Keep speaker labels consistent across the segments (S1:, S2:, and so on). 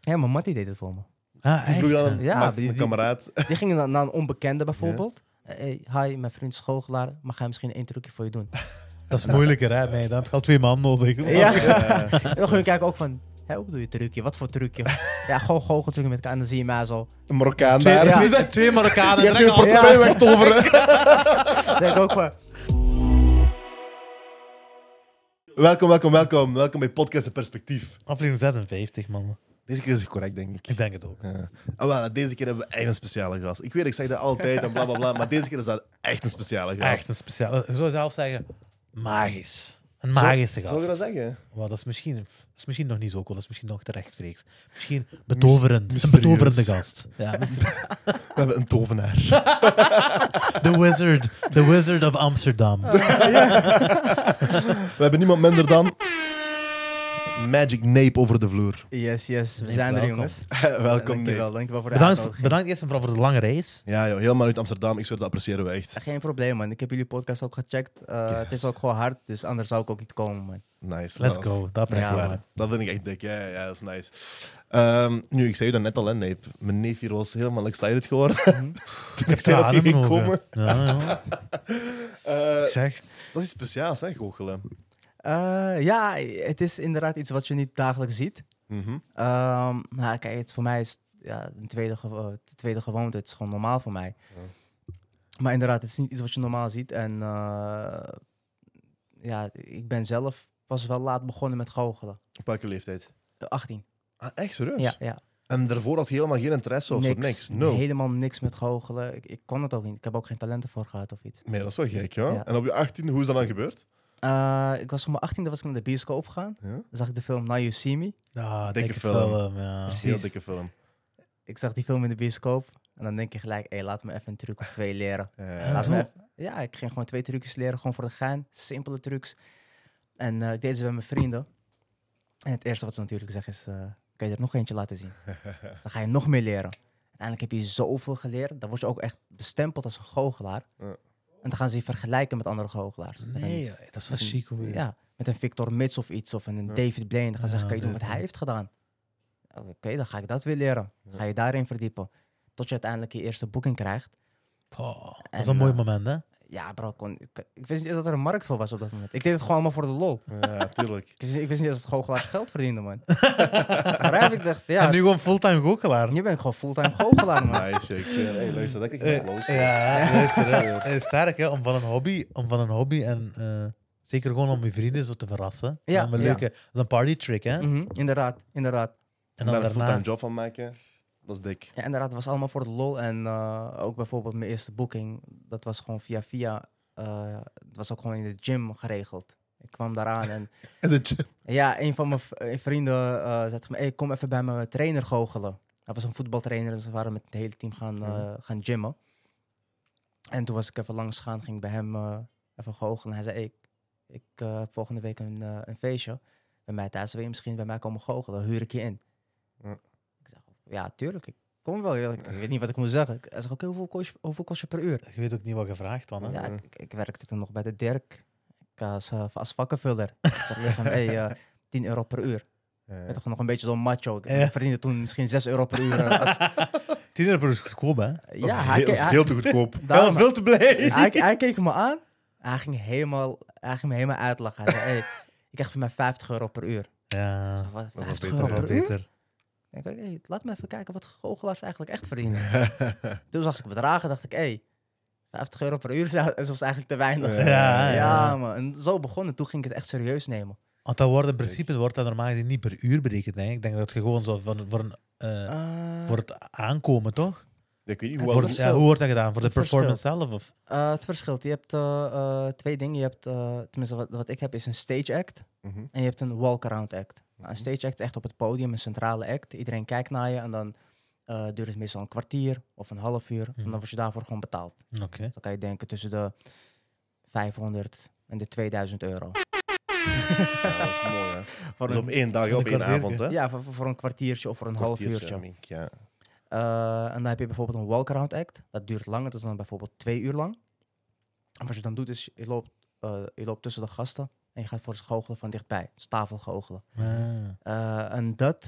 S1: Ja, mijn mattie deed het voor me.
S2: Ah,
S3: Die vroeg dan een,
S1: Ja,
S3: Dus ja,
S1: die-
S3: een
S1: die-
S3: kameraad.
S1: Die gingen dan naar een onbekende bijvoorbeeld. Eh, hey, hi, mijn vriend is goochelaar. Mag hij misschien één trucje voor je doen?
S2: Dat is moeilijker, hè? Nee, dan heb je al twee man nodig.
S1: Ja.
S3: Ja.
S1: En dan ging ik kijken ook van... Hé, hoe bedoel je trucje? Wat voor trucje? ja, gewoon goocheltrucje met elkaar. En dan zie je mij zo.
S3: Een Marokkaan
S2: Twee,
S3: daar.
S1: Ja.
S2: twee, twee Marokkanen.
S3: Je hebt je
S2: direct al-
S3: portefeuille wegtoveren.
S1: Dan denk ik ook van...
S3: welkom, welkom, welkom. Welkom bij Podcast en Perspectief.
S2: Aflevering 56, man.
S3: Deze keer is het correct, denk ik.
S2: Ik denk het ook.
S3: Ja. Ah, wel, deze keer hebben we echt een speciale gast. Ik weet, ik zeg dat altijd en bla bla bla, maar deze keer is dat echt een speciale gast.
S2: Echt een speciaal. Ik zou zelf zeggen, magisch. Een
S3: Zou-
S2: magische gast.
S3: Zou je dat zeggen?
S2: Wow, dat, is misschien, dat is misschien nog niet zo cool. Dat is misschien nog te rechtstreeks. Misschien betoverend. een
S3: mysterieus.
S2: betoverende gast. Ja,
S3: We hebben een tovenaar.
S2: the Wizard. The Wizard of Amsterdam.
S3: We hebben niemand minder dan. Magic Nape over de vloer.
S1: Yes, yes. We
S2: Nee,
S1: zijn er,
S2: welkom.
S1: jongens.
S3: welkom, Nape.
S1: Dankjewel. Dankjewel voor de
S2: Bedankt,
S1: uitnodiging.
S2: bedankt eerst en vooral voor de lange reis.
S3: Ja, joh, helemaal uit Amsterdam. Ik zweer, dat appreciëren we echt.
S1: Geen probleem, man. Ik heb jullie podcast ook gecheckt. Eh, Het is ook gewoon hard, dus anders zou ik ook niet komen, man.
S3: Nice.
S2: Let's
S3: love.
S2: go. Dat
S3: Dat is
S2: ja,
S3: waar. Dat vind ik echt dik. Ja, ja, ja, dat is nice. Ehm, nu, ik zei je dat net al, hè, Nape. Mijn neef hier was helemaal excited geworden. Toen ik zei dat hij ging komen.
S2: Ja, ja.
S3: Eh,
S2: Ik Zeg,
S3: dat is iets speciaals, hè, goochelen.
S1: Eh, ja, het is inderdaad iets wat je niet dagelijks ziet.
S3: Mhm.
S1: Ehm, maar kijk, het voor mij is ja, een tweede, gewo- eh, tweede gewoonte. Het is gewoon normaal voor mij. Maar inderdaad, het is niet iets wat je normaal ziet. En eh, ja, ik ben zelf pas wel laat begonnen met goochelen.
S3: Op welke leeftijd?
S1: Eh, 18.
S3: Ah, echt serieus?
S1: Ja, ja.
S3: En daarvoor had je helemaal geen interesse of zo? niks. No.
S1: Helemaal niks met goochelen. Ik, ik kon het ook niet. Ik heb ook geen talenten voor gehad of iets.
S3: Nee, dat is wel gek, ja.
S1: Ja.
S3: En op je 18, hoe is dat dan gebeurd?
S1: Eh, ik was op mijn 18e was ik naar de bioscoop gegaan.
S3: Ja.
S1: Dan zag ik de film Now You See Me.
S2: ja,
S3: Dikke
S2: Ah, dikke,
S3: film.
S2: film. ja.
S1: Precies.
S3: Ah, Heel dikke film.
S1: Ik zag die film in de bioscoop. En dan denk je gelijk, hé, laat me even een truc of twee leren.
S3: Eh,
S1: Laat
S2: zo?
S1: me even- Ja, ik ging gewoon twee trucjes leren, gewoon voor de gein. Simpele trucs. En eh, ik deed ze bij mijn vrienden. En het eerste wat ze natuurlijk zeggen is, eh, kan je er nog eentje laten zien? Dus dan ga je nog meer leren. Uiteindelijk heb je zoveel geleerd. Dan word je ook echt bestempeld als een goochelaar.
S3: Ja.
S1: En dan gaan ze je vergelijken met andere goochelaars. Met een-
S2: Nee, joh, dat is wel chic. hoor.
S1: ja, met een Victor Mits of iets, of een
S3: Ja.
S1: David Blaine. Dan gaan ze
S2: Ja,
S1: zeggen, kan je doen wat
S2: dit,
S1: hij
S2: ja.
S1: heeft gedaan? Oké, dan ga ik dat weer leren. Ga je daarin verdiepen. Tot je uiteindelijk je eerste boeking krijgt.
S2: Poh, dat is
S1: En,
S2: een mooi
S1: eh,
S2: moment, hè?
S1: Ja, bro, ik kon, ik, ik wist niet dat er een markt voor was op dat moment. Ik deed het gewoon allemaal voor de lol.
S3: ja, tuurlijk.
S1: Ik, wist- ik wist niet dat het goochelaars geld verdiende, man. Maar heb ik dacht, ja,
S2: en nu
S1: nu,
S2: gewoon fulltime goochelaar.
S1: ben ik gewoon fulltime goochelaar, man.
S3: Nice, ik zweer. Hey, luister, dat krijg ik
S2: Eh,
S3: een applaus.
S2: ja, luister, hè. Het is sterk hè, om van een hobby, om van een hobby en eh, zeker gewoon om je vrienden zo te verrassen.
S1: Ja,
S2: Om een
S1: ja.
S2: leuke, dat is een party trick hè.
S1: Mhm, inderdaad, inderdaad.
S2: En
S3: daar
S2: dan
S3: een fulltime
S2: daarna.
S3: job van maken, dat is dik.
S1: Ja, inderdaad, het was allemaal voor de lol. En eh, ook bijvoorbeeld mijn eerste boeking, dat was gewoon via via. eh, het was ook gewoon in de gym geregeld. Ik kwam daaraan en
S3: En de gym.
S1: ja, een van mijn v- eh, vrienden eh, zei tegen me, hey, kom even bij mijn trainer goochelen. Hij was een voetbaltrainer, dus we waren met het hele team gaan, eh, gaan gymmen. En toen was ik even langs gaan, ging ik bij hem eh, even goochelen. Hij zei, hey, ik, ik eh, heb volgende week een, eh, een feestje bij mij thuis. Wil je misschien bij mij komen goochelen? Dan huur ik je in.
S3: Ja.
S1: Ik zeg, ja, tuurlijk. Ik kom wel. Ik weet niet wat ik moet zeggen. Ik- Hij zegt, oké, hoeveel, kost je- hoeveel kost je per uur?
S2: Je weet ook niet wat gevraagd dan hè.
S1: Ja,
S3: Ja.
S1: ik, ik- ik werkte toen nog bij de Dirk. Ik was eh, als vakkenvuller. Ik zeg tegen hem, hey, eh, 10 euro per uur. Ik ben
S3: Eh,
S1: toch nog een beetje zo'n macho. Ik
S2: Ja.
S1: verdiende toen misschien 6 euro per uur. eh, als-
S2: Tien euro per uur is goedkoop hè.
S1: ja, hij,
S3: hij
S1: keek-
S3: is
S1: hij,
S3: veel te goedkoop.
S2: Dat
S1: daarom-
S2: was veel te blij.
S1: hij, hij keek me aan. Hij ging, helemaal, hij ging me helemaal uitlachen. Hij zei, hey, ik krijg van mij 50 euro per uur. Ik
S2: Ja,
S1: zeg, wat,
S3: was
S1: 50
S3: beter,
S1: euro
S2: Ah, dat is wel
S1: per uur?
S2: beter.
S1: Ik denk, hey, laat me even kijken wat goochelaars eigenlijk echt verdienen. Toen zag ik bedragen, dacht ik, hé, 50 euro per uur zou- is was eigenlijk te weinig.
S3: Ja,
S2: ja.
S1: man. En zo begon het. Toen ging ik het echt serieus nemen.
S2: Want dat wordt in principe wordt dat normaal gezien niet per uur berekend. Denk ik. ik denk dat je gewoon zo van, voor, een, eh,
S1: Eh,
S2: voor het aankomen toch?
S3: Ja, ik weet niet
S1: Het
S3: hoe
S2: Voor
S3: oud
S2: het-
S1: verschil.
S2: ja, hoe wordt dat gedaan? Voor de
S1: Het
S2: performance zelf? Of?
S1: eh, het verschilt. Je hebt eh, eh, twee dingen. Je hebt, eh, tenminste, wat, wat ik heb is een stage act
S3: Mhm.
S1: en je hebt een walk-around act. Nou, een stage act is echt op het podium, een centrale act. Iedereen kijkt naar je en dan eh, duurt het meestal een kwartier of een half uur. En
S2: Mhm.
S1: dan word je daarvoor gewoon betaald.
S2: Oké.
S1: Dus dan kan je denken tussen de 500 en de 2000 euro.
S3: Ja, dat is mooi, hè.
S1: Voor
S3: Dus op
S1: een,
S3: één dag,
S2: Een
S3: op één
S2: kwartiertje.
S3: avond, hè?
S1: ja, voor, voor- voor een kwartiertje of voor een half
S3: Kwartiertje,
S1: uurtje.
S3: mink, Ja.
S1: Eh, en dan heb je bijvoorbeeld een walk-around act. Dat duurt langer, dat is dan bijvoorbeeld twee uur lang. En wat je dan doet is, je loopt, eh, je loopt tussen de gasten en je gaat voor ze goochelen van dichtbij. Dus tafel goochelen.
S2: Ah.
S1: Eh, en dat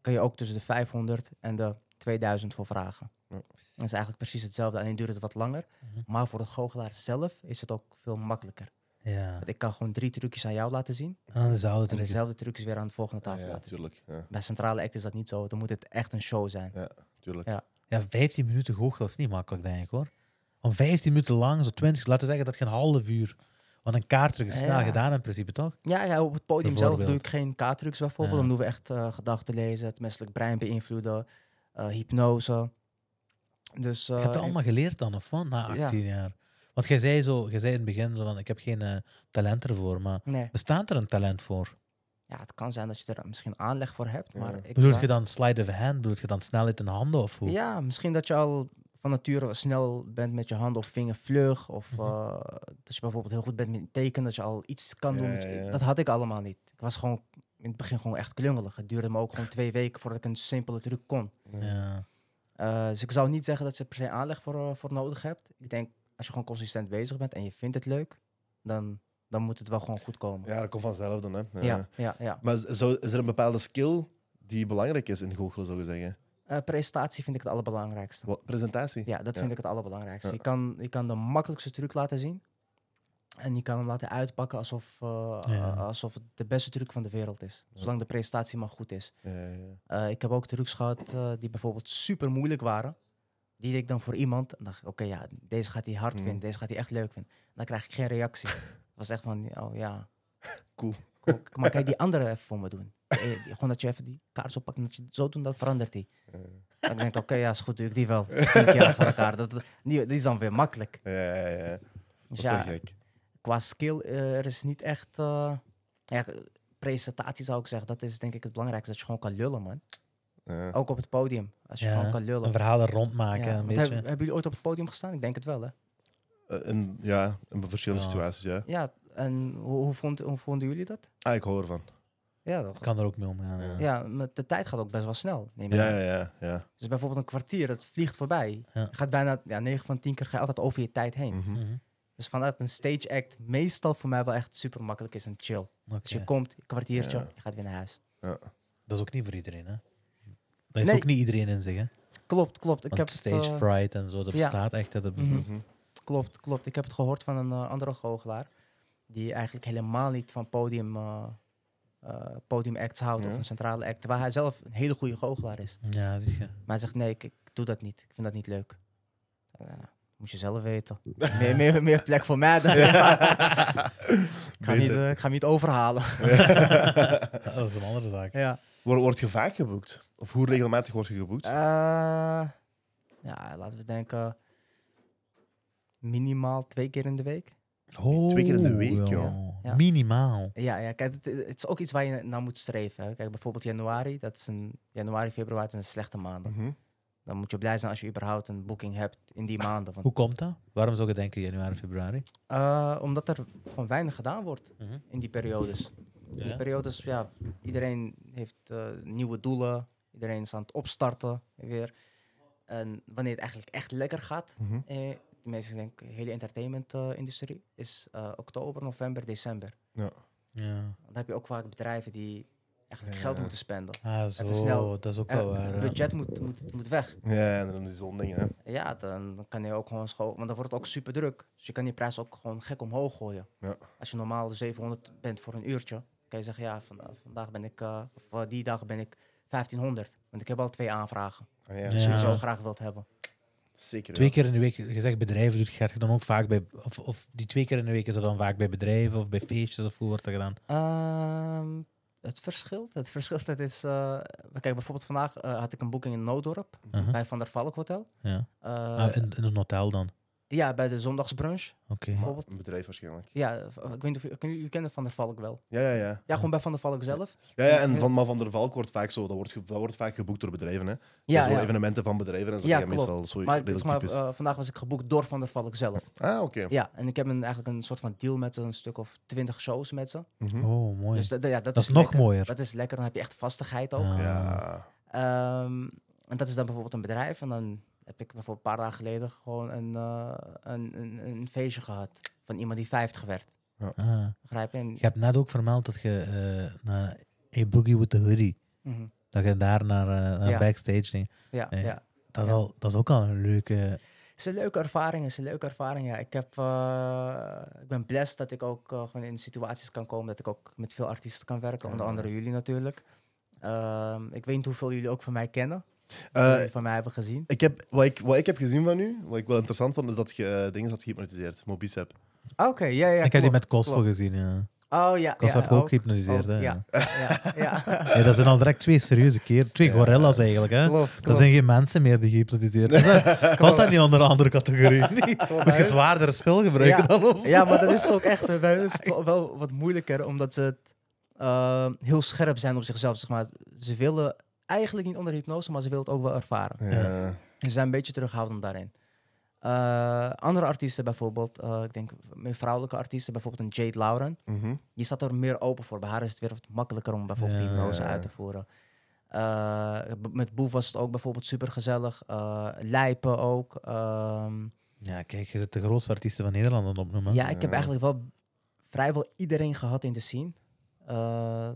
S1: kan je ook tussen de 500 en de 2000 voor vragen.
S3: Ja.
S1: Dat is eigenlijk precies hetzelfde, alleen duurt het wat langer.
S2: Mhm.
S1: Maar voor de goochelaar zelf is het ook veel makkelijker.
S2: Ja. Ah,
S1: Want ik kan gewoon drie trucjes aan jou laten zien.
S2: Aan dezelfde
S1: En
S2: trucjes.
S1: dezelfde trucjes weer aan de volgende
S3: Ja,
S1: tafel
S3: ja,
S1: laten zien.
S3: tuurlijk. Ja,
S1: Bij centrale act is dat niet zo. Dan moet het echt een show zijn.
S3: tuurlijk.
S1: Ja.
S2: Ja, 15 minuten goochelen is niet makkelijk, denk ik hoor. Om 15 minuten lang, zo 20, laten we zeggen dat je een half uur. Want een kaartruc is snel
S1: Ah, Ja.
S2: gedaan in principe toch?
S1: Ja, ja, op het podium zelf doe ik
S2: Bijvoorbeeld.
S1: geen K-trucs bijvoorbeeld.
S2: Ja.
S1: Dan doen we echt eh, gedachten lezen, het menselijk brein beïnvloeden, eh, hypnose. Dus,
S2: je
S1: eh,
S2: hebt dat allemaal geleerd dan, of wat? Na
S1: Ja.
S2: 18 jaar. Want jij zei, zo, jij zei in het begin, zo van, ik heb geen eh, talent ervoor, maar
S1: Nee.
S2: bestaat er een talent voor?
S1: Ja, het kan zijn dat je er misschien aanleg voor hebt,
S3: Ja.
S1: maar ik
S2: Bedoel
S1: zou-
S2: je dan slide of hand? Bedoel je dan snelheid in de handen of hoe?
S1: Ja, misschien dat je al van nature snel bent met je handen of vinger vlug. Of
S2: Mhm.
S1: eh, dat je bijvoorbeeld heel goed bent met tekenen, dat je al iets kan doen.
S3: Ja,
S1: met je-
S3: ja, ja.
S1: Dat had ik allemaal niet. Ik was gewoon in het begin gewoon echt klungelig. Het duurde me ook gewoon twee weken voordat ik een simpele truc kon.
S2: Ja.
S1: Eh, dus ik zou niet zeggen dat je er per se aanleg voor, eh, voor nodig hebt. Ik denk, als je gewoon consistent bezig bent en je vindt het leuk, dan, dan moet het wel gewoon goed komen.
S3: Ja, dat komt vanzelf dan. Hè. Ja.
S1: Ja, ja, ja.
S3: Maar is- zo, is er een bepaalde skill die belangrijk is in goochelen, zou je zeggen?
S1: Eh, presentatie vind ik het allerbelangrijkste.
S3: Wat, presentatie?
S1: Ja, dat
S3: Ja.
S1: vind ik het allerbelangrijkste.
S3: Ja.
S1: Je, kan, je kan de makkelijkste truc laten zien. En je kan hem laten uitpakken alsof, eh,
S2: Ja.
S1: eh, alsof het de beste truc van de wereld is.
S3: Ja.
S1: Zolang de presentatie maar goed is.
S3: Ja, ja, ja.
S1: Eh, ik heb ook trucs gehad eh, die bijvoorbeeld super moeilijk waren. Die deed ik dan voor iemand. En dacht ik, oké, ja, deze gaat hij hard
S3: Mm.
S1: vinden. Deze gaat hij echt leuk vinden. Dan krijg ik geen reactie. was echt van, oh ja.
S3: Cool.
S1: Cool. Maar kan je die andere even voor me doen? Eh, die- Gewoon dat je even die kaars oppakt en dat je het zo doet, dan verandert die.
S3: Ja.
S1: En ik denk, oké, ja, is goed, doe ik die wel. Tien keer achter elkaar. Dat, dat- die, die is dan weer makkelijk.
S3: Ja, ja, ja. Dat
S1: Dus
S3: is wel
S1: ja,
S3: gek.
S1: qua skill eh, er is niet echt... eh, ja, presentatie zou ik zeggen, dat is denk ik het belangrijkste. Dat je gewoon kan lullen, man.
S3: Ja.
S1: Ook op het podium. Als je
S2: Ja,
S1: gewoon kan lullen.
S2: Een verhaal er rondmaken,
S1: Ja,
S2: eh, een
S1: want heb-
S2: beetje.
S1: hebben jullie ooit op het podium gestaan? Ik denk het wel, hè?
S3: Eh, in- ja, in verschillende
S2: Ja.
S3: situaties, ja.
S1: Ja, en hoe, hoe, vond, hoe vonden jullie dat?
S3: Ah, ik hoor ervan.
S1: Ja, dat-
S2: Ik kan er ook mee omgaan.
S3: Ja.
S2: Ja.
S1: ja, maar de tijd gaat ook best wel snel. Neem ik
S3: Ja,
S1: aan.
S3: ja, ja. ja.
S1: Dus bijvoorbeeld een kwartier, het vliegt voorbij.
S2: Ja.
S1: Je gaat bijna ja, 9 van 10 keer ga je altijd over je tijd heen.
S3: Mhm.
S2: Mhm.
S1: Dus vanuit een stage act meestal voor mij wel echt super makkelijk is en chill. Dus
S2: Oké.
S1: je komt, een kwartiertje,
S3: Ja.
S1: je gaat weer naar huis.
S2: Dat is ook niet voor iedereen, hè? Dat heeft
S1: Nee.
S2: ook niet iedereen in zich, hè?
S1: Klopt, klopt. Ik
S2: Want
S1: heb
S2: stage
S1: het, eh,
S2: fright en zo, dat
S1: ja.
S2: bestaat echt. hè, Dat bestaat.
S3: Mhm.
S1: Klopt, klopt. Ik heb het gehoord van een eh, andere goochelaar. Die eigenlijk helemaal niet van podium, eh, eh, podium acts houdt
S3: Ja.
S1: of een centrale act. Waar hij zelf een hele goede goochelaar is.
S2: Ja, zie je.
S1: Maar hij zegt, nee, ik, ik doe dat niet. Ik vind dat niet leuk. Eh, moet je zelf weten. meer, meer, meer plek voor mij dan. ik, ga hem niet,
S3: Beter.
S1: eh, ik ga hem niet overhalen.
S2: Eh, dat is een andere zaak.
S1: ja.
S3: Wor- Word je vaak geboekt? Of hoe regelmatig word je geboekt?
S1: Eh, ja, laten we denken... Minimaal twee keer in de week.
S2: Oh,
S3: Twee keer in de week,
S2: ja.
S3: joh.
S1: Ja.
S2: Minimaal.
S1: Ja, ja kijk, het, het is ook iets waar je naar moet streven. Hè. Kijk, bijvoorbeeld januari. Dat is een, januari, februari zijn slechte maanden.
S3: Mhm.
S1: Dan moet je blij zijn als je überhaupt een boeking hebt in die maanden. Want,
S2: Hoe komt dat? Waarom zou je denken januari, februari?
S1: Eh, omdat er gewoon weinig gedaan wordt
S2: Mhm.
S1: in die periodes. In die periodes, ja, iedereen heeft eh, nieuwe doelen. Iedereen is aan het opstarten weer. En wanneer het eigenlijk echt lekker gaat,
S3: Mhm.
S1: eh, de meeste denk ik, de hele entertainment-industrie, is eh, oktober, november, december.
S2: Ja.
S1: Dan heb je ook vaak bedrijven die eigenlijk
S3: Ja.
S1: geld moeten spenden.
S2: Ah, zo.
S1: Even snel. Eh,
S2: Dat is ook
S1: En
S2: wel waar.
S1: het
S2: Oh, ja.
S1: budget moet, moet, moet weg.
S3: Ja, en dan is zo'n ding, hè.
S1: Ja, dan, dan kan je ook gewoon school, want dan wordt het ook super druk. Dus je kan die prijs ook gewoon gek omhoog gooien.
S3: Ja.
S1: Als je normaal 700 bent voor een uurtje, kan je zeggen: Ja, vanda- vandaag ben ik, eh, of eh, die dag ben ik 1500. Want ik heb al twee aanvragen
S3: Ah, ja.
S1: die
S2: Ja.
S1: je zo graag wilt hebben.
S3: Zeker.
S2: Twee
S3: ja.
S2: keer in de week, je zegt bedrijven, doet, gaat je dan ook vaak bij... Of, of die twee keer in de week is dat dan vaak bij bedrijven of bij feestjes of hoe wordt dat gedaan?
S1: Ehm, het verschilt. Het verschilt. Het is. eh, kijk, bijvoorbeeld vandaag eh, had ik een boeking in Noodorp
S2: Mhm.
S1: bij Van der Valk Hotel.
S2: Ja.
S1: Eh,
S2: Ah, in, in een hotel dan?
S1: Ja, bij de zondagsbrunch
S2: Oké.
S1: bijvoorbeeld.
S3: Een bedrijf waarschijnlijk.
S1: Ja, v- ik weet niet of jullie- jullie kennen Van der Valk wel.
S3: Ja, ja, ja.
S1: Ja, gewoon bij Van der Valk zelf.
S3: ja, ja en van, maar van der Valk wordt vaak zo, dat wordt, ge- dat wordt vaak geboekt door bedrijven, hè.
S1: Ja,
S3: zo
S1: ja.
S3: evenementen van bedrijven en zo.
S1: Ja,
S3: Ja, meestal
S1: klopt.
S3: zo
S1: Maar,
S3: redelijk
S1: zeg maar
S3: typisch.
S1: eh, vandaag was ik geboekt door Van der Valk zelf.
S3: ah, oké.
S1: Ja, en ik heb een, eigenlijk een soort van deal met ze, een stuk of twintig shows met ze.
S3: Mhm.
S2: Oh, mooi.
S1: Dus dat, ja, dat,
S2: dat is
S1: is
S2: nog
S1: lekker.
S2: mooier.
S1: Dat is lekker, dan heb je echt vastigheid ook.
S2: Ja.
S3: Ja.
S1: Ehm, en dat is dan bijvoorbeeld een bedrijf. En dan heb ik bijvoorbeeld een paar dagen geleden gewoon een, eh, een, een, een feestje gehad van iemand die 50 werd.
S2: Ah.
S1: Begrijp je? En,
S2: Je hebt net ook vermeld dat je eh naar A Boogie with the Hoodie
S1: Mhm.
S2: Dat je daar naar, eh, naar
S1: Ja.
S2: backstage dingen.
S1: Ja,
S2: Ja.
S1: ja.
S2: Dat is,
S1: Ja.
S2: al, dat is ook al een leuke...
S1: Het is een leuke ervaring, het is een leuke ervaring. Ja. Ik, heb, eh, ik ben blessed dat ik ook eh, gewoon in situaties kan komen dat ik ook met veel artiesten kan werken, onder
S3: Ja.
S1: andere jullie natuurlijk. Ehm, ik weet niet hoeveel jullie ook van mij kennen,
S3: Eh,
S1: eh, van mij hebben gezien.
S3: ik heb, wat, ik, wat ik heb gezien van u, wat ik wel interessant vond, is dat je eh, dingen had gehypnotiseerd. Mobicep.
S1: Ah, Oké, ja, ja.
S2: ik heb die
S1: klopt,
S2: met Cosmo
S1: klopt.
S2: gezien, ja.
S1: Oh ja.
S2: Cosmo
S1: ja,
S2: heb ik ook,
S1: ook.
S2: gehypnotiseerd,
S1: Ook,
S2: hè.
S1: ja, ja, ja.
S2: Ja, dat zijn al direct twee serieuze keer, twee gorillas eigenlijk. Hè.
S1: klopt,
S2: Dat
S1: klopt.
S2: zijn geen mensen meer die gehypnotiseerd worden. Valt dat niet onder een andere categorie? Niet? Moet je
S1: hè?
S2: zwaardere spel gebruiken
S1: ja.
S2: dan ons?
S1: Ja, maar dat is toch echt. eh, Bij hun is het toch wel wat moeilijker, omdat ze het, eh, heel scherp zijn op zichzelf. Zeg maar. Ze willen eigenlijk niet onder hypnose, maar ze willen het ook wel ervaren.
S3: Ja.
S1: Ze zijn een beetje terughoudend daarin. Eh, andere artiesten bijvoorbeeld, eh, ik denk meer vrouwelijke artiesten, bijvoorbeeld een Jade Lauren,
S3: Mhm.
S1: die staat er meer open voor. Bij haar is het weer wat makkelijker om bijvoorbeeld
S2: Ja.
S1: hypnose uit te voeren. Eh, b- met Boef was het ook bijvoorbeeld supergezellig. eh Lijpen ook. ehm,
S2: Ja, kijk, je zit de grootste artiesten van Nederland aan het opnoemen.
S1: ja, ik heb
S3: Ja.
S1: eigenlijk wel vrijwel iedereen gehad in de scene. Eh,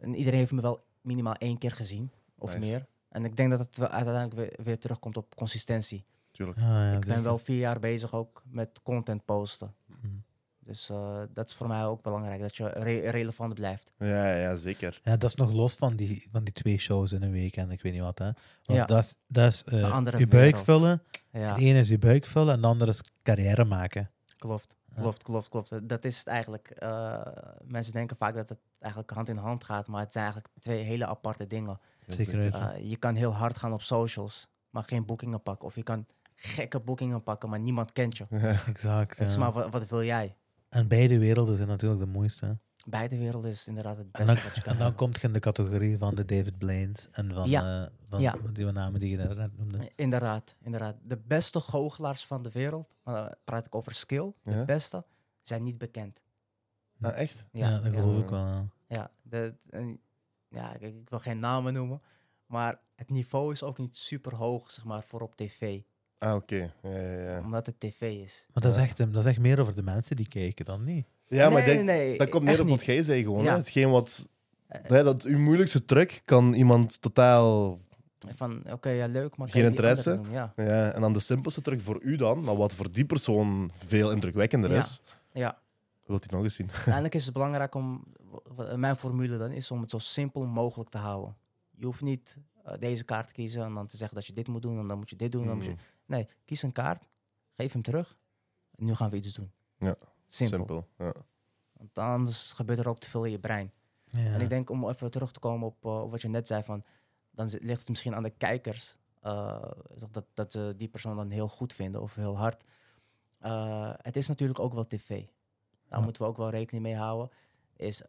S1: en iedereen heeft me wel minimaal één keer gezien of
S3: Nice.
S1: meer. En ik denk dat het wel uiteindelijk weer, weer terugkomt op consistentie.
S3: Tuurlijk.
S2: Ah, ja,
S1: ik
S2: zeker.
S1: ben wel vier jaar bezig ook met content posten.
S2: Mhm.
S1: Dus eh, dat is voor mij ook belangrijk, dat je re- relevant blijft.
S3: Ja, ja, zeker.
S2: Ja, dat is nog los van die, van die twee shows in een week en ik weet niet wat. Hè. Want
S1: Ja.
S2: dat is, dat is,
S1: is
S2: eh,
S1: een andere
S2: je buik
S1: wereld.
S2: vullen.
S1: Ja,
S2: Het ene is je buik vullen en de andere is carrière maken.
S1: klopt. Klopt, klopt, klopt. Dat is het eigenlijk. eh, mensen denken vaak dat het eigenlijk hand in hand gaat, maar het zijn eigenlijk twee hele aparte dingen.
S3: Ja,
S2: Zeker weten.
S1: Eh, je kan heel hard gaan op socials, maar geen boekingen pakken. Of je kan gekke boekingen pakken, maar niemand kent je.
S2: exact.
S1: Het is
S2: ja.
S1: maar wat, wat wil jij?
S2: En beide werelden zijn natuurlijk de mooiste. hè.
S1: Beide werelden is inderdaad het
S2: En
S1: beste
S2: dan,
S1: wat je kan
S2: en dan
S1: doen.
S2: komt je in de categorie van de David Blaines en van,
S1: Ja.
S2: eh, van
S1: Ja.
S2: die namen die je net noemde.
S1: Inderdaad, inderdaad. De beste goochelaars van de wereld, maar dan praat ik over skill,
S3: Ja?
S1: de beste, zijn niet bekend.
S3: Ah, echt?
S2: Ja,
S1: Ja,
S2: dat
S1: ja.
S2: geloof ik wel. ja.
S1: Ja, de, en- ja ik, ik wil geen namen noemen, maar het niveau is ook niet super hoog, zeg maar, voor op tv.
S3: Ah, oké. Ja, ja, ja.
S1: Omdat het tv is.
S2: Maar dat is, echt, eh, dat is echt meer over de mensen die kijken dan niet.
S3: ja, maar ik denk,
S1: nee,
S3: dat komt
S1: echt
S3: neer op wat
S1: niet.
S3: jij zei gewoon. hè.
S1: Ja.
S3: Hetgeen wat...
S1: Eh.
S3: hè, dat uw moeilijkste truc kan iemand totaal...
S1: Van, oké, ja, leuk, maar...
S3: Geen
S1: kan je die
S3: interesse?
S1: andere doen? Ja,
S3: Ja, en dan de simpelste truc voor u dan, maar wat voor die persoon veel indrukwekkender
S1: Ja.
S3: is,
S1: ja.
S3: wilt hij nog eens zien.
S1: Uiteindelijk is het belangrijk om, w- w- mijn formule dan is om het zo simpel mogelijk te houden. Je hoeft niet eh, deze kaart te kiezen en dan te zeggen dat je dit moet doen en dan moet je dit doen. Dan moet je...
S3: Mm,
S1: Nee, kies een kaart, geef hem terug en nu gaan we iets doen.
S3: Ja,
S1: Simpel.
S3: Simpel. Ja.
S1: Want anders gebeurt er ook te veel in je brein.
S2: Ja.
S1: En ik denk om even terug te komen op eh, op wat je net zei, van, dan zit- ligt het misschien aan de kijkers eh, dat, dat ze die persoon dan heel goed vinden of heel hard. Eh, het is natuurlijk ook wel tv. Daar
S2: Ja.
S1: moeten we ook wel rekening mee houden. Is,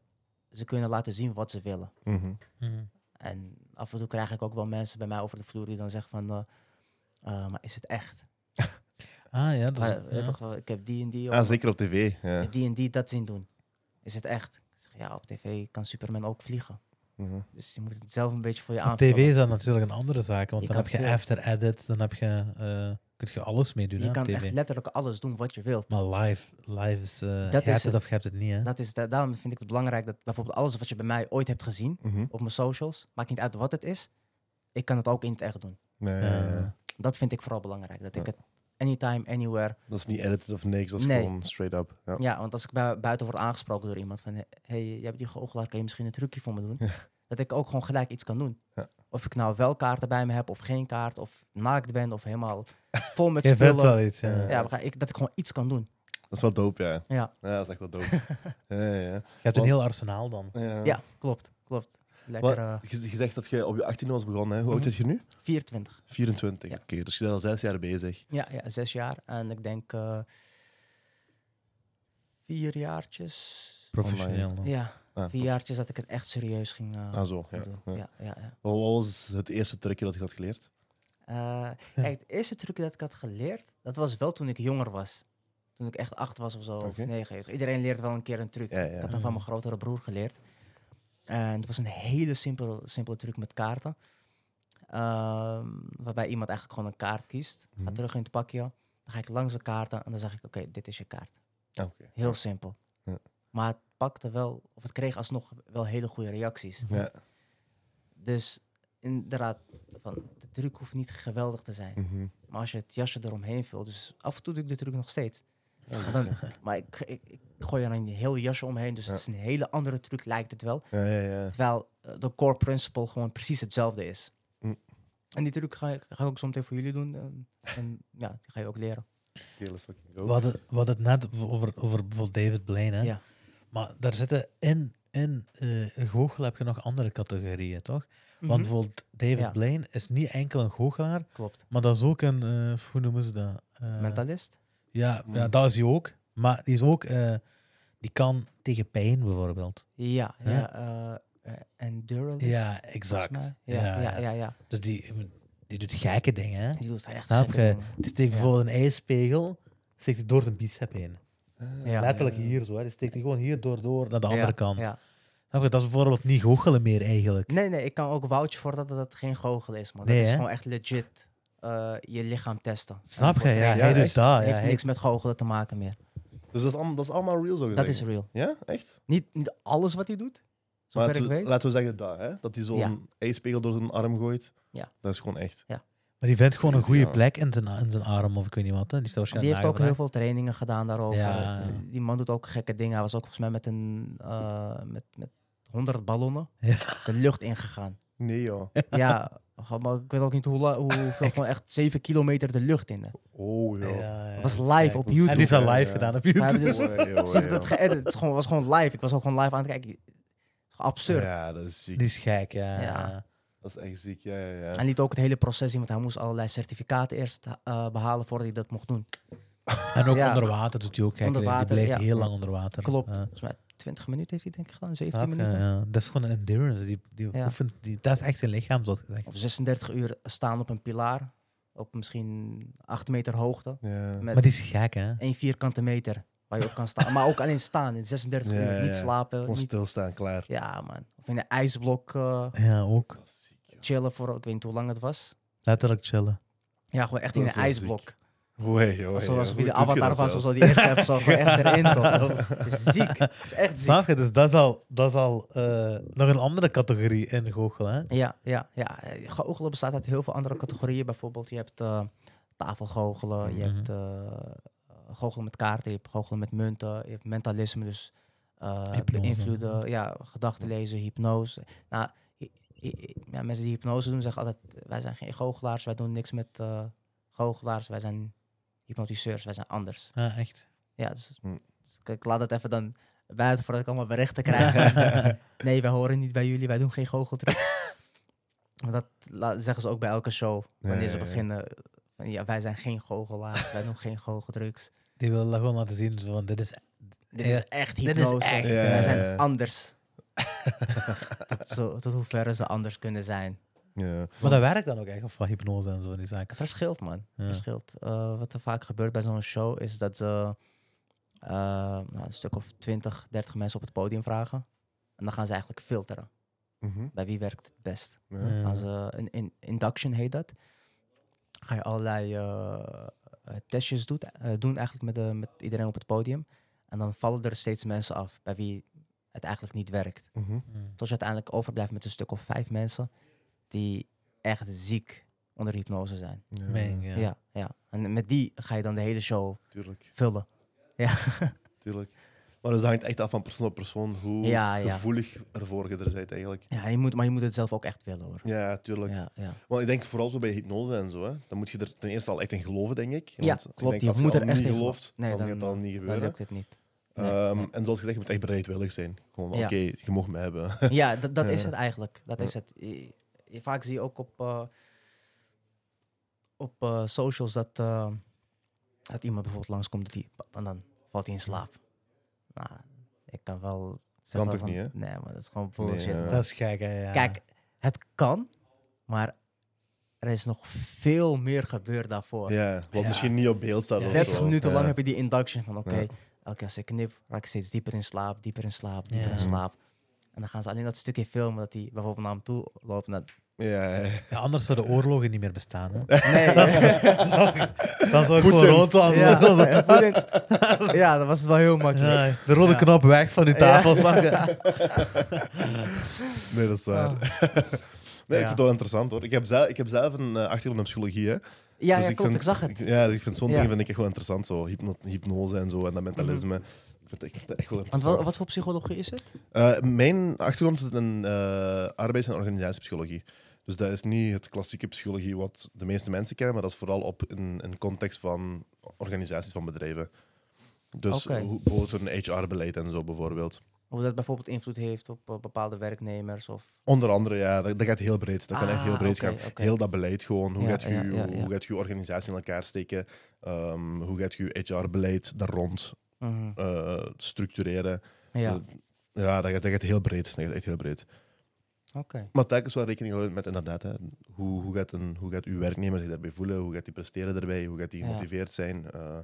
S1: ze kunnen laten zien wat ze willen.
S3: Mhm.
S2: Mhm.
S1: En af en toe krijg ik ook wel mensen bij mij over de vloer die dan zeggen van... eh, eh, maar is het echt?
S2: Ah ja, dat is,
S1: Maar, weet
S2: ja.
S1: toch wel, ik heb die en die...
S3: Ah,
S1: of-
S3: zeker op tv. Ja.
S1: ik heb die en die dat zien doen. Is het echt? Ik zeg, ja, op tv kan Superman ook vliegen.
S3: Mhm.
S1: Dus je moet het zelf een beetje voor je
S2: Op tv
S1: aanvullen.
S2: is dat natuurlijk een andere zaak, want
S1: Je
S2: dan
S1: kan
S2: heb je
S1: veel-
S2: after edits, dan heb je, eh, kun je alles meedoen
S1: Je
S2: hè, op
S1: kan
S2: tv.
S1: echt letterlijk alles doen wat je wilt.
S2: Maar live, live is, eh, je
S1: is
S2: hebt het
S1: het.
S2: of je hebt het niet. Hè?
S1: Dat is, da- daarom vind ik het belangrijk dat bijvoorbeeld alles wat je bij mij ooit hebt gezien
S3: Mhm.
S1: op mijn socials, maakt niet uit wat het is, ik kan het ook in het echt doen.
S3: Nee,
S2: Ja.
S3: ja,
S1: Eh.
S3: ja.
S1: Dat vind ik vooral belangrijk. Dat ik
S3: Ja.
S1: het anytime, anywhere.
S3: Dat is niet edited of niks, dat is
S1: Nee.
S3: gewoon straight up. Ja.
S1: Ja, want als ik bui- buiten word aangesproken door iemand van hé, hey, jij hebt die goochelaar, kan je misschien een trucje voor me doen? Dat ik ook gewoon gelijk iets kan doen.
S3: Ja.
S1: Of ik nou wel kaarten bij me heb of geen kaart, of naakt ben of helemaal vol met
S2: Je vindt
S1: spullen.
S2: wel iets. Ja.
S1: Ja, begrijp- ik, dat ik gewoon iets kan doen.
S3: Dat is wel dope, ja.
S1: Ja,
S3: Ja, dat is echt wel dope. ja, ja, ja.
S2: Je hebt een
S3: Want-
S2: heel arsenaal dan.
S3: Ja.
S1: ja Eh, klopt, klopt. Lekker eh,
S3: Wat- Je je zegt dat je op je 18 was begonnen, hè? Hoe oud
S1: Mhm.
S3: bent je nu?
S1: 24.
S3: 24.
S1: Ja.
S3: Oké, dus je bent al zes jaar bezig.
S1: Ja, ja, zes jaar. En ik denk eh, vier jaartjes.
S2: Professioneel. dan.
S1: Ja,
S3: Ah,
S1: vier jaartjes dat ik het echt serieus ging eh,
S3: Ah, zo. Ja.
S1: doen.
S3: ja.
S1: Ja, ja, ja.
S3: Wat wat was het eerste trucje dat je had geleerd?
S1: Eh, kijk, het eerste trucje dat ik had geleerd, dat was wel toen ik jonger was. Toen ik echt acht was of zo, of
S3: Oké.
S1: negen. Dus Iedereen leert wel een keer een truc.
S3: Ja,
S1: Ik
S3: ja.
S1: had dat van mijn grotere broer geleerd. En het was een hele simpele, simpele truc met kaarten. Ehm, waarbij iemand eigenlijk gewoon een kaart kiest. Ga
S3: Mhm.
S1: terug in het pakje. Dan ga ik langs de kaarten en dan zeg ik, oké, dit is je kaart.
S3: Ah, oké.
S1: Heel simpel.
S3: Ja.
S1: Maar het pakte wel, of het kreeg alsnog wel hele goede reacties.
S3: Ja.
S1: Dus inderdaad, van, de truc hoeft niet geweldig te zijn.
S3: Mhm.
S1: Maar als je het jasje eromheen vult, dus af en toe doe ik de truc nog steeds.
S3: Ja, dat
S1: Maar
S3: is-
S1: dan- maar ik, ik, ik gooi er een heel jasje omheen, dus het
S3: Ja.
S1: is een hele andere truc lijkt het wel.
S3: ja, ja, ja.
S1: Terwijl eh, de core principle gewoon precies hetzelfde is.
S3: Hm.
S1: En die truc ga ik, ga ik ook zometeen voor jullie doen. eh, en ja, die ga je ook leren.
S3: Keel is fucking
S2: We hadden, we hadden het net over, over bijvoorbeeld David Blaine. Hè?
S1: Ja.
S2: Maar daar zitten in, in eh goochelen heb je nog andere categorieën, toch? Want
S1: Mhm.
S2: bijvoorbeeld David
S1: Ja.
S2: Blaine is niet enkel een goochelaar,
S1: Klopt.
S2: maar dat is ook een, eh, hoe noemen ze dat? Eh,
S1: Mentalist? Mhm.
S2: Ja, ja,
S3: Mm.
S2: dat is hij ook. Maar die is ook, eh, die kan tegen pijn bijvoorbeeld.
S1: Ja.
S2: Hè?
S1: ja eh, eh, enduralist?
S2: Ja,
S1: volgens
S2: exact.
S1: mij. Ja, ja, ja, ja,
S2: Dus die, die doet gekke dingen. Hè?
S1: Die doet echt
S2: Snap
S1: gekke
S2: je?
S1: dingen.
S2: Die steekt
S1: Ja.
S2: bijvoorbeeld een ijspegel, steekt die door zijn bicep heen.
S1: Ja.
S2: Letterlijk hier zo. Hè? Die steekt die gewoon hier door, door naar de andere
S1: Ja,
S2: kant.
S1: ja.
S2: Snap je? Dat is bijvoorbeeld niet goochelen meer eigenlijk.
S1: Nee, nee, ik kan ook vouchen voor dat dat geen goochel is, man.
S2: Nee,
S1: dat is
S2: hè?
S1: gewoon echt legit eh, je lichaam testen.
S2: Snap je? Ja,
S3: ja,
S2: hij doet
S3: echt.
S2: dat.
S1: Het
S2: Ja,
S1: heeft
S2: hij-
S1: niks met goochelen te maken meer.
S3: Dus dat is, allemaal, dat is allemaal real, zo
S1: Dat is real.
S3: Ja, echt?
S1: Niet, niet alles wat hij doet, zover
S3: laten,
S1: ik
S3: we,
S1: weet.
S3: laten we zeggen dat, hè? Dat hij zo'n
S1: Ja.
S3: ijspegel door zijn arm gooit.
S1: Ja.
S3: Dat is gewoon echt.
S2: Maar die vindt gewoon een
S3: Dus
S2: goede
S3: ja.
S2: plek in zijn, in zijn arm of ik weet niet wat. Hè? Die, staat
S1: Die heeft ook heel
S2: waarschijnlijk
S1: veel trainingen gedaan daarover.
S2: nou, Ja.
S1: Die- Die man doet ook gekke dingen. Hij was ook volgens mij met een eh, met, met 100 ballonnen de lucht ingegaan.
S3: Nee, joh.
S1: ja, gewoon, maar ik weet ook niet hoe, la- hoe, hoeveel, gewoon echt 7 kilometer de lucht in.
S3: Oh,
S2: nagebracht.
S3: joh.
S2: Ja, ja,
S1: Dat was
S2: ja.
S1: live op
S3: En
S2: En
S1: YouTube.
S2: die heeft dat
S3: Ja,
S2: live
S3: ja.
S2: gedaan op
S1: Maar
S2: YouTube.
S1: dus-
S3: Oei, oei,
S1: Ze heeft
S3: joh.
S1: dat geëdit. Het is gewoon- was gewoon live. Ik was ook gewoon live aan het kijken. Het is gewoon absurd.
S3: Ja, dat is ziek.
S2: Die is gek, ja.
S1: Ja.
S3: Dat is echt ziek, ja, ja, ja.
S1: Hij liet ook het hele proces zien, want hij moest allerlei certificaten eerst eh, behalen voordat hij dat mocht doen.
S2: En ook
S1: Ja.
S2: onder water doet hij ook gek.
S1: Onder
S2: Die
S1: water,
S2: blijft
S1: ja.
S2: heel lang onder water.
S1: Klopt.
S2: Ja.
S1: Volgens mij 20 minuten heeft hij denk ik gedaan, 17
S2: Snap je?
S1: minuten.
S2: Ja. Dat is gewoon een endurance. Die, die
S1: Ja.
S2: oefent, die, dat is echt zijn lichaam, zoals gezegd.
S1: Of 36 uur staan op een pilaar, op misschien 8 meter hoogte,
S3: Ja.
S1: met
S2: Maar die is gek, hè?
S1: één vierkante meter waar je op kan staan. maar ook alleen staan in 36
S3: Ja,
S1: uur,
S3: ja,
S1: niet
S3: ja.
S1: slapen.
S3: Gewoon
S1: Niet...
S3: stilstaan, klaar.
S1: Ja man, of in een ijsblok eh,
S2: Ja, ook.
S3: Dat is ziek, joh.
S1: chillen voor, ik weet niet hoe lang het was.
S2: Letterlijk chillen.
S1: Ja, gewoon echt in een
S3: Dat is wel ziek.
S1: ijsblok.
S3: Oei, oei,
S1: Alsof
S3: oei.
S1: alsof hij de
S3: Hoe doet je
S1: avatar
S3: dat
S1: was of
S3: zelfs?
S1: zo, die eerst even zo gewoon echt erin. komt. Dat is ziek, dat is echt ziek.
S2: Snap je? Dus dat is al, dat is al eh, nog een andere categorie in goochelen, hè?
S1: Ja, ja, ja. Eh, Goochelen bestaat uit heel veel andere categorieën. Bijvoorbeeld, je hebt eh, tafelgoochelen, je
S2: Mhm.
S1: hebt eh, goochelen met kaarten, je hebt goochelen met munten, je hebt mentalisme, dus eh,
S2: Hypnose.
S1: beïnvloeden, ja, gedachten lezen, hypnose. Nou, hy- hy- ja, mensen die hypnose doen zeggen altijd, eh, wij zijn geen goochelaars, wij doen niks met eh goochelaars, wij zijn hypnotiseurs, wij zijn anders.
S2: Ja, echt.
S1: Ja, dus,
S3: Hm.
S1: dus ik- ik laat het even dan buiten voordat ik allemaal berichten krijg. Nee, wij horen niet bij jullie, wij doen geen goocheltrucs. Want dat la- zeggen ze ook bij elke show, wanneer
S3: Ja,
S1: ze
S3: ja, ja.
S1: beginnen. van, Ja, wij zijn geen goochelaars, wij doen geen goocheltrucs.
S2: Die wil dat gewoon laten zien, zo van, dit is...
S1: Dit
S2: Ja,
S1: is echt
S2: dit is
S1: hypnose.
S2: echt,
S3: Ja,
S1: wij
S3: ja,
S1: zijn
S3: ja.
S1: anders. tot, zo, tot hoeverre ze anders kunnen zijn.
S3: Ja.
S2: Maar dat werkt dan ook echt, of van hypnose en zo, die zaken.
S1: Het verschilt, man.
S2: Ja.
S1: Verschilt. Eh, wat er vaak gebeurt bij zo'n show is dat ze eh, nou, een stuk of 20, 30 mensen op het podium vragen. En dan gaan ze eigenlijk filteren.
S3: Mhm.
S1: Bij wie werkt het best?
S3: Ja.
S2: Ja.
S1: Als eh, een in, induction heet dat. Ga je allerlei eh, eh, testjes doet, eh, doen eigenlijk met, de, met iedereen op het podium. En dan vallen er steeds mensen af bij wie het eigenlijk niet werkt.
S3: Mhm.
S2: Mm.
S1: Tot je uiteindelijk overblijft met een stuk of vijf mensen die echt ziek onder hypnose zijn.
S3: Ja,
S2: Meng,
S1: Ja,
S2: ja.
S1: ja. En met die ga je dan de hele show
S3: Tuurlijk,
S1: vullen.
S3: tuurlijk. Maar dus dat hangt echt af van persoon op persoon, hoe
S1: Ja, ja.
S3: gevoelig ervoor je er bent eigenlijk.
S1: Ja, je moet, maar je moet het zelf ook echt willen hoor.
S3: Ja, tuurlijk.
S1: Ja, ja.
S3: Want ik denk vooral zo bij hypnose en zo, hè, dan moet je er ten eerste al echt in geloven, denk ik.
S1: Ja,
S3: Want
S1: klopt,
S3: Ik denk,
S1: je
S3: als
S1: moet
S3: je
S1: er
S3: al
S1: echt
S3: niet
S1: in
S3: gelooft,
S1: Nee,
S3: dan,
S1: dan-
S3: gaat dat niet
S1: Dan
S3: gebeuren.
S1: lukt het niet. nee,
S3: Ehm,
S1: nee.
S3: En zoals gezegd, je moet echt bereidwillig zijn. Gewoon,
S1: Ja.
S3: oké, je mag me hebben.
S1: Ja, dat, dat is
S3: Ja.
S1: het eigenlijk. Dat
S3: Ja.
S1: is het. Je- je- vaak zie je ook op, eh, op eh, socials dat, eh, dat iemand bijvoorbeeld langskomt dat die, pap, en dan valt hij in slaap. Nou, ik kan wel zeggen
S3: toch
S1: van,
S3: niet, hè?
S1: Nee, maar dat is gewoon bullshit.
S3: Nee, ja.
S1: man.
S2: Dat is gek, hè, ja.
S1: Kijk, het kan, maar er is nog veel meer gebeurd daarvoor.
S3: Ja, wat
S2: Ja.
S3: misschien niet op beeld staat
S2: Ja.
S3: of
S1: 30
S3: zo.
S1: minuten
S3: Ja.
S1: lang heb je die induction van oké,
S3: Ja.
S1: elke keer als ik knip, raak ik steeds dieper in slaap, dieper in slaap, dieper
S2: Ja.
S1: in slaap. En dan gaan ze alleen dat stukje filmen dat hij bijvoorbeeld naar hem toe loopt. en dat-
S3: Ja, ja, ja.
S2: Ja, anders zouden oorlogen niet meer bestaan, hè.
S1: Nee,
S2: Dan zou ik
S3: Poetin.
S2: gewoon rood aan
S1: ja,
S2: aan- aan-
S1: ja, Poetin- ja, dat was het wel heel makkelijk.
S2: Ja, de rode
S1: Ja.
S2: knop weg van die
S1: Ja.
S2: tafel. zag je?
S3: Nee, dat is waar. Nee, ik
S1: Ah. Ja.
S3: vind het wel interessant hoor. Ik heb zelf, ik heb zelf een eh, achtergrond in psychologie. Hè.
S1: Ja,
S3: Dus
S1: ja
S3: ik
S1: klopt,
S3: vind-
S1: ik zag het.
S3: ik- ja, ik vind zo'n
S1: Ja.
S3: dingen vind ik echt wel interessant. Zo. Hypno- hypnose en zo en dat mentalisme. Ik vind het echt, echt wel
S1: Want
S3: interessant.
S1: wat, wat voor psychologie is het?
S3: Eh, mijn achtergrond zit in eh, arbeids- en organisatiepsychologie. Dus dat is niet het klassieke psychologie wat de meeste mensen kennen, maar dat is vooral op in, in context van organisaties van bedrijven. Dus
S1: Oké.
S3: hoe, bijvoorbeeld een HR-beleid en zo bijvoorbeeld.
S1: Of dat bijvoorbeeld invloed heeft op eh, bepaalde werknemers of...
S3: Onder andere, ja, dat, dat gaat heel breed. Dat kan echt
S1: Ah,
S3: heel breed
S1: oké,
S3: gaan.
S1: oké.
S3: Heel dat beleid gewoon. Hoe,
S1: Ja,
S3: gaat je,
S1: ja, ja, ja.
S3: hoe gaat je organisatie in elkaar steken? Ehm, hoe gaat je HR-beleid daar rond
S1: Mhm.
S3: eh, structureren?
S1: Ja,
S3: eh,
S1: oké.
S3: Ja, dat gaat, dat gaat heel breed. Dat gaat echt heel breed. Maar telkens wel rekening houden met inderdaad, hè, hoe, hoe, gaat een, hoe gaat uw werknemer zich daarbij voelen? Hoe gaat die presteren daarbij? Hoe gaat die
S1: Ja.
S3: gemotiveerd zijn? Eh,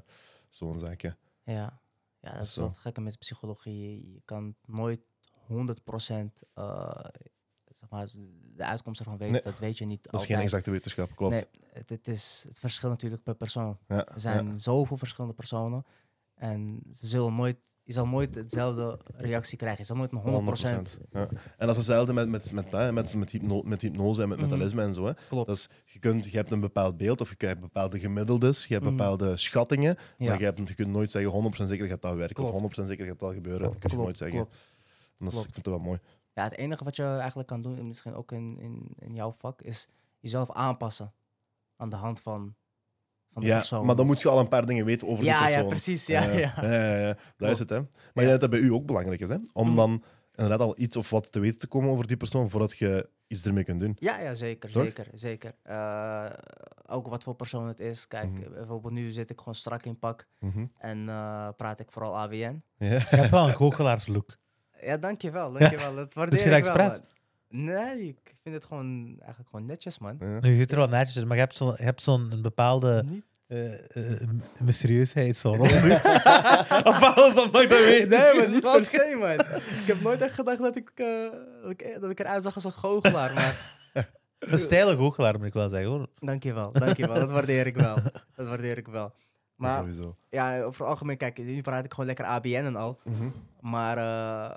S3: Zo'n zaken.
S1: Ja. ja, dat is
S3: Zo.
S1: wel het gekke met psychologie. Je kan nooit 100% eh, zeg maar, de uitkomst ervan weten.
S3: Nee.
S1: Dat weet je niet
S3: Dat is geen
S1: altijd.
S3: exacte wetenschap, klopt.
S1: Nee, het, het is het verschil natuurlijk per persoon.
S3: Ja,
S1: Er zijn zoveel verschillende personen. En ze zullen nooit, je zal nooit hetzelfde reactie krijgen. Je zal nooit
S3: ja,
S1: een 100%.
S3: 100%. Ja. En dat is hetzelfde met, met, met, dat, hè, met, met, hypno- met hypnose en met
S1: Mhm.
S3: mentalisme en zo. Hè.
S1: Klopt.
S3: Dat is, je, kunt, je hebt een bepaald beeld of je hebt bepaalde gemiddeldes, je hebt
S1: Mhm.
S3: bepaalde schattingen,
S1: Ja,
S3: maar je, hebt, je kunt nooit zeggen 100% zeker gaat dat werken
S1: Klopt.
S3: of 100% zeker gaat dat gebeuren. Dat kun je
S1: klopt,
S3: nooit zeggen.
S1: klopt.
S3: En dat is-
S1: klopt.
S3: ik vind het wel mooi.
S1: Ja, het enige wat je eigenlijk kan doen, en misschien ook in, in, in jouw vak, is jezelf aanpassen aan de hand van, van de
S3: ja,
S1: persoon.
S3: maar dan moet je al een paar dingen weten over de
S1: ja,
S3: persoon.
S1: ja, precies. Ja,
S3: Eh,
S1: ja.
S3: ja, ja, ja. Dat
S1: Klopt.
S3: is het, hè. Maar
S1: Ja.
S3: ik denk dat dat bij u ook belangrijk is, hè. Om
S1: Mm.
S3: dan inderdaad al iets of wat te weten te komen over die persoon, voordat je iets ermee kunt doen.
S1: Ja, ja zeker,
S3: Toch?
S1: zeker, zeker. Eh, ook wat voor persoon het is. Kijk,
S3: Mhm.
S1: eh, bijvoorbeeld nu zit ik gewoon strak in pak en eh, praat ik vooral AWN.
S3: Ja.
S2: Ik heb wel een goochelaars-look.
S1: Ja, dankjewel, dankjewel. Dat waardeer
S2: Doet je
S1: ik
S2: dat
S1: wel,
S2: expres?
S1: man. Nee, ik vind het gewoon eigenlijk gewoon netjes, man.
S3: Ja.
S2: Nu je ziet er wel netjes uit, maar je hebt zo'n je hebt zo'n een bepaalde
S1: Niet-
S2: eh, eh, mysterieusheid zo rond u. of alles dat mag ik dat weten.
S1: Nee, maar niet per se, man. ik heb nooit echt gedacht dat ik, eh, dat ik, dat ik eruit zag als een goochelaar, maar
S2: Een stijle goochelaar, moet ik wel zeggen, hoor.
S1: dankjewel, dankjewel. Dat waardeer ik wel. Dat waardeer ik wel. Maar
S3: Sowieso.
S1: ja, over het algemeen, kijk, nu praat ik gewoon lekker ABN en al.
S3: Mhm.
S1: Maar eh,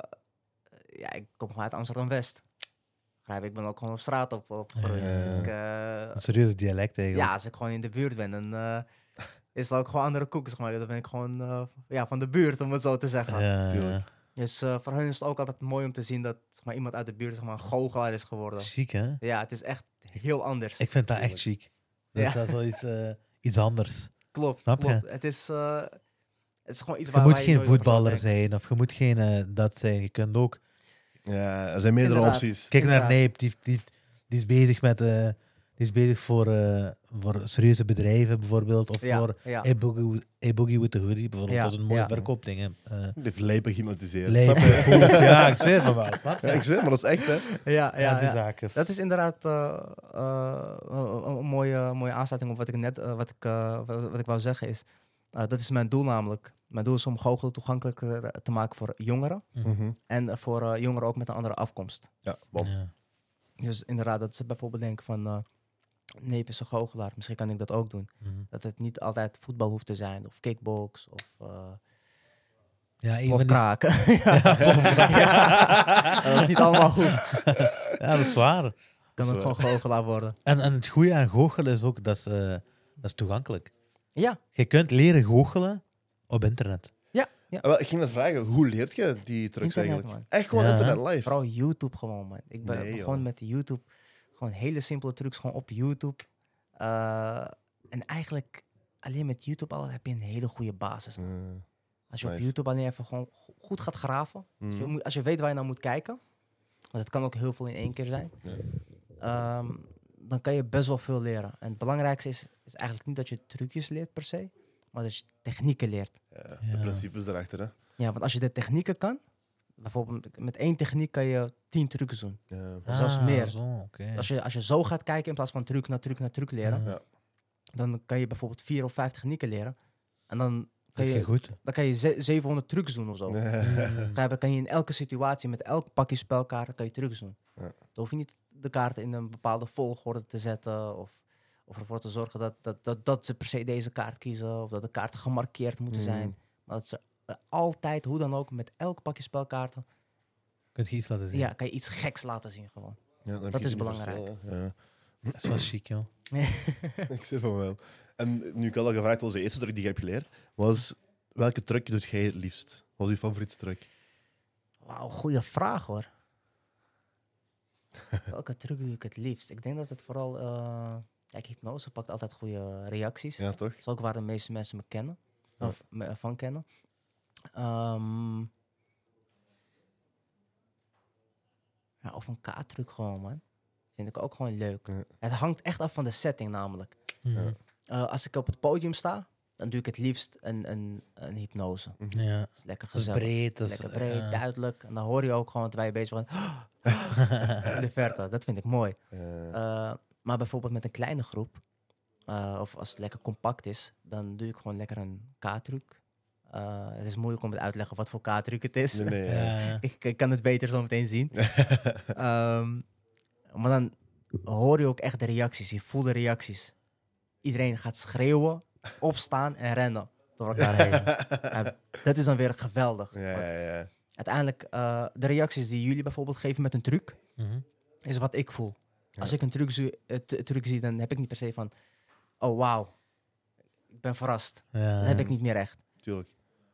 S1: ja, ik kom gewoon uit Amsterdam-West. Begrijp je? Ik ben ook gewoon op straat op, opgegroeid.
S3: Ja.
S1: Ik, eh,
S2: Een serieus dialect, eigenlijk.
S1: ja, als ik gewoon in de buurt ben, dan eh, is dat ook gewoon andere koek, zeg maar. Dan ben ik gewoon eh, ja, van de buurt, om het zo te zeggen.
S2: Ja,
S3: tuurlijk.
S1: Dus eh, voor hen is het ook altijd mooi om te zien dat zeg maar, iemand uit de buurt zeg maar, een goochelaar is geworden.
S2: Chic, hè?
S1: Ja, het is echt heel anders.
S2: Ik vind dat echt chic. Dat
S1: Ja.
S2: dat is wel iets, eh, iets anders.
S1: klopt,
S2: Snap je?
S1: klopt. Het is... eh, het is gewoon iets
S2: Je
S1: waar
S2: moet
S1: waar
S2: geen
S1: nooit over zou
S2: voetballer
S1: denken.
S2: zijn of je moet geen eh, dat zijn. Je kunt ook.
S3: Ja, er zijn meerdere
S1: Inderdaad.
S3: opties.
S2: Kijk naar
S1: Inderdaad.
S2: Neep, die, die, die is bezig met. eh, die is bezig voor, eh, voor serieuze bedrijven bijvoorbeeld. Of
S1: Ja,
S2: voor
S1: ja.
S2: A-Boogie with the Hoodie bijvoorbeeld.
S1: Ja,
S2: Dat is een mooie
S1: ja.
S2: verkoopding. Hè. Eh,
S3: Die heeft lijpen gehypnotiseerd.
S2: lijp,
S3: Snap je?
S2: poef, ja, ik zweer van wel. Snap je?
S3: Ja, ik zeg, maar dat is echt, hè.
S1: Ja, ja,
S2: Ja, dus die
S1: ja.
S2: zaken.
S1: Dat is inderdaad eh, eh, een, een mooie, mooie aansluiting op wat ik net eh, wat ik, eh, wat, wat ik wou zeggen is. eh, dat is mijn doel namelijk. Mijn doel is om goochelen toegankelijker te maken voor jongeren.
S3: Mhm.
S1: En eh, voor eh, jongeren ook met een andere afkomst.
S3: Ja, Eh, bom.
S2: Ja.
S1: Dus inderdaad, dat ze bijvoorbeeld denken van... eh neep is een goochelaar, misschien kan ik dat ook doen.
S2: Mhm.
S1: Dat het niet altijd voetbal hoeft te zijn. Of kickbox, of, eh
S2: Ja, een
S1: of
S2: van die-
S1: kraken. ja. Ja. Dat het niet allemaal hoeft.
S2: ja, dat is waar.
S1: Kan ook gewoon goochelaar worden.
S2: En, en het goede aan goochelen is ook dat is, eh, dat is toegankelijk.
S1: Ja,
S2: Je kunt leren goochelen op internet.
S1: ja, ja.
S3: Ah, wel, ik ging net vragen, hoe leert je die trucs
S1: Internet,
S3: eigenlijk?
S1: man.
S3: Echt gewoon
S2: Ja, hè?
S3: internet live.
S1: Vooral YouTube gewoon, man. Ik ben
S3: Nee, joh.
S1: begon met YouTube. Gewoon hele simpele trucs, gewoon op YouTube. Eh, en eigenlijk, alleen met YouTube al heb je een hele goede basis.
S3: Eh,
S1: Als je op
S3: nice. Mhm.
S1: YouTube alleen even gewoon go- goed gaat graven.
S3: mm.
S1: Als, je, moet- als je weet waar je naar moet kijken. Want het kan ook heel veel in één keer zijn.
S3: Ja.
S1: ehm, dan kan je best wel veel leren. En het belangrijkste is, is eigenlijk niet dat je trucjes leert per se. Maar dat je technieken leert.
S3: ja,
S2: Ja.
S3: De principes daarachter, hè.
S1: Ja, want als je de technieken kan. Bijvoorbeeld met één techniek kan je tien trucs doen.
S3: Ja.
S1: Of zelfs meer.
S2: Ah, Zo, oké.
S1: Als je, als je zo gaat kijken in plaats van truc naar truc naar truc leren,
S3: Ja.
S1: dan kan je bijvoorbeeld vier of vijf technieken leren. En dan kan
S2: Zit je
S1: je,
S2: goed?
S1: dan kan je ze- 700 trucs doen of zo. Begrijp je? kan je in elke situatie met elk pakje spelkaarten kan je trucs doen.
S3: Ja.
S1: Dan hoef je niet de kaarten in een bepaalde volgorde te zetten of, of ervoor te zorgen dat, dat, dat, dat ze per se deze kaart kiezen of dat de kaarten gemarkeerd moeten
S3: Mm.
S1: zijn. Maar dat ze eh, altijd, hoe dan ook, met elk pakje spelkaarten,
S2: Kun je iets laten zien?
S1: ja, kan je iets geks laten zien gewoon.
S3: Ja, dan heb
S1: Dat
S3: je
S1: is
S3: het universeel, hè. Ja.
S2: Dat is wel chic, joh.
S3: Ik zeg van wel. En nu ik al gevraagd was, de eerste truc die je hebt geleerd, was welke truc doet jij het liefst? Wat is je favoriete truc?
S1: Wauw, goede vraag hoor. Welke truc doe ik het liefst? Ik denk dat het vooral. eh, kijk, hypnose pakt altijd goede reacties.
S3: Ja, toch?
S1: Dat is ook waar de meeste mensen me kennen.
S3: Ja.
S1: Of me van kennen. Ehm, ja, of een kaartruc gewoon, man. Vind ik ook gewoon leuk.
S3: Ja.
S1: Het hangt echt af van de setting namelijk.
S2: Mhm.
S1: Eh, als ik op het podium sta, dan doe ik het liefst een, een, een hypnose.
S2: Ja,
S1: Dat is lekker
S2: dat is
S1: gezellig.
S2: breed. Dat is,
S1: Lekker breed,
S2: eh,
S1: duidelijk. En dan hoor je ook gewoon terwijl je bezig bent. in de verte. Dat vind ik mooi.
S3: Eh,
S1: Eh, maar bijvoorbeeld met een kleine groep, eh, of als het lekker compact is, dan doe ik gewoon lekker een K-truc. Eh, het is moeilijk om het uit te leggen wat voor K-truc het is.
S3: nee, nee, ja.
S2: ja, ja.
S1: ik, ik kan het beter zo meteen zien. Ehm, maar dan hoor je ook echt de reacties. Je voelt de reacties. Iedereen gaat schreeuwen, opstaan en rennen door elkaar heen. En dat is dan weer geweldig.
S3: Ja,
S1: Want
S3: ja, ja.
S1: uiteindelijk, eh, de reacties die jullie bijvoorbeeld geven met een truc,
S2: Mhm.
S1: is wat ik voel. Als ik een truc, zo- eh, t- truc zie, dan heb ik niet per se van... Oh, wauw. Ik ben verrast.
S2: Ja,
S1: Dat heb ik niet meer echt.
S3: Tuurlijk.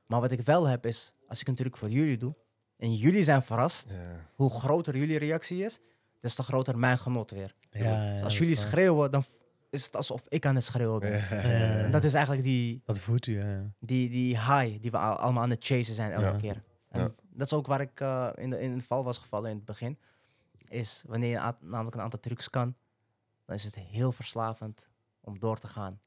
S1: Maar wat ik wel heb is, als ik een truc voor jullie doe... en jullie zijn verrast,
S3: Ja.
S1: hoe groter jullie reactie is... des te groter mijn genot weer.
S2: ja, ja,
S1: Dus
S2: dat
S1: als
S2: is
S1: jullie
S2: waar.
S1: schreeuwen, dan f- is het alsof ik aan het schreeuwen ben.
S2: Ja.
S1: En dat is eigenlijk die,
S2: Dat voelt u, ja.
S1: die, die high die we al- allemaal aan het chasen zijn elke
S3: Ja.
S1: keer. En
S3: Ja.
S1: Dat is ook waar ik eh, in, de, in het val was gevallen in het begin. Is wanneer je a- namelijk een aantal trucs kan, dan is het heel verslavend om door te gaan.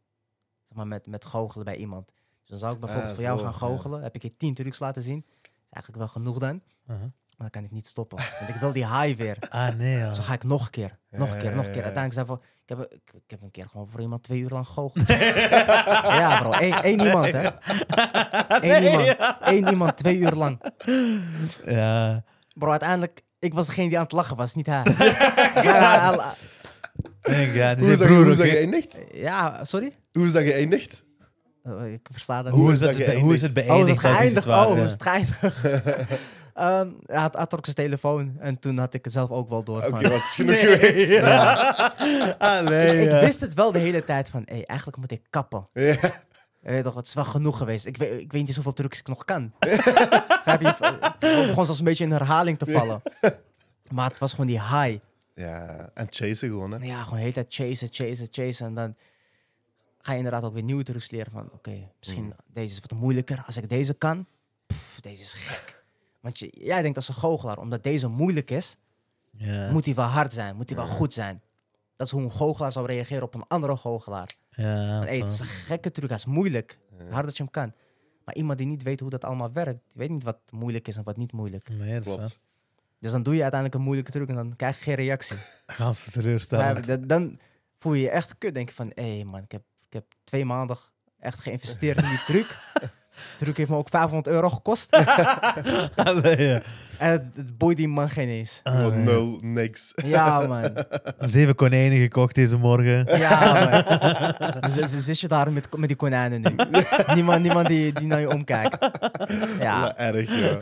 S1: Zeg maar met, met goochelen bij iemand. Dus dan zou ik bijvoorbeeld
S3: Ah,
S1: voor jou
S3: zo,
S1: gaan
S3: ja.
S1: goochelen, heb ik je tien trucs laten zien. is eigenlijk wel genoeg dan,
S2: Aha.
S1: maar dan kan ik niet stoppen. Want ik wil die high weer.
S2: Ah, nee, ja.
S1: Dus dan ga ik nog een keer, nog een
S3: Ja,
S1: keer,
S3: ja,
S1: nog
S3: ja,
S1: een
S3: ja.
S1: keer. Uiteindelijk zei van, ik heb, ik, ik heb een keer gewoon voor iemand twee uur lang gegoocheld. ja bro, één, één iemand hè. Eén iemand, één iemand, twee uur lang.
S2: Ja.
S1: Bro, uiteindelijk, ik was degene die aan het lachen was, niet hij. ja, al-
S2: Nee, ja, die
S3: Hoe
S2: zijn
S3: is dat hoe
S2: broer,
S3: is dat
S2: oké.
S3: geëindigd?
S1: ja, sorry?
S3: Hoe is dat geëindigd?
S1: Eh, ik versta dat
S2: Hoe
S1: niet.
S2: is het,
S3: geëindigd?
S2: hoe is het
S1: Oh, is
S2: beëindigd?
S1: het
S2: dat die
S1: geëindigd? Oh,
S2: situatie?
S1: is het geëindigd? Ehm, hij had, had ook zijn telefoon en toen had ik het zelf ook wel door.
S3: Oké,
S1: van-
S3: wat is genoeg geweest?
S2: Ah, nee,
S1: ik,
S2: ja.
S1: ik wist het wel de hele tijd van, hey, eigenlijk moet ik kappen.
S3: Ja.
S1: Je Weet toch, het is wel genoeg geweest. Ik weet, ik weet niet eens hoeveel trucs ik nog kan. Begrijp je? Het begon zelfs een beetje in herhaling te vallen. Maar het was gewoon die high.
S3: ja, en chasen gewoon, hè.
S1: Ja, gewoon de hele tijd chasen, chasen, chasen. En dan ga je inderdaad ook weer nieuwe trucs leren. Van oké, misschien
S2: Mm.
S1: deze is wat moeilijker. Als ik deze kan, pff, deze is gek. Want je, jij denkt als een goochelaar, omdat deze moeilijk is,
S2: Ja,
S1: moet hij wel hard zijn, moet hij wel goed zijn. Dat is hoe een goochelaar zou reageren op een andere goochelaar.
S2: ja,
S1: Van, hey, het is
S2: zo.
S1: een gekke truc, hij is moeilijk. Hard dat je hem kan. Maar iemand die niet weet hoe dat allemaal werkt, die weet niet wat moeilijk is en wat niet moeilijk.
S2: Nee, dat is
S3: Klopt.
S1: Dus dan doe je uiteindelijk een moeilijke truc en dan krijg je geen reactie.
S2: waar. Gans voor
S1: Maar
S2: teleurstellend.
S1: dat- dan voel je je echt kut. Denk je van, hé man, ik heb, ik heb twee maanden echt geïnvesteerd in die truc. De truc heeft me ook 500 euro gekost.
S2: Ah, nee, ja.
S1: en het, het boeit die man geen eens.
S2: Ah,
S3: Gewoon
S2: nee.
S3: nul, niks.
S1: Ja man,
S2: Zeven konijnen gekocht deze morgen.
S1: ja man. Dus, dus zit je daar met, met die konijnen nu. niemand niemand die, die naar je omkijkt. Ja,
S3: Ja, erg, ja. Dat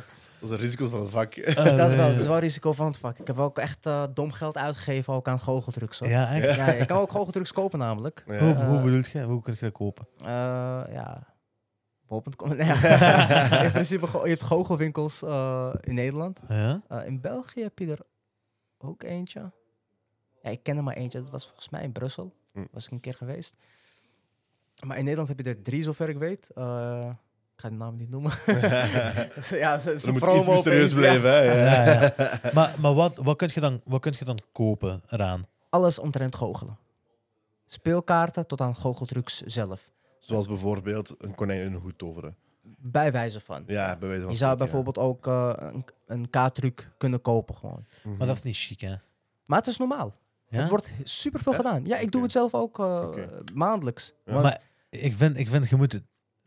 S3: is een risico van het vak.
S2: Ah,
S1: dat, is
S2: nee,
S1: wel,
S2: ja.
S1: dat is wel een risico van het vak. Ik heb ook echt eh, dom geld uitgegeven ook aan goocheltrucs. Hoor.
S2: Ja, echt?
S1: Ja, je kan ook goocheltrucs kopen namelijk.
S3: Ja.
S2: Hoe, hoe bedoel je? Hoe kun je dat kopen?
S1: Eh, ja. Bol.com. Nee, ja. in principe, go- je hebt goochelwinkels eh, in Nederland.
S2: Ja?
S1: Eh, in België heb je er ook eentje. Ja, ik ken er maar eentje. Dat was volgens mij in Brussel.
S3: Hm.
S1: Was ik een keer geweest. Maar in Nederland heb je er drie, zover ik weet. Eh, ik ga de naam niet noemen. Ze- ja, ze, ze
S3: Ze moet
S1: promo
S3: iets
S1: opeens,
S3: mysterieus
S1: ja.
S3: blijven, hè. Ja.
S2: Ja, ja. Maar, maar wat, wat, kun je dan, wat kun je dan kopen eraan?
S1: Alles omtrent goochelen. Speelkaarten tot aan goocheltrucs zelf.
S3: Zoals bijvoorbeeld een konijn in een hoed toveren.
S1: Bij wijze van.
S3: Ja, bij wijze van
S1: Je zou
S3: spreken, ja.
S1: bijvoorbeeld ook eh, een, een K-truc kunnen kopen gewoon.
S3: Mhm.
S2: Maar dat is niet chic, hè?
S1: Maar het is normaal.
S2: Ja?
S1: Het wordt super veel gedaan. Ja, ik
S3: Oké.
S1: doe het zelf ook eh,
S3: Oké.
S1: maandelijks.
S3: Ja.
S1: Want-
S2: Maar ik vind, ik vind je, moet het,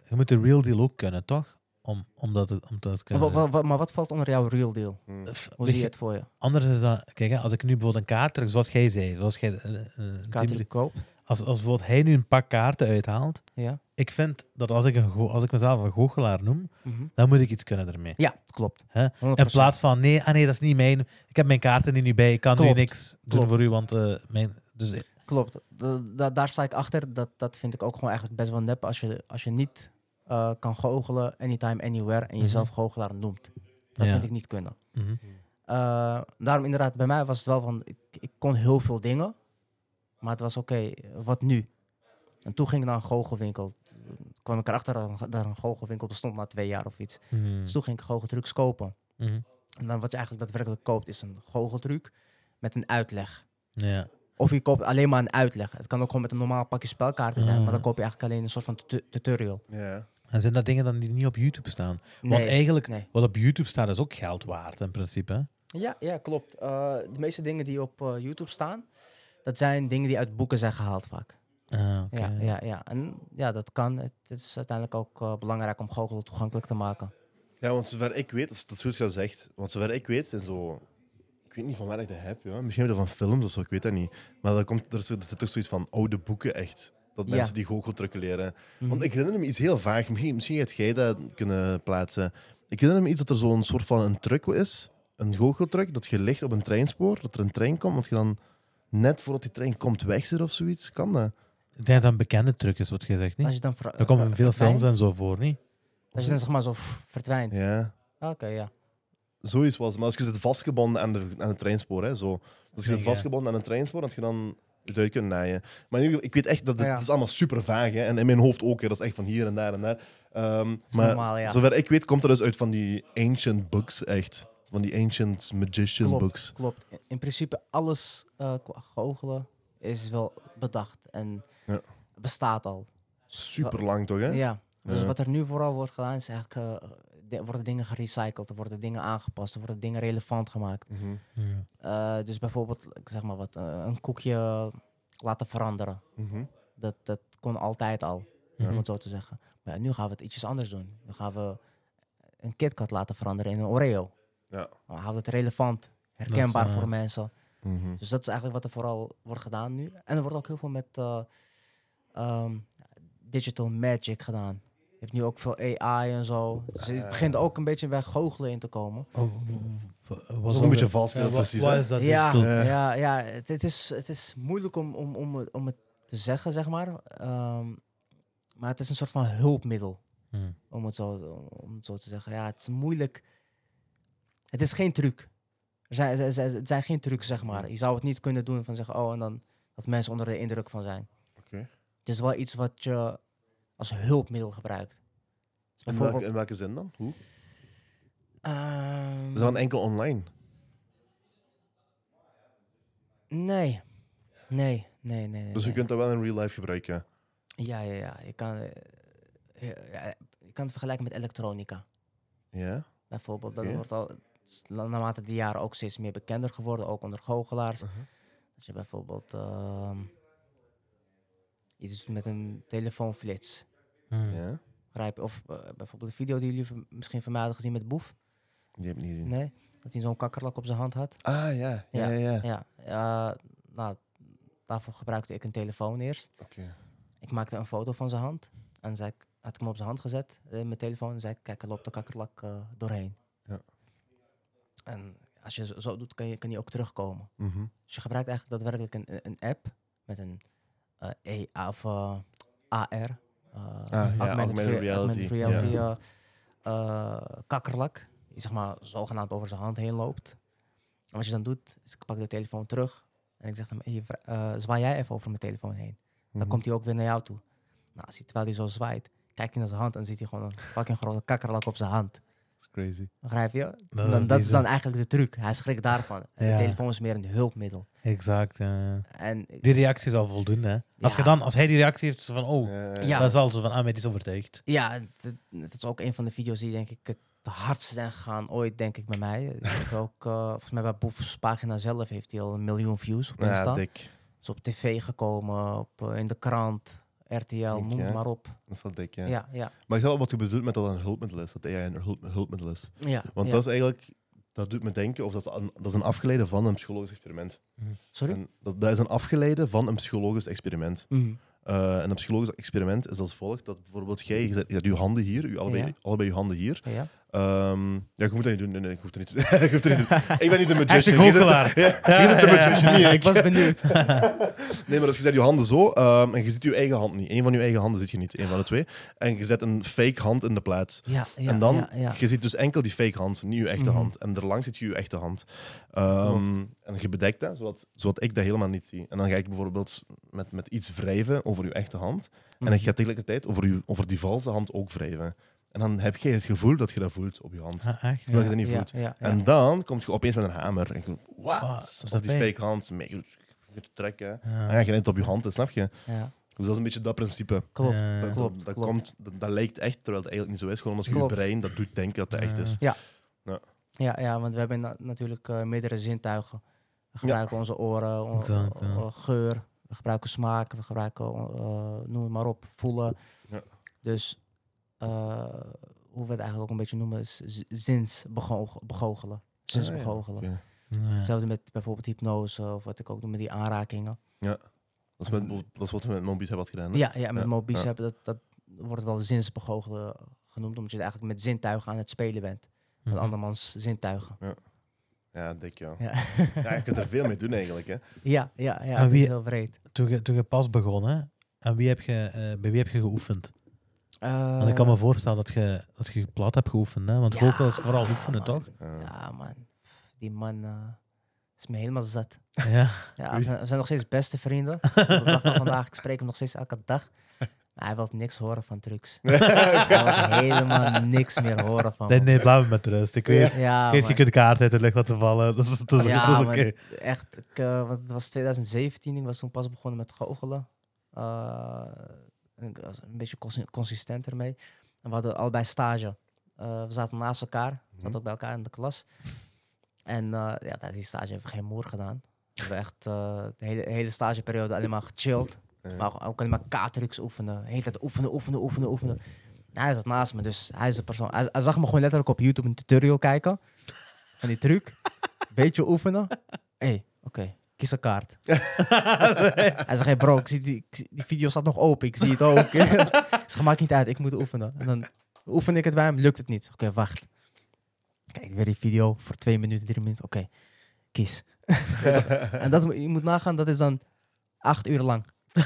S2: je moet de real deal ook kunnen, toch? Om, om, dat, te- om dat te
S1: wa-
S2: kunnen.
S1: wa- wa- maar wat valt onder jouw real deal?
S3: Mhm.
S2: F-
S1: Hoe zie
S2: weet
S1: je
S2: je,
S1: het voor je?
S2: Anders is dat, kijk, hè, als ik nu bijvoorbeeld een kaart terug, zoals jij zei, zoals jij, eh, eh, die-
S1: Kaartelijk koop?
S2: als, als bijvoorbeeld hij nu een pak kaarten uithaalt,
S1: Ja.
S2: ik vind dat als ik, een go- als ik mezelf een goochelaar noem,
S1: Mhm.
S2: dan moet ik iets kunnen ermee.
S1: Ja, klopt.
S2: Hè?
S1: 100%.
S2: In plaats van, nee, ah nee, dat is niet mijn. Ik heb mijn kaarten er niet bij. Ik kan
S1: Klopt.
S2: nu niks doen
S1: Klopt.
S2: voor u, want eh, mijn... Dus, eh,
S1: Klopt. Da- da- daar sta ik achter. Dat, dat vind ik ook gewoon eigenlijk best wel nep als je, als je niet eh, kan goochelen, anytime, anywhere, en jezelf goochelaar noemt. Dat
S2: Mhm. Ja.
S1: vind ik niet kunnen.
S2: mhm.
S1: Eh, daarom inderdaad, bij mij was het wel van, ik, ik kon heel veel dingen, maar het was oké, wat nu? En toen ging ik naar een goochelwinkel. Toen kwam ik erachter dat een, dat een goochelwinkel bestond na twee jaar of iets.
S2: Mhm.
S1: Dus toen ging ik goocheltrucs kopen.
S2: Mhm.
S1: En dan wat je eigenlijk daadwerkelijk koopt is een goocheltruc met een uitleg.
S2: Ja.
S1: Of je koopt alleen maar een uitleg. Het kan ook gewoon met een normaal pakje spelkaarten zijn,
S2: Ah.
S1: maar dan koop je eigenlijk alleen een soort van tut- tutorial.
S3: Ja.
S2: En zijn dat dingen dan die niet op YouTube staan? Want
S1: Nee.
S2: eigenlijk,
S1: nee.
S2: wat op YouTube staat, is ook geld waard in principe. hè?
S1: Ja, ja klopt. Eh, de meeste dingen die op eh, YouTube staan, dat zijn dingen die uit boeken zijn gehaald vaak.
S2: Ah, oké.
S1: Ja, ja, ja, en ja, dat kan. Het is uiteindelijk ook eh, belangrijk om goochelen toegankelijk te maken.
S3: ja, want zover ik weet, dat is- dat is goed gezegd. Want zover ik weet, zijn zo. Ik weet niet van waar ik dat heb. Ja. Misschien dat van films of zo, ik weet dat niet. Maar dat komt, er, zit- er zit toch zoiets van oude boeken echt. Dat
S1: Ja.
S3: mensen die goocheltrukken leren. Want ik herinner me iets heel vaag. Misschien, misschien gaat jij dat kunnen plaatsen. Ik herinner me iets dat er zo'n soort van een truc is. Een goocheltruc, dat je ligt op een treinspoor. Dat er een trein komt, dat je dan net voordat die trein komt weg zit of zoiets. Kan dat?
S2: Ik denk dat dat een bekende truc is, wat je zegt,
S1: Als
S2: niet?
S1: je dan ver-
S2: Er komen
S1: ver-
S2: veel
S1: verdwijnt,
S2: films en zo voor, niet?
S1: Als je dan zeg maar zo pff, verdwijnt.
S3: Ja.
S1: Oké, ja.
S3: Zoiets was het. Maar als je zit vastgebonden aan de, aan de treinspoor, hè, zo. Als je
S2: Denk,
S3: zit
S2: ja.
S3: vastgebonden aan een treinspoor, dat je dan het uit kunt naaien. Maar in ieder geval, ik weet echt dat het,
S1: Ja.
S3: het is allemaal super vaag hè. En in mijn hoofd ook, hè. dat is echt van hier en daar en daar. Ehm, maar
S1: normaal, ja.
S3: zover ik weet, komt dat dus uit van die ancient books, echt. Van die ancient magician
S1: Klopt.
S3: books.
S1: Klopt. In- In principe alles eh qua goochelen is wel bedacht en
S3: Ja.
S1: bestaat al.
S3: Super lang toch, hè?
S1: Ja. Dus
S3: Ja.
S1: wat er nu vooral wordt gedaan is eigenlijk... eh, de- worden dingen gerecycled, er worden dingen aangepast, er worden dingen relevant gemaakt.
S3: Mhm.
S2: Ja.
S1: Eh, dus bijvoorbeeld, ik zeg maar wat, eh, een koekje laten veranderen.
S3: Mhm.
S1: Dat, dat kon altijd al,
S2: Ja.
S1: om het zo te zeggen. Maar ja, nu gaan we het ietsjes anders doen. Nu gaan we een KitKat laten veranderen in een Oreo.
S3: Ja.
S1: We houden het relevant, herkenbaar
S2: waar.
S1: voor mensen.
S3: Mhm.
S1: Dus dat is eigenlijk wat er vooral wordt gedaan nu. En er wordt ook heel veel met eh, ehm, digital magic gedaan. Je hebt nu ook veel AI en zo. Dus het begint ook een beetje bij goochelen in te komen.
S3: Dat
S2: Oh, was
S3: is ook een beetje vals,
S2: Ja, wa-
S3: precies.
S2: wat
S3: hè.
S2: is dat?
S1: ja,
S2: digital-
S3: Eh.
S1: ja, ja het, het is, het is moeilijk om, om, om, het- om het te zeggen, zeg maar. Ehm, maar het is een soort van hulpmiddel,
S2: Hm.
S1: om het, zo, om het zo te zeggen. Ja, het is moeilijk. Het is geen truc. Er zijn, er zijn, het zijn geen trucs, zeg maar. Je zou het niet kunnen doen van zeggen, oh, en dan dat mensen onder de indruk van zijn.
S3: Oké.
S1: Het is wel iets wat je als hulpmiddel gebruikt. Dus
S3: In, welke,
S1: bijvoorbeeld,
S3: in welke zin dan? Hoe? Is
S1: ehm,
S3: dat dan enkel online?
S1: nee. Nee, nee, nee. nee,
S3: Dus je
S1: nee.
S3: kunt dat wel in real life gebruiken.
S1: Ja, ja, ja. Je kan, eh, eh, ja, je kan het vergelijken met elektronica.
S3: Ja?
S1: Bijvoorbeeld,
S3: Oké.
S1: dat wordt al het is na- naarmate die jaren ook steeds meer bekender geworden, ook onder goochelaars.
S3: Mhm.
S1: Als je bijvoorbeeld ehm, iets doet met een telefoonflits,
S2: Hm.
S3: ja?
S1: begrijp je? Of eh, bijvoorbeeld een video die jullie v- misschien van mij hadden gezien met Boef.
S3: Die heb ik niet gezien.
S1: Nee? Dat hij zo'n kakkerlak op zijn hand had.
S3: Ah, ja.
S1: Ja.
S3: Ja, ja. ja.
S1: Ja, eh, nou, daarvoor gebruikte ik een telefoon eerst.
S3: Oké.
S1: Ik maakte een foto van zijn hand. En zei, ik- had ik hem op zijn hand gezet, eh, mijn telefoon. En zei ik, kijk, er loopt de kakkerlak eh, doorheen.
S3: Ja.
S1: En als je zo- zo doet, kan je, kan je ook terugkomen.
S3: Mhm.
S1: Dus je gebruikt eigenlijk daadwerkelijk een, een- een app met een eh EA of eh, AR. eh,
S3: Ah, augmented
S1: rea-
S3: reality,
S1: augmented
S3: ja.
S1: reality, eh, eh, kakkerlak. Die zeg maar zogenaamd over zijn hand heen loopt. En wat je dan doet, is ik pak de telefoon terug. En ik zeg hem, hey, vri- eh, zwaai jij even over mijn telefoon heen.
S3: Mhm.
S1: Dan komt hij ook weer naar jou toe. Nou, als hij, terwijl hij zo zwaait, kijkt hij naar zijn hand en ziet hij gewoon een fucking grote kakkerlak op zijn hand.
S3: is crazy.
S1: Begrijp je?
S2: Dat
S1: Dan,
S2: is
S1: dat is dan
S2: bizar.
S1: eigenlijk de truc. Hij schrikt daarvan. En
S2: Ja.
S1: De telefoon is meer een hulpmiddel.
S2: Exact, ja, ja.
S1: En
S2: Die reactie is al voldoende, hè. Als,
S1: Ja.
S2: je dan, als hij die reactie heeft, zo van, oh,
S1: Ja.
S2: dat is al zo van, ah, mij die is overtuigd.
S1: ja, het- het- dat is ook een van de video's die denk ik het hardst zijn gegaan ooit, denk ik, bij mij. Ik heb ook, eh, volgens mij bij Boef's pagina zelf heeft hij al een miljoen views op Insta.
S3: Ja,
S1: Het
S3: dik.
S1: is op tv gekomen, op, eh, in de krant, RTL,
S3: Denk
S1: noem
S3: je, hè?
S1: maar op.
S3: Dat is wel dik, ja.
S1: Ja, ja. ja.
S3: Maar ik snap wel wat je bedoelt met dat dat een hulpmiddel is. Dat AI een hulp, hulpmiddel is. Want
S1: ja.
S3: dat is eigenlijk... Dat doet me denken, of dat is een, dat is een afgeleide van een psychologisch experiment.
S1: Sorry?
S3: En dat, dat is een afgeleide van een psychologisch experiment.
S1: Mhm.
S3: Eh, en een psychologisch experiment is als volgt: dat bijvoorbeeld jij, je zet, je zet je handen hier, je allebei,
S1: Ja.
S3: allebei je handen hier.
S1: Ja.
S3: Ehm, ja, je moet dat niet doen. Nee, nee, ik hoef dat niet, ik hoef dat niet te doen. Ik ben niet een magician.
S2: Hashtag
S3: Je zet-
S2: goochelaar.
S3: Ja, je zet de magician, niet ik.
S1: ik was benieuwd.
S3: Nee, maar dus je zet je handen zo ehm, en je ziet je eigen hand niet. Eén van je eigen handen zit je niet, één van de twee. En je zet een fake hand in de plaats.
S1: Ja, ja,
S3: en dan,
S1: ja, ja.
S3: je ziet dus enkel die fake hand, niet je echte
S1: Mhm.
S3: hand. En daarlangs zit je je echte hand. Ehm, en je bedekt dat, zodat, zodat ik dat helemaal niet zie. En dan ga ik bijvoorbeeld met, met iets wrijven over je echte hand.
S1: Mhm.
S3: En ik ga tegelijkertijd over, je, over die valse hand ook wrijven. En dan heb je het gevoel dat je dat voelt op je hand.
S2: Ah, echt?
S3: Terwijl je dat niet
S1: Ja,
S3: voelt.
S1: ja, ja.
S3: En dan komt je opeens met een hamer. En je
S2: Ah,
S3: wat?
S2: is
S3: Op
S2: dat
S3: die
S2: pijn?
S3: fake hand. Mee, je je te trekken.
S2: Ja.
S3: En
S1: Ah,
S3: dan ga je net op je hand, hè, snap je?
S1: Ja,
S3: Dus dat is een beetje dat principe.
S1: klopt.
S2: Ja.
S3: Dat,
S1: klopt,
S3: Eh, dat,
S1: klopt.
S3: Komt, dat, dat lijkt echt, terwijl het eigenlijk niet zo is. Gewoon omdat je, je
S1: Klopt.
S3: brein dat doet denken dat het echt is.
S1: Ja, ja, want we hebben na- natuurlijk eh, meerdere zintuigen. We gebruiken onze oren, on-
S2: Exact, ja.
S1: eh, geur, we gebruiken smaak, we gebruiken, eh, noem het maar op, voelen.
S3: Ja.
S1: Dus eh, hoe we het eigenlijk ook een beetje noemen, is z- zinsbego- begoochelen.
S3: Ah,
S1: Zinsbegoochelen.
S3: Oké.
S2: Ja.
S1: Hetzelfde met bijvoorbeeld hypnose of wat ik ook doe met die aanrakingen.
S3: Dat, is met, dat is wat we met Mobies hebben gehad gedaan. hè?
S1: Ja, ja met
S3: Ja,
S1: Mo Bicep,
S3: ja.
S1: dat, dat wordt wel zinsbegoochelen genoemd, omdat je eigenlijk met zintuigen aan het spelen bent. Met
S2: Mhm.
S1: andermans zintuigen.
S3: Ja, dik ja.
S1: Ja,
S3: Ja, je kunt er veel mee doen eigenlijk. Hè.
S1: ja, ja, ja
S2: En
S1: het
S2: wie-
S1: is heel breed.
S2: Toen, je, toen je pas begon, hè, aan wie heb je, eh, bij wie heb je geoefend?
S1: Eh,
S2: Want ik kan me voorstellen dat je, dat je plat hebt geoefend, hè? want
S1: Ja,
S2: goochelen is vooral oefenen,
S1: man.
S2: toch?
S3: Ja.
S1: Ja, man. Die man eh, is me helemaal zat.
S2: Ja.
S1: Ja,
S3: Oei.
S1: we, zijn, we zijn nog steeds beste vrienden. Tot de dag van vandaag, ik spreek hem nog steeds elke dag. Maar hij wil niks horen van trucs. hij wil helemaal niks meer horen van
S2: Nee,
S1: me.
S2: nee, laat me met rust. Ik weet,
S1: Oh. Ja,
S2: Geef
S1: man.
S2: je kunt kaart uit de lucht laten vallen. Dat is, dat is,
S1: Ja,
S2: dat is oké.
S1: man. Echt, ik, eh, want het was 2017. Ik was toen pas begonnen met goochelen. Eh, en ik was een beetje consi- consistent ermee. En we hadden allebei stage. Eh, we zaten naast elkaar. We zaten
S3: Mhm.
S1: ook bij elkaar in de klas. En eh, ja, tijdens die stage hebben we geen moer gedaan. We hebben echt eh, de hele, hele stageperiode alleen maar gechilled.
S3: Ja.
S1: Maar ook alleen maar K-trucs oefenen. De hele tijd oefenen, oefenen, oefenen, oefenen. En hij zat naast me, dus hij is de persoon. Hij, hij zag me gewoon letterlijk op YouTube een tutorial kijken. Van die truc. Beetje oefenen. Hé, hey, oké. Kies een kaart. Hij zegt, hey bro, ik zie die, ik zie- die video staat nog open. Ik zie het ook. ik zeg, maakt niet uit. Ik moet oefenen. En dan oefen ik het bij hem. Lukt het niet. Oké, wacht. Kijk weer die video voor twee minuten, drie minuten. Oké, kies. en dat, moet- je moet nagaan, dat is dan acht uur lang.
S3: Ah,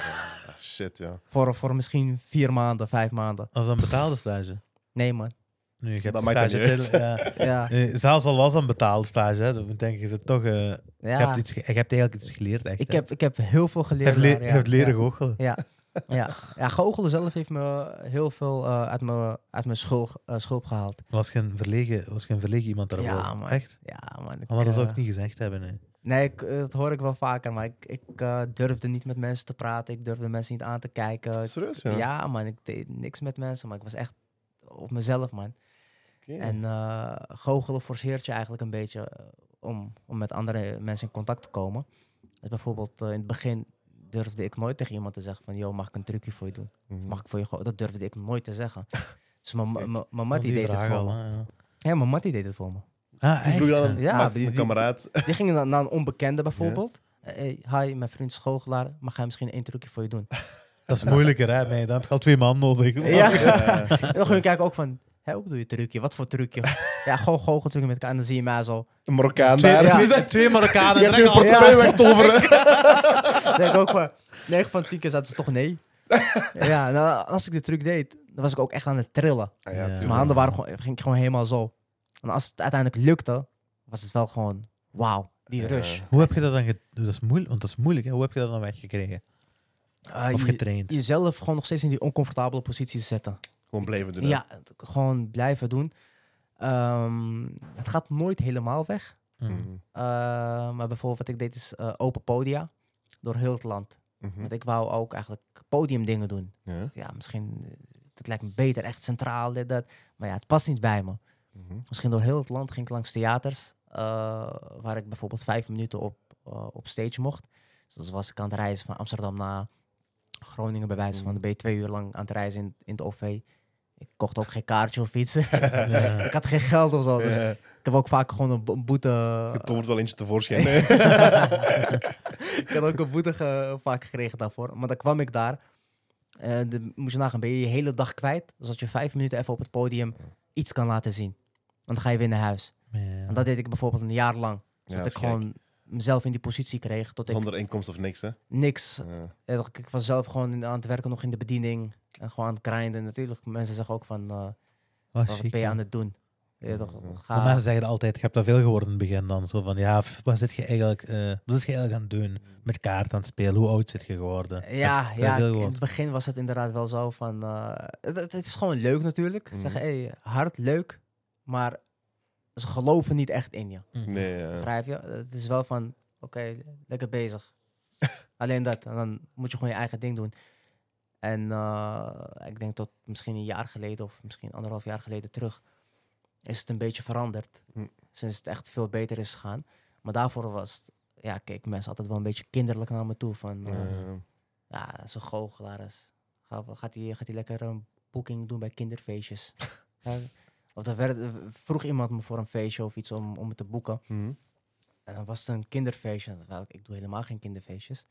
S3: shit, ja.
S1: Voor, voor misschien vier maanden, vijf maanden.
S2: Als een betaalde stage.
S1: Nee, man.
S2: Nu, je hebt
S3: Dat
S2: de
S3: maakt
S2: stage.
S3: dat niet
S2: Til, ja.
S1: Ja.
S2: Nee, Eh, Zelfs al was dat een betaalde stage, hè, dan denk je ze toch. eh, je,
S1: ja.
S2: hebt iets, ge- je hebt eigenlijk iets geleerd. Echt,
S1: Ik
S2: hè.
S1: heb, ik heb heel veel
S2: je
S1: geleerd.
S2: hebt, le-
S1: daar,
S2: je
S1: ja.
S2: hebt leren
S1: Ja.
S2: goochelen.
S1: Ja. Ja. ja, goochelen zelf heeft me heel veel eh, uit mijn uit mijn schul, eh, schulp gehaald.
S2: Was geen verlegen, was geen verlegen iemand daarover.
S1: Ja, man.
S2: Echt?
S1: Ja, man. ik,
S2: Maar dat zou ik
S1: eh,
S2: niet gezegd hebben. Nee.
S1: Nee, ik, eh, dat hoor ik wel vaker, maar ik, ik eh, durfde niet met mensen te praten. Ik durfde mensen niet aan te kijken. Ik-
S3: Serieus, ja.
S1: ja. man, ik deed niks met mensen, maar ik was echt op mezelf, man.
S3: Oké.
S1: En eh goochelen forceert je eigenlijk een beetje eh, om, om met andere mensen in contact te komen. Dus bijvoorbeeld eh, in het begin durfde ik nooit tegen iemand te zeggen van... ...joh, mag ik een trucje voor je doen?
S3: Mhm.
S1: Mag ik voor je goochelen? Dat durfde ik nooit te zeggen. Dus mijn-
S3: Kijk,
S1: mijn mijn- mijn
S2: Want
S1: mattie deed het
S2: vragen
S1: voor
S2: al,
S1: me.
S2: hè, ja.
S1: Ja, mijn mattie deed het voor me.
S2: Ah,
S3: Die
S2: echt?
S3: vroeg
S2: ja.
S3: aan een,
S1: Ja,
S3: ja,
S1: die- die-
S3: kameraad.
S1: Die gingen dan naar een onbekende bijvoorbeeld. Eh, hey, hi, mijn vriend is goochelaar. Mag hij misschien één trucje voor je doen?
S2: Dat is moeilijker, hè? Nee, dan heb je al twee man nodig.
S1: Ja.
S3: Ja.
S1: En dan ging ik kijken ook van... Hé, hoe doe je trucje? Wat voor trucje? ja, gewoon goocheltrucje met elkaar. En dan zie je mij zo.
S3: Een Marokkaan
S2: Twee,
S3: daar.
S2: twee- dus twee Marokkanen.
S3: Je hebt
S2: direct
S3: je
S2: al-
S3: portefeuille wegtoveren.
S1: Dan zeg ik ook van... 9 van 10 keer zaten ze toch nee. ja, nou, als ik de truc deed, dan was ik ook echt aan het trillen.
S3: Ah,
S2: Ja.
S1: Dus mijn handen waren gewoon, ging ik gewoon helemaal zo. En als het uiteindelijk lukte, was het wel gewoon... Wauw, die
S3: Ja.
S1: rush.
S2: Hoe heb je dat dan... ge- Dat is moeilijk, want dat is moeilijk. Hè? Hoe heb je dat dan weggekregen?
S1: Eh,
S2: Of
S1: je-
S2: getraind?
S1: jezelf gewoon nog steeds in die oncomfortabele positie zetten.
S3: Gewoon blijven doen. hè.
S1: Ja, t- gewoon blijven doen. Ehm, het gaat nooit helemaal weg.
S2: Mhm.
S3: Mhm.
S1: Eh, maar bijvoorbeeld wat ik deed is eh, open podia door heel het land.
S3: Mhm.
S1: Want ik wou ook eigenlijk podiumdingen doen.
S3: Ja.
S1: Ja, misschien, eh, dat lijkt me beter, echt centraal, dit, dat. Maar ja, het past niet bij me.
S3: Mhm.
S1: Misschien door heel het land ging ik langs theaters, eh, waar ik bijvoorbeeld vijf minuten op, eh, op stage mocht. Dus dan was ik aan het reizen van Amsterdam naar Groningen, bij wijze van, dan ben je twee uur lang aan het reizen in, in het OV. Ik kocht ook geen kaartje of iets.
S2: Ja.
S1: ik had geen geld of zo. Dus
S3: Ja.
S1: ik heb ook vaak gewoon een, bo- een boete.
S3: Eh, Je tovert wel eentje tevoorschijn. hè.
S1: ik had ook een boete ge- vaak gekregen daarvoor. Maar dan kwam ik daar. Eh, de, moet je nagaan, ben je je hele dag kwijt. Dus dat je vijf minuten even op het podium iets kan laten zien. Want dan ga je weer naar huis. En dat deed ik bijvoorbeeld een jaar lang.
S3: Ja,
S1: dat ik
S3: dat is gek.
S1: gewoon mezelf in die positie kreeg. Tot ik
S3: Zonder inkomst of niks, hè? Eh,
S1: niks
S3: Ja.
S1: Ja, toch, ik was zelf gewoon in- aan het werken nog in de bediening. En gewoon aan het grinden. Natuurlijk, mensen zeggen ook van, eh,
S2: Oh,
S1: wat ben je aan het doen? Ja, toch,
S3: Ja.
S1: ga-
S2: Maar mensen zeggen altijd, je hebt dat veel geworden in het begin dan. Zo van, ja, f- wat zit je eigenlijk, eh, wat zit je eigenlijk aan het doen? Met kaart aan het spelen, hoe oud zit je geworden?
S1: Mm. ja,
S2: Dat- dat
S1: ja
S2: heel
S1: in
S2: wat.
S1: het begin was het inderdaad wel zo van... eh, het, het- het is gewoon leuk natuurlijk.
S3: Mhm.
S1: Zeggen, hey, hard, leuk. Maar ze geloven niet echt in je.
S3: Nee, eh, ja.
S1: Begrijp je? Het is wel van, oké, lekker bezig. Alleen dat. En dan moet je gewoon je eigen ding doen. En eh, ik denk tot misschien een jaar geleden of misschien anderhalf jaar geleden terug is het een beetje veranderd.
S3: Hm.
S1: Sinds het echt veel beter is gegaan. Maar daarvoor was het, ja, keek mensen altijd wel een beetje kinderlijk naar me toe. Van, eh,
S3: Eh,
S1: ja, zo'n goochelaar is. Ga- Gaat hij gaat die lekker een boeking doen bij kinderfeestjes? Ja, of dan werd, vroeg iemand me voor een feestje of iets om, om het te boeken.
S3: mhm.
S1: En dan was het een kinderfeestje. Terwijl ik, ik doe helemaal geen kinderfeestjes.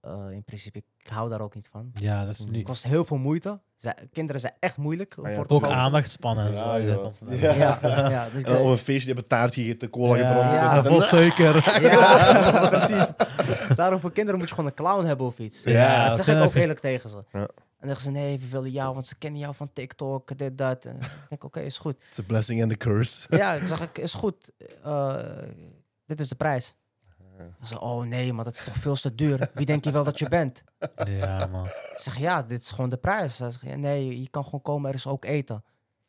S1: Eh, in principe, ik hou daar ook niet van.
S2: Ja, dat is
S1: Het
S2: nu
S1: Mm. kost heel veel moeite. Zij- kinderen zijn echt moeilijk. om
S3: Ah ja,
S1: voor te
S2: ook
S1: kopen.
S2: aandachtspannen.
S3: Ja,
S2: en zo.
S3: joh.
S2: Dat komt
S3: Ja.
S1: Ja,
S2: vandaan.
S1: ja, dus ik
S3: En dan
S1: zei-
S3: op een feestje, die hebben taart gegeten, cola
S2: Ja,
S3: gedronken.
S1: Ja.
S2: vol suiker.
S1: ja, precies. Daarom voor kinderen moet je gewoon een clown hebben of iets.
S3: Ja,
S1: dat
S2: dat
S1: zeg
S2: vind
S1: ik
S2: ik-
S1: ook eerlijk tegen ze.
S3: Ja.
S1: En dan zeggen ze, nee, we willen jou, want ze kennen jou van TikTok, dit, dat. En ik denk, oké, is goed.
S3: It's a blessing and a curse.
S1: Ja, ik zeg, ik, is goed. Eh, dit is de prijs. Ze zeggen, oh nee, maar dat is toch veel te duur. Wie denk je wel dat je bent?
S2: Ja, man.
S1: Ik zeg, ja, dit is gewoon de prijs. Hij zegt, ja, nee, je kan gewoon komen, er is ook eten.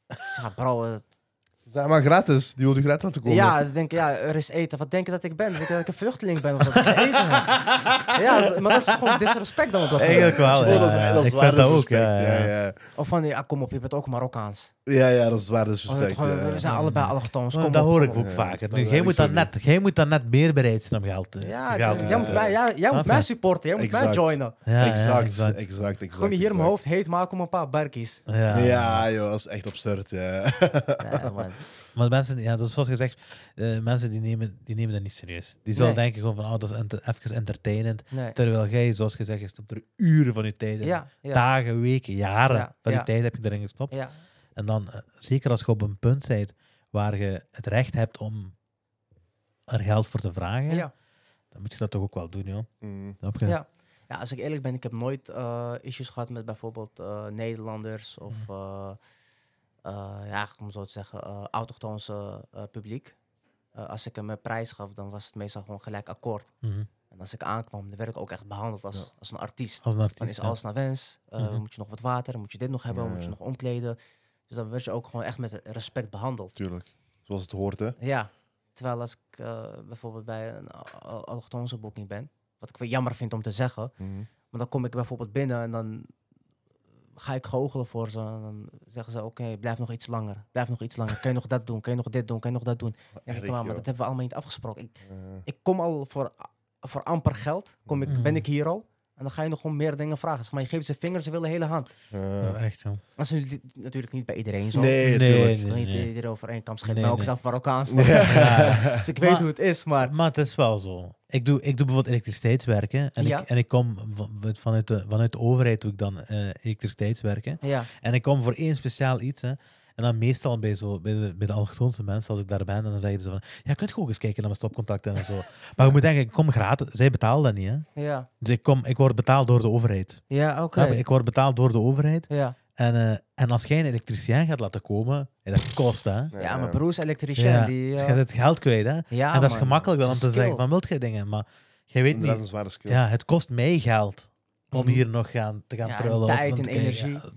S1: Ik zeg, ja, bro, eh,
S3: Ze zijn maar gratis. Die wilde gratis laten komen. Oh,
S1: ja, ik denk, ja, er is eten. Wat denk je dat ik ben? Denk je dat ik een vluchteling ben of dat ik geen eten heb? Ja, maar dat is gewoon disrespect dan op dat moment.
S2: Eigenlijk wel.
S3: Oh,
S2: ja,
S3: dat is,
S2: ja.
S3: dat is
S2: ik
S3: waar
S2: vind dat ook. Ja,
S3: disrespect.
S2: ja.
S3: ja.
S1: Of van, ja, kom op, je bent ook Marokkaans.
S3: Ja, ja, dat is waar
S1: Of het
S3: disrespect.
S2: Oh,
S1: gewoon,
S3: ja.
S1: we zijn allebei allochtoons,
S2: Maar
S1: kom
S2: Oh, dat
S1: op,
S2: hoor
S1: kom
S2: ik
S1: op.
S2: ook
S3: Ja,
S2: vaker.
S3: dat
S2: Nu,
S3: is
S2: jij,
S3: wel
S2: moet dan
S3: iets
S2: net, jij moet dan net meer bereid zijn om geld te
S1: Ja,
S2: te geld
S1: ik-
S2: te-
S1: jij moet, mij, jij, jij moet
S2: Snap je?
S1: mij supporten, jij moet
S3: Exact.
S1: mij joinen.
S2: Ja, ja,
S3: exact, exact, exact, exact.
S1: Kom je hier mijn
S3: exact.
S1: hoofd heet maken om een paar barkies.
S2: Ja.
S3: Ja, joh, dat is echt absurd. Ja.
S1: Nee, man.
S2: Maar mensen, ja, dus zoals gezegd, eh, mensen die nemen, die nemen dat niet serieus. Die zullen
S1: Nee.
S2: denken gewoon van, oh, dat is enter- even entertainend.
S1: Nee.
S2: Terwijl jij, zoals gezegd, je stopt er uren van je tijd in.
S1: Ja, ja,
S2: Dagen, weken, jaren
S1: Ja,
S2: van je
S1: ja.
S2: tijd heb je erin gestopt.
S1: ja.
S2: En dan, eh, zeker als je op een punt bent waar je het recht hebt om er geld voor te vragen,
S1: ja.
S2: dan moet je dat toch ook wel doen, joh.
S3: Mm.
S2: Snap je?
S1: Ja. Ja, als ik eerlijk ben, ik heb nooit eh, issues gehad met bijvoorbeeld eh, Nederlanders of, eh eh, ja, eigenlijk om het zo te zeggen, eh autochtonse eh, publiek. Eh, als ik hem een prijs gaf, dan was het meestal gewoon gelijk akkoord.
S2: Mhm.
S1: En als ik aankwam, dan werd ik ook echt behandeld als, als een artiest.
S2: Als een artiest.
S1: Dan is
S2: ja.
S1: alles naar wens. Eh,
S2: Mhm.
S1: Moet je nog wat water? Moet je dit nog hebben?
S3: Ja,
S1: Moet je
S3: ja.
S1: nog omkleden? Dus dan werd je ook gewoon echt met respect behandeld.
S3: Tuurlijk. Zoals het hoort, hè.
S1: Ja, terwijl als ik eh, bijvoorbeeld bij een al- al- allochtonse boeking ben, wat ik wel jammer vind om te zeggen,
S3: Mhm.
S1: maar dan kom ik bijvoorbeeld binnen en dan ga ik goochelen voor ze. En dan zeggen ze, oké, blijf nog iets langer. Blijf nog iets langer. Kun je nog dat doen? Kun je nog dit doen? Kun je nog dat doen? Dan denk ik,
S3: Erg,
S1: "Maar,
S3: joh.
S1: maar dat hebben we allemaal niet afgesproken. Ik,
S3: Eh,
S1: ik kom al voor, voor amper geld. Kom ik,
S2: Mhm.
S1: ben ik hier al? En dan ga je nog gewoon meer dingen vragen. Zeg maar je geeft ze vingers, ze willen de hele hand.
S2: Dat
S3: eh,
S2: is echt, joh.
S1: Dat is nu- natuurlijk niet bij iedereen zo.
S3: Nee,
S2: Nee,
S3: tuurlijk.
S1: Ik wil
S2: nee,
S1: niet
S2: nee.
S1: iedereen over één kam schelen.
S2: Nee,
S1: Ik ben ook
S2: nee.
S1: zelf Marokkaans.
S2: Ja.
S1: Dus ik weet
S2: Maar-
S1: hoe het is, maar...
S2: Maar het is wel zo. Ik doe, ik doe bijvoorbeeld elektriciteitswerken. En,
S1: Ja.
S2: ik, en ik kom van- van- vanuit de, vanuit de overheid doe ik dan eh elektriciteitswerken.
S1: Ja,
S2: En ik kom voor één speciaal iets. Hè. En dan meestal bij, zo, bij, de, bij de allochtonse mensen, als ik daar ben, dan zeggen ze van... Ja, kunt je ook eens kijken naar mijn stopcontacten en zo. Maar je moet denken, ik kom gratis. Zij betalen dat niet, hè.
S1: ja,
S2: Dus ik, kom, ik word betaald door de overheid.
S1: ja, oké.
S2: Snap je? Ik word betaald door de overheid.
S1: Ja.
S2: En, eh, en als jij een elektricien gaat laten komen, ja, dat kost, hè.
S1: ja, mijn broer is elektricien.
S2: Ja,
S1: Die,
S2: dus
S1: eh,
S2: je gaat het geld kwijt, hè.
S1: ja,
S2: en dat is
S1: man,
S2: gemakkelijk
S1: het
S2: dan om
S1: is
S2: te
S1: een
S2: zeggen
S1: skill.
S2: van, wilt jij dingen? Maar jij weet
S3: Inderdaad,
S2: niet...
S3: een zware skill.
S2: Ja, het kost mij geld om
S1: Mhm.
S2: hier nog gaan, te gaan
S1: Ja, en
S2: prullen. of
S1: tijd
S2: om te
S1: en
S2: kijken.
S1: energie.
S2: Ja,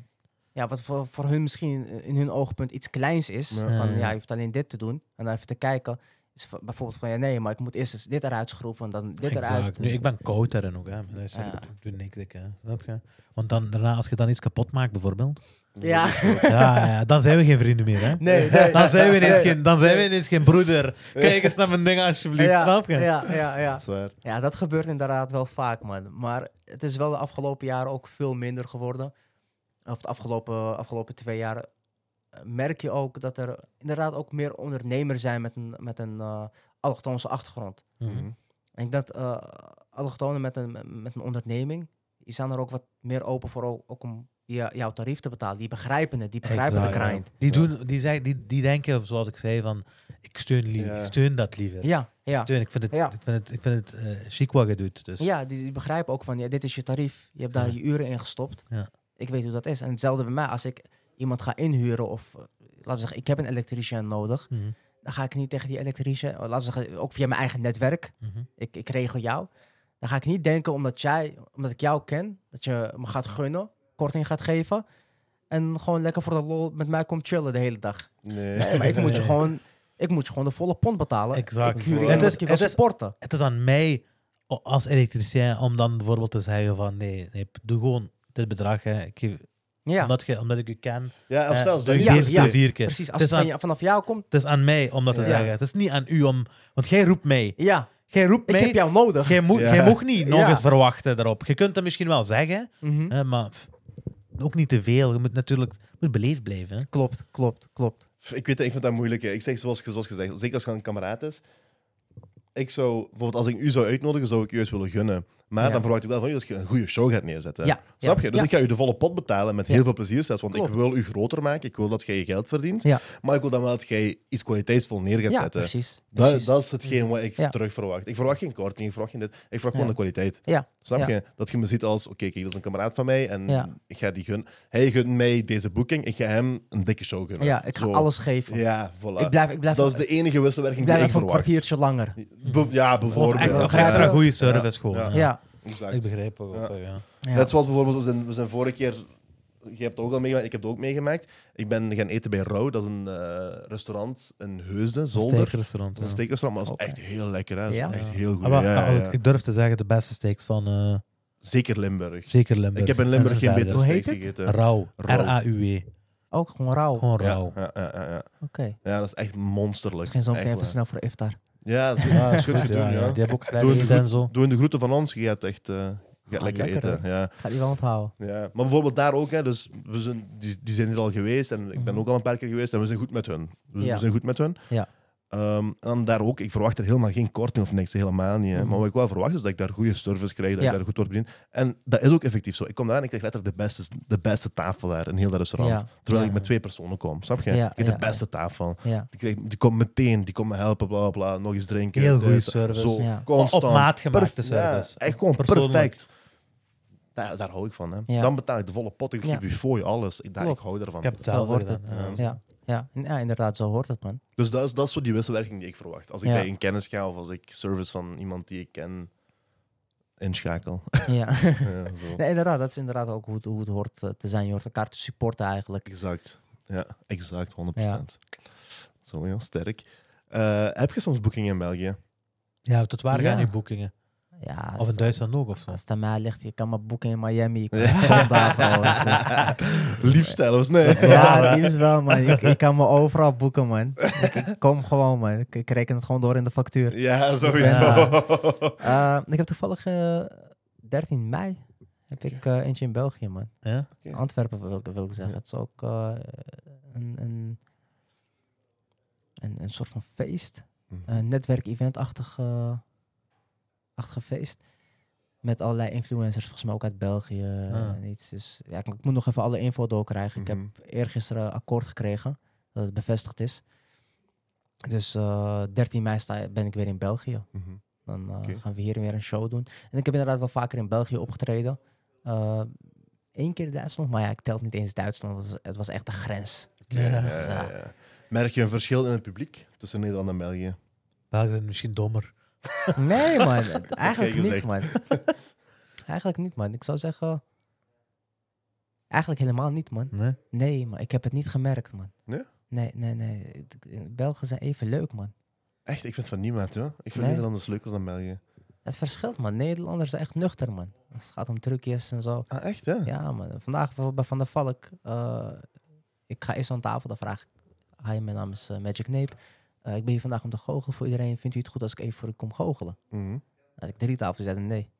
S1: Ja, wat voor, voor hun misschien eh, in hun oogpunt iets kleins is.
S3: Ja.
S1: Van
S2: Ja.
S1: ja, je hoeft alleen dit te doen. En dan even te kijken. Is v- bijvoorbeeld van ja, nee, maar ik moet eerst eens dit eruit schroeven. En dan dit
S2: exact.
S1: eruit.
S2: Nu, ik ben koud daarin ook. Hè. Dus
S1: Ja.
S2: Ik doe niks. Ik, hè. Snap je? Want dan, daarna, als je dan iets kapot maakt, bijvoorbeeld,
S1: Ja.
S2: ja, ja, dan zijn we geen vrienden meer. Hè.
S1: Nee, nee.
S2: Dan zijn, we ineens
S1: Nee.
S2: geen, dan zijn we ineens geen broeder. Kijk eens naar mijn ding, alsjeblieft.
S1: ja,
S2: Snap je?
S1: Ja, ja,
S3: Dat
S1: ja.
S3: is waar.
S1: ja, dat gebeurt inderdaad wel vaak, man. Maar het is wel de afgelopen jaren ook veel minder geworden. Of de afgelopen, afgelopen twee jaren eh, merk je ook dat er inderdaad ook meer ondernemers zijn met een, met een eh, allochtonse achtergrond.
S3: Mm.
S2: Mhm.
S1: En ik denk dat eh allochtonen met een, met een onderneming die staan er ook wat meer open voor o- ook om je, jouw tarief te betalen. Die begrijpen het, die begrijpen
S2: Exact,
S1: de
S2: ja.
S1: grind.
S2: Die,
S3: Ja.
S2: doen, die, zei, die, die denken, zoals ik zei, van ik steun, liever,
S3: Ja.
S2: ik steun dat liever.
S1: Ja, ja.
S2: Ik, steun, ik vind het,
S1: Ja.
S2: ik vind het, ik vind het eh, chic wat je doet. Dus.
S1: Ja, die, die begrijpen ook van, ja, dit is je tarief. Je hebt daar
S2: Ja.
S1: je uren in gestopt.
S2: Ja.
S1: Ik weet hoe dat is. En hetzelfde bij mij, als ik iemand ga inhuren of, eh, laten we zeggen, ik heb een elektricien nodig,
S2: Mhm,
S1: dan ga ik niet tegen die elektricien, eh, laten we zeggen, ook via mijn eigen netwerk,
S2: mhm.
S1: ik, ik regel jou. Dan ga ik niet denken, omdat, jij, omdat ik jou ken, dat je me gaat gunnen, korting gaat geven. En gewoon lekker voor de lol met mij komt chillen de hele dag.
S3: Nee.
S1: Nee, maar ik moet je gewoon, ik moet je gewoon de volle pond betalen.
S2: Exact.
S1: Ik huur
S3: Het
S1: iemand
S2: is-
S1: die wil
S2: het is-
S1: supporten.
S2: Het is aan mij o- als elektricien om dan bijvoorbeeld te zeggen van nee, nee doe gewoon dit bedrag. Hè. Ik, geef-
S1: Ja,
S2: omdat, je, omdat ik u ken,
S3: Ja, of
S2: eh,
S3: zelfs
S2: doe
S3: dat
S2: ik
S1: Ja,
S3: niet.
S2: deze
S1: ja.
S2: plezierke.
S1: precies. Als het
S2: het, is
S1: van,
S2: aan,
S1: je- vanaf jou komt,
S2: het is aan mij om dat te
S3: Ja.
S2: zeggen. Het is niet aan u om... Want jij roept mij.
S1: ja,
S2: Jij roept
S1: ik
S2: mij.
S1: heb jou nodig.
S2: Jij moet,
S3: Ja.
S2: jij moet niet nog
S1: Ja.
S2: eens verwachten daarop. Je kunt dat misschien wel zeggen,
S1: Mhm.
S2: hè, maar pff, ook niet te veel. Je moet natuurlijk je moet beleefd blijven. hè.
S1: Klopt, klopt, klopt.
S3: Pff, Ik weet het, ik vind dat moeilijk. hè. Ik zeg zoals, zoals gezegd, zeker als het een kameraad is. Ik zou, bijvoorbeeld als ik u zou uitnodigen, zou ik u eens willen gunnen. Maar
S1: Ja.
S3: dan verwacht ik wel van u dat je een goede show gaat neerzetten.
S1: Ja,
S3: Snap
S1: ja,
S3: je? Dus
S1: ja.
S3: ik ga u de volle pot betalen met heel
S1: Ja.
S3: veel plezier zelfs. Want ik
S1: Klopt.
S3: wil u groter maken. Ik wil dat jij je geld verdient.
S1: Ja.
S3: Maar ik wil dan wel dat jij iets kwaliteitsvol neer gaat
S1: Ja,
S3: zetten.
S1: precies.
S3: Dat,
S1: precies.
S3: dat is hetgeen wat ik
S1: Ja.
S3: terug verwacht. Ik verwacht geen korting, ik verwacht geen dit. Ik verwacht gewoon
S1: Ja.
S3: de kwaliteit.
S1: Ja,
S3: Snap
S1: ja.
S3: je? Dat je me ziet als, oké, kijk, dat is een kameraad van mij en
S1: Ja.
S3: ik ga die gunnen. Hij gunt mij deze boeking, ik ga hem een dikke show gunnen.
S1: ja, ik ga
S3: Zo.
S1: alles geven.
S3: Ja, voilà.
S1: Ik blijf, ik blijf,
S3: dat is de enige
S1: ik
S3: wisselwerking
S1: blijf
S3: die ik
S1: even een
S3: verwacht.
S1: kwartiertje langer.
S3: Be- ja,
S2: Of,
S3: bijvoorbeeld.
S2: echt, of
S1: begrijp
S2: extra
S1: je?
S2: goede service gewoon.
S3: Ja.
S2: hè.
S1: Ja.
S3: Exact.
S2: Ik begrijp wel wat
S3: Ja.
S2: ze zeggen.
S1: ja.
S3: Net zoals bijvoorbeeld, we zijn, we zijn vorige keer... Je hebt het ook al meegemaakt, ik heb het ook meegemaakt. Ik ben gaan eten bij Rauw, dat is een eh, restaurant in Heusden,
S2: Een
S3: zolder.
S2: steakrestaurant.
S3: Een
S2: ja.
S3: steakrestaurant, maar dat is
S1: Oké.
S3: echt heel lekker. Hè. Dat is
S1: Ja?
S3: Echt heel goed.
S2: Ah, maar,
S3: Ja, ja,
S2: als
S3: ja.
S2: Ik, ik durf te zeggen, de beste steaks van eh,
S3: Zeker Limburg.
S2: zeker Limburg.
S3: Ik heb in
S2: en
S3: Limburg geen
S2: verder.
S3: betere
S1: Hoe heet
S3: steaks
S1: het?
S3: gegeten.
S2: Rauw.
S3: Rauw.
S2: R-A-U-W.
S1: Ook gewoon rauw. Oké.
S2: Gewoon rauw.
S3: Ja, ja, ja, ja. ja, dat is echt monsterlijk.
S1: Misschien zo meteen
S3: Echt
S1: even
S3: waar.
S1: snel voor de iftar.
S3: Ja, dat is goed, dat is goed
S2: Ja,
S3: gedaan.
S2: ja,
S3: Ja,
S2: Die hebben ook
S3: Doe het
S2: eten en zo.
S3: Doe in de groeten van ons, je gaat echt eh, je gaat
S1: Ah,
S3: lekker,
S1: lekker,
S3: eten. Ja.
S1: Ga die wel onthouden.
S3: Ja. Maar bijvoorbeeld daar ook, hè, dus we zijn, die, die zijn hier al geweest en ik ben ook al een paar keer geweest en we zijn goed met hun. We,
S1: Ja.
S3: we zijn goed met hun.
S1: Ja.
S3: Ehm, en dan daar ook, ik verwacht er helemaal geen korting of niks, helemaal niet. hè.
S1: Mhm.
S3: Maar wat ik wel verwacht is dat ik daar goede service krijg, dat
S1: Ja.
S3: ik daar goed word bediend. En dat is ook effectief zo. Ik kom daar en ik krijg letterlijk de beste, de beste tafel daar in heel dat restaurant.
S1: Ja.
S3: Terwijl
S1: Ja.
S3: ik met twee personen kom, snap je?
S1: Ja,
S3: ik heb
S1: ja,
S3: de beste tafel.
S1: Ja.
S3: Die, kreeg, die komt meteen, die komt me helpen, bla bla bla, nog eens drinken.
S2: Heel
S3: dit,
S2: goede service.
S3: Zo,
S1: Ja.
S3: constant.
S2: Op maat gemaakte
S3: Perf-
S2: service.
S3: Ja, echt gewoon
S2: Persoonlijk.
S3: perfect. Daar, daar hou ik van. Hè.
S1: Ja.
S3: Dan betaal ik de volle pot, ik
S1: Ja.
S3: geef u fooi, alles. Ik, daar, ik
S1: Klopt.
S3: hou daarvan.
S2: Ik heb
S1: Zo
S2: hetzelfde
S1: hoort
S2: gedaan.
S1: het.
S2: ja.
S3: Ja.
S1: Ja. Ja. En- ja, inderdaad, zo hoort het, man.
S3: Dus dat is, dat is zo die wisselwerking die ik verwacht. Als ik
S1: Ja.
S3: bij een kennis ga of als ik service van iemand die ik ken inschakel.
S1: Ja.
S3: ja, zo.
S1: Nee, inderdaad, dat is inderdaad ook hoe het, hoe het hoort eh, te zijn. Je hoort elkaar te supporten eigenlijk.
S3: Exact. Ja, exact, 100%.
S1: Ja.
S3: Zo, ja, sterk. Eh, heb je soms boekingen in België?
S2: Ja, tot waar gaan
S1: Ja.
S2: je boekingen?
S1: Ja,
S2: Of
S1: als,
S2: in Duitsland ook of zo?
S1: als het aan mij ligt, je kan maar boeken in Miami. Ik kan vandaag wel.
S3: Liefst zelfs, nee.
S1: Ja, liefst wel, man. Ik, ik kan me overal boeken, man. Ik, ik kom gewoon, man. Ik, ik reken het gewoon door in de factuur.
S3: Ja, sowieso. Mhm,
S1: Eh, ik heb toevallig eh, 13 mei heb ik eh, eentje in België, man.
S2: Ja?
S3: Ja.
S1: Antwerpen wil, ik- wil ik zeggen. Het is ook eh, een, een, een, een soort van feest.
S3: Mhm.
S1: Een netwerk-event-achtig eh, achtige feest. Met allerlei influencers, volgens mij ook uit België
S2: Ah.
S1: en iets. Dus ja, ik, ik moet nog even alle info doorkrijgen.
S3: Mhm.
S1: Ik heb eergisteren akkoord gekregen dat het bevestigd is. Dus eh 13 mei sta, ben ik weer in België.
S3: Mhm.
S1: Dan eh,
S3: Oké.
S1: gaan we hier weer een show doen. En ik heb inderdaad wel vaker in België opgetreden. Eén keer in Duitsland, maar ja, ik telt niet eens Duitsland. want Het was, het was echt de grens.
S3: Ja,
S2: Ja.
S3: ja, ja, ja. Merk je een verschil in het publiek tussen Nederland en België?
S2: België is misschien dommer.
S1: Nee, man. het- Eigenlijk niet,
S3: gezegd.
S1: man. Eigenlijk niet, man. Ik zou zeggen... Eigenlijk helemaal niet, man.
S2: Nee?
S1: Nee, maar ik heb het niet gemerkt, man.
S3: Nee?
S1: Nee, nee, nee. Het- Belgen zijn even leuk, man.
S3: Echt, ik vind van niemand, hoor. Ik vind
S1: Nee.
S3: Nederlanders leuker dan België.
S1: Het verschilt, man. Nederlanders zijn echt nuchter, man. Als het gaat om trucjes en zo.
S3: Ah, echt, hè?
S1: Ja, man. Vandaag bijvoorbeeld bij Van der Valk. eh, ik ga eerst aan tafel, dan vraag ik... Hi, mijn naam is eh, Magic Nape. Eh, ik ben hier vandaag om te goochelen voor iedereen. Vindt u het goed als ik even voor u kom goochelen?
S3: Mhm.
S1: Als ik drie tafels zet, nee.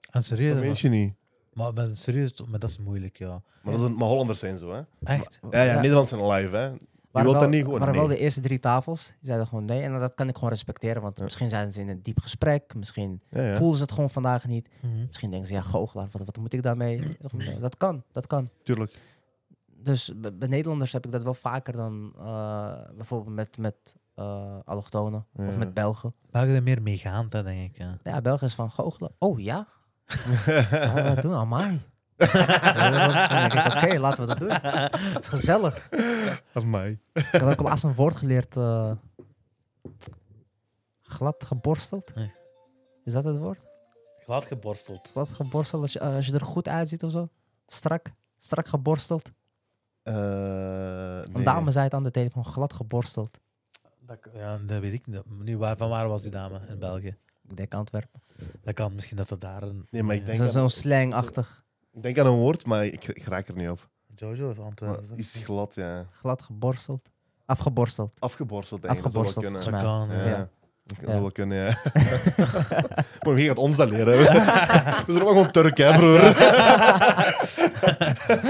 S2: En
S3: Dat
S2: serieus,
S3: weet
S2: maar,
S3: je niet.
S2: maar, ben serieus, maar dat is moeilijk, ja.
S3: Maar, dat is een, maar Hollanders zijn zo, hè?
S2: Echt?
S3: Ja, ja, Nederlanders zijn live, hè?
S1: waren
S3: wilt
S1: wel,
S3: dat niet gewoon,
S1: waren wel
S3: nee.
S1: de eerste drie tafels. Die zeiden gewoon nee. En dat kan ik gewoon respecteren. Want
S3: Ja.
S1: misschien zijn ze in een diep gesprek. Misschien
S3: Ja, ja.
S1: voelen ze het gewoon vandaag niet.
S2: Mhm.
S1: Misschien denken ze, ja, goochelaar, wat, wat moet ik daarmee? Ik zeg, nee, dat kan, dat kan.
S3: Tuurlijk.
S1: Dus bij bij Nederlanders heb ik dat wel vaker dan eh, bijvoorbeeld met, met eh, allochtonen of
S3: Ja.
S1: met Belgen.
S2: België zijn meer meegaand, hè, denk ik. Ja.
S1: Ja, Belgen is van goochelen. Oh ja? Ja, dat doen Amai. Dan denk ik, Oké, laten we dat doen. Het is gezellig.
S3: Dat is mij.
S1: Ik had ook laatst een woord geleerd. eh, glad geborsteld.
S2: Nee.
S1: Is dat het woord?
S2: Glad geborsteld.
S1: Glad geborsteld, als je, eh, als je er goed uitziet of zo. Strak, strak geborsteld.
S3: Eh,
S1: Een
S3: nee.
S1: dame zei het aan de telefoon, glad geborsteld.
S2: Dat, ja, dat weet ik niet. Nu, waar, van waar was die dame in België?
S1: Ik denk Antwerpen.
S2: Dat kan misschien dat dat daar een...
S3: Nee, maar ik denk,
S1: Zo-
S3: aan,
S1: Zo'n slangachtig.
S3: ik denk aan een woord, maar ik, ik raak er niet op.
S2: Jojo is
S3: Maar
S2: Antwerpen.
S3: iets glad, ja.
S1: Glad geborsteld. Afgeborsteld.
S3: Afgeborsteld, denk ik.
S1: Afgeborsteld,
S3: Dat
S2: Dat
S3: zou wel
S1: volgens
S2: kan,
S3: kunnen.
S2: ja.
S3: Ja.
S1: Ja.
S3: Dat
S1: Ja.
S3: zou wel kunnen, ja. maar wie gaat ons dat leren? We zijn ook gewoon Turk, hè, broer?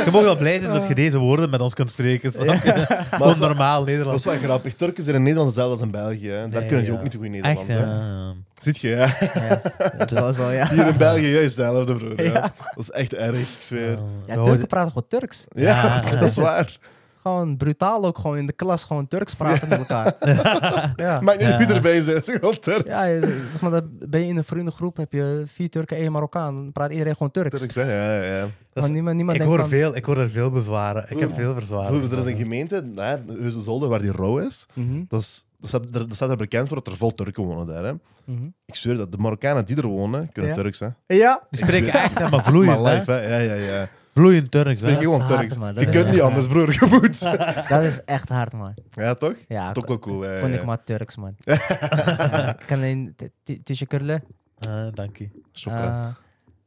S2: Je mag wel blij zijn dat je deze woorden met ons kunt spreken. snap je? Dat is normaal
S3: Dat is
S2: Nederlands.
S3: wel grappig. Turken zijn in Nederland hetzelfde als in België. Hè. Daar
S2: Nee,
S3: kunnen die
S2: ja.
S3: ook niet zo goed Nederlands.
S2: Echt, ja.
S3: hè.
S2: ja.
S3: Ziet je, hè?
S1: Ja, dat was wel, ja.
S3: Hier in België juist hetzelfde, broer. Ja.
S1: Ja.
S3: Dat is echt erg, ik zweer. Ja,
S2: We
S1: Ja,
S2: hoorden-
S1: Turken praten gewoon Turks.
S2: Ja.
S3: dat is waar.
S1: Gewoon brutaal ook, gewoon in de klas, gewoon Turks praten met elkaar. Ja,
S3: Maakt niet uit wie
S2: Ja.
S3: erbij zit. Het is gewoon Turks.
S1: ja je- zeg maar, dan ben je in een vriendengroep, heb je vier Turken, één Marokkaan. Dan praat iedereen gewoon Turks.
S3: Turks, hè? Ja, ja.
S2: Dat
S1: Gewoon
S2: is-
S1: niemand, niemand
S2: ik,
S1: denkt
S2: hoor
S1: van,
S2: veel, ik hoor er veel bezwaren. Ik heb veel verzwaren.
S3: Broer, er is een gemeente, nou daar, Heuse Zolder, waar die rouw is.
S1: Mhm,
S3: Dat, is, dat, staat, er, dat staat er bekend voor dat er vol Turken wonen daar. Hè.
S1: mhm.
S3: Ik zweer dat de Marokkanen die er wonen, kunnen
S1: Ja.
S3: Turks. Hè.
S1: Ja.
S2: Die spreken echt, hè, maar vloeiend.
S3: maar
S2: hè.
S3: live, hè? Ja, ja, ja.
S2: Vloeiend Turks.
S3: Spreek
S2: Hè.
S1: Nee,
S3: gewoon
S1: is hard,
S3: Turks.
S1: man. Dat
S3: Je
S1: is
S3: kunt
S1: echt
S3: niet
S1: waar.
S3: anders, broer. Je moet.
S1: Dat is echt hard, man.
S3: Ja, toch? Dat
S1: Ja,
S3: is ook wel cool. hè,
S1: kon
S3: ja.
S1: ik maar Turks, man. Ja, Ik kan alleen t- t- tussen kurlen.
S2: Eh, dank je.
S3: Shukran.
S1: eh,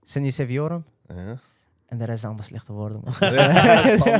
S1: Cindy Seviorum.
S3: Ja.
S1: En de rest zijn allemaal slechte woorden, man.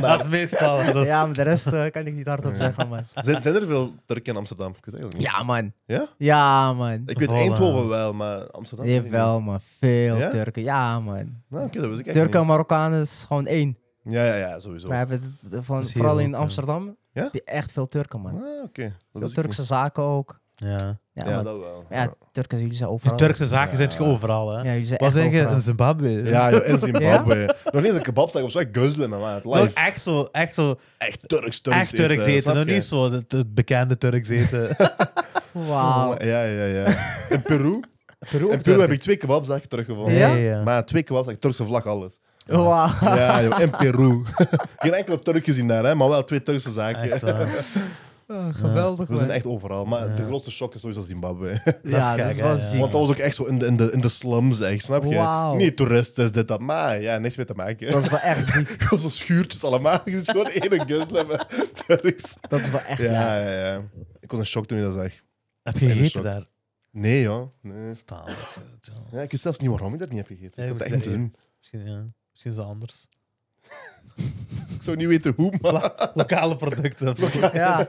S2: Dat is meestal. hè, dat-
S1: Ja, maar de rest eh, kan ik niet hardop zeggen, man.
S3: Zijn, zijn er veel Turken in Amsterdam? Ik weet het eigenlijk niet.
S1: Ja, man.
S3: Ja?
S1: Ja, man.
S3: Ik weet
S2: Voilà.
S3: Eindhoven wel, maar Amsterdam... weet ik niet.
S1: Jawel, man. Veel
S3: Ja?
S1: Turken. Ja, man.
S3: Nou, oké, dat wist ik echt
S1: Turken en Marokkanen is gewoon één.
S3: niet. Ja, ja, ja, sowieso.
S1: We hebben het eh, van,
S2: Dat is hier
S1: vooral
S2: ook,
S1: in
S2: ja.
S1: Amsterdam
S3: Ja?
S1: heb je echt veel Turken,
S3: Ah,
S1: man.
S3: oké. Dat
S1: Veel
S3: wist ik
S1: Turkse zaken ook.
S2: Ja.
S1: Ja,
S3: niet. Ja,
S1: man.
S3: dat wel.
S1: ja, Turken, jullie zijn
S2: Die
S1: overal.
S2: Turkse zaken
S3: Ja.
S2: zijn je overal. Hè.
S1: Ja, jullie zijn
S2: Wat
S1: echt
S2: zeg je
S1: overal.
S2: in Zimbabwe?
S3: Ja, joh, in Zimbabwe. Nog niet eens een kebabstak of zo. Echt guzzelen, man. Het
S2: Nog
S3: live.
S2: echt zo, echt zo,
S3: Echt Turks, Turks
S2: echt Turks eten.
S3: snap
S2: Nog
S3: je?
S2: niet zo het, het bekende Turks eten.
S1: Wauw.
S3: Ja, ja, ja. In Peru?
S1: Peru,
S3: In Peru heb ik twee kebabsdagen teruggevonden.
S1: Ja?
S3: Maar twee kebabsdagen, Turkse vlag, alles.
S1: Wauw.
S3: Ja, joh, in Peru. Geen enkele Turk gezien daar, hè, maar wel twee Turkse zaken.
S2: Echt waar.
S1: Eh, Geweldig,
S3: We zijn
S1: man.
S3: echt overal. Maar de grootste shock is sowieso Zimbabwe.
S1: Ja,
S2: gek,
S1: dat is
S2: hè,
S1: wel
S2: ja.
S1: ziek.
S3: Want dat was ook echt zo in de, in de, in de slums, echt, snap je?
S1: Wauw.
S3: Niet toeristen, is dit, dat. Maar ja, niks mee te maken.
S1: Dat is wel echt ziek.
S3: Gewoon zo'n schuurtjes allemaal. Het is gewoon ene guslem met Turks.
S1: Dat is wel echt ja.
S3: Ja, ja, ja. Ik was in shock toen hij dat zag.
S2: Heb je
S3: In de
S2: gegeten
S3: shock.
S2: daar?
S3: Nee, joh. Nee.
S2: Taal, eh,
S3: Ja, ik weet zelfs niet waarom ik dat niet heb gegeten.
S2: Ja,
S3: ik
S2: je
S3: heb dat echt
S2: moet-
S3: moeten doen.
S2: Misschien, ja. Misschien is het anders.
S3: Ik zou niet weten hoe, maar...
S2: Lokale producten.
S1: Ja,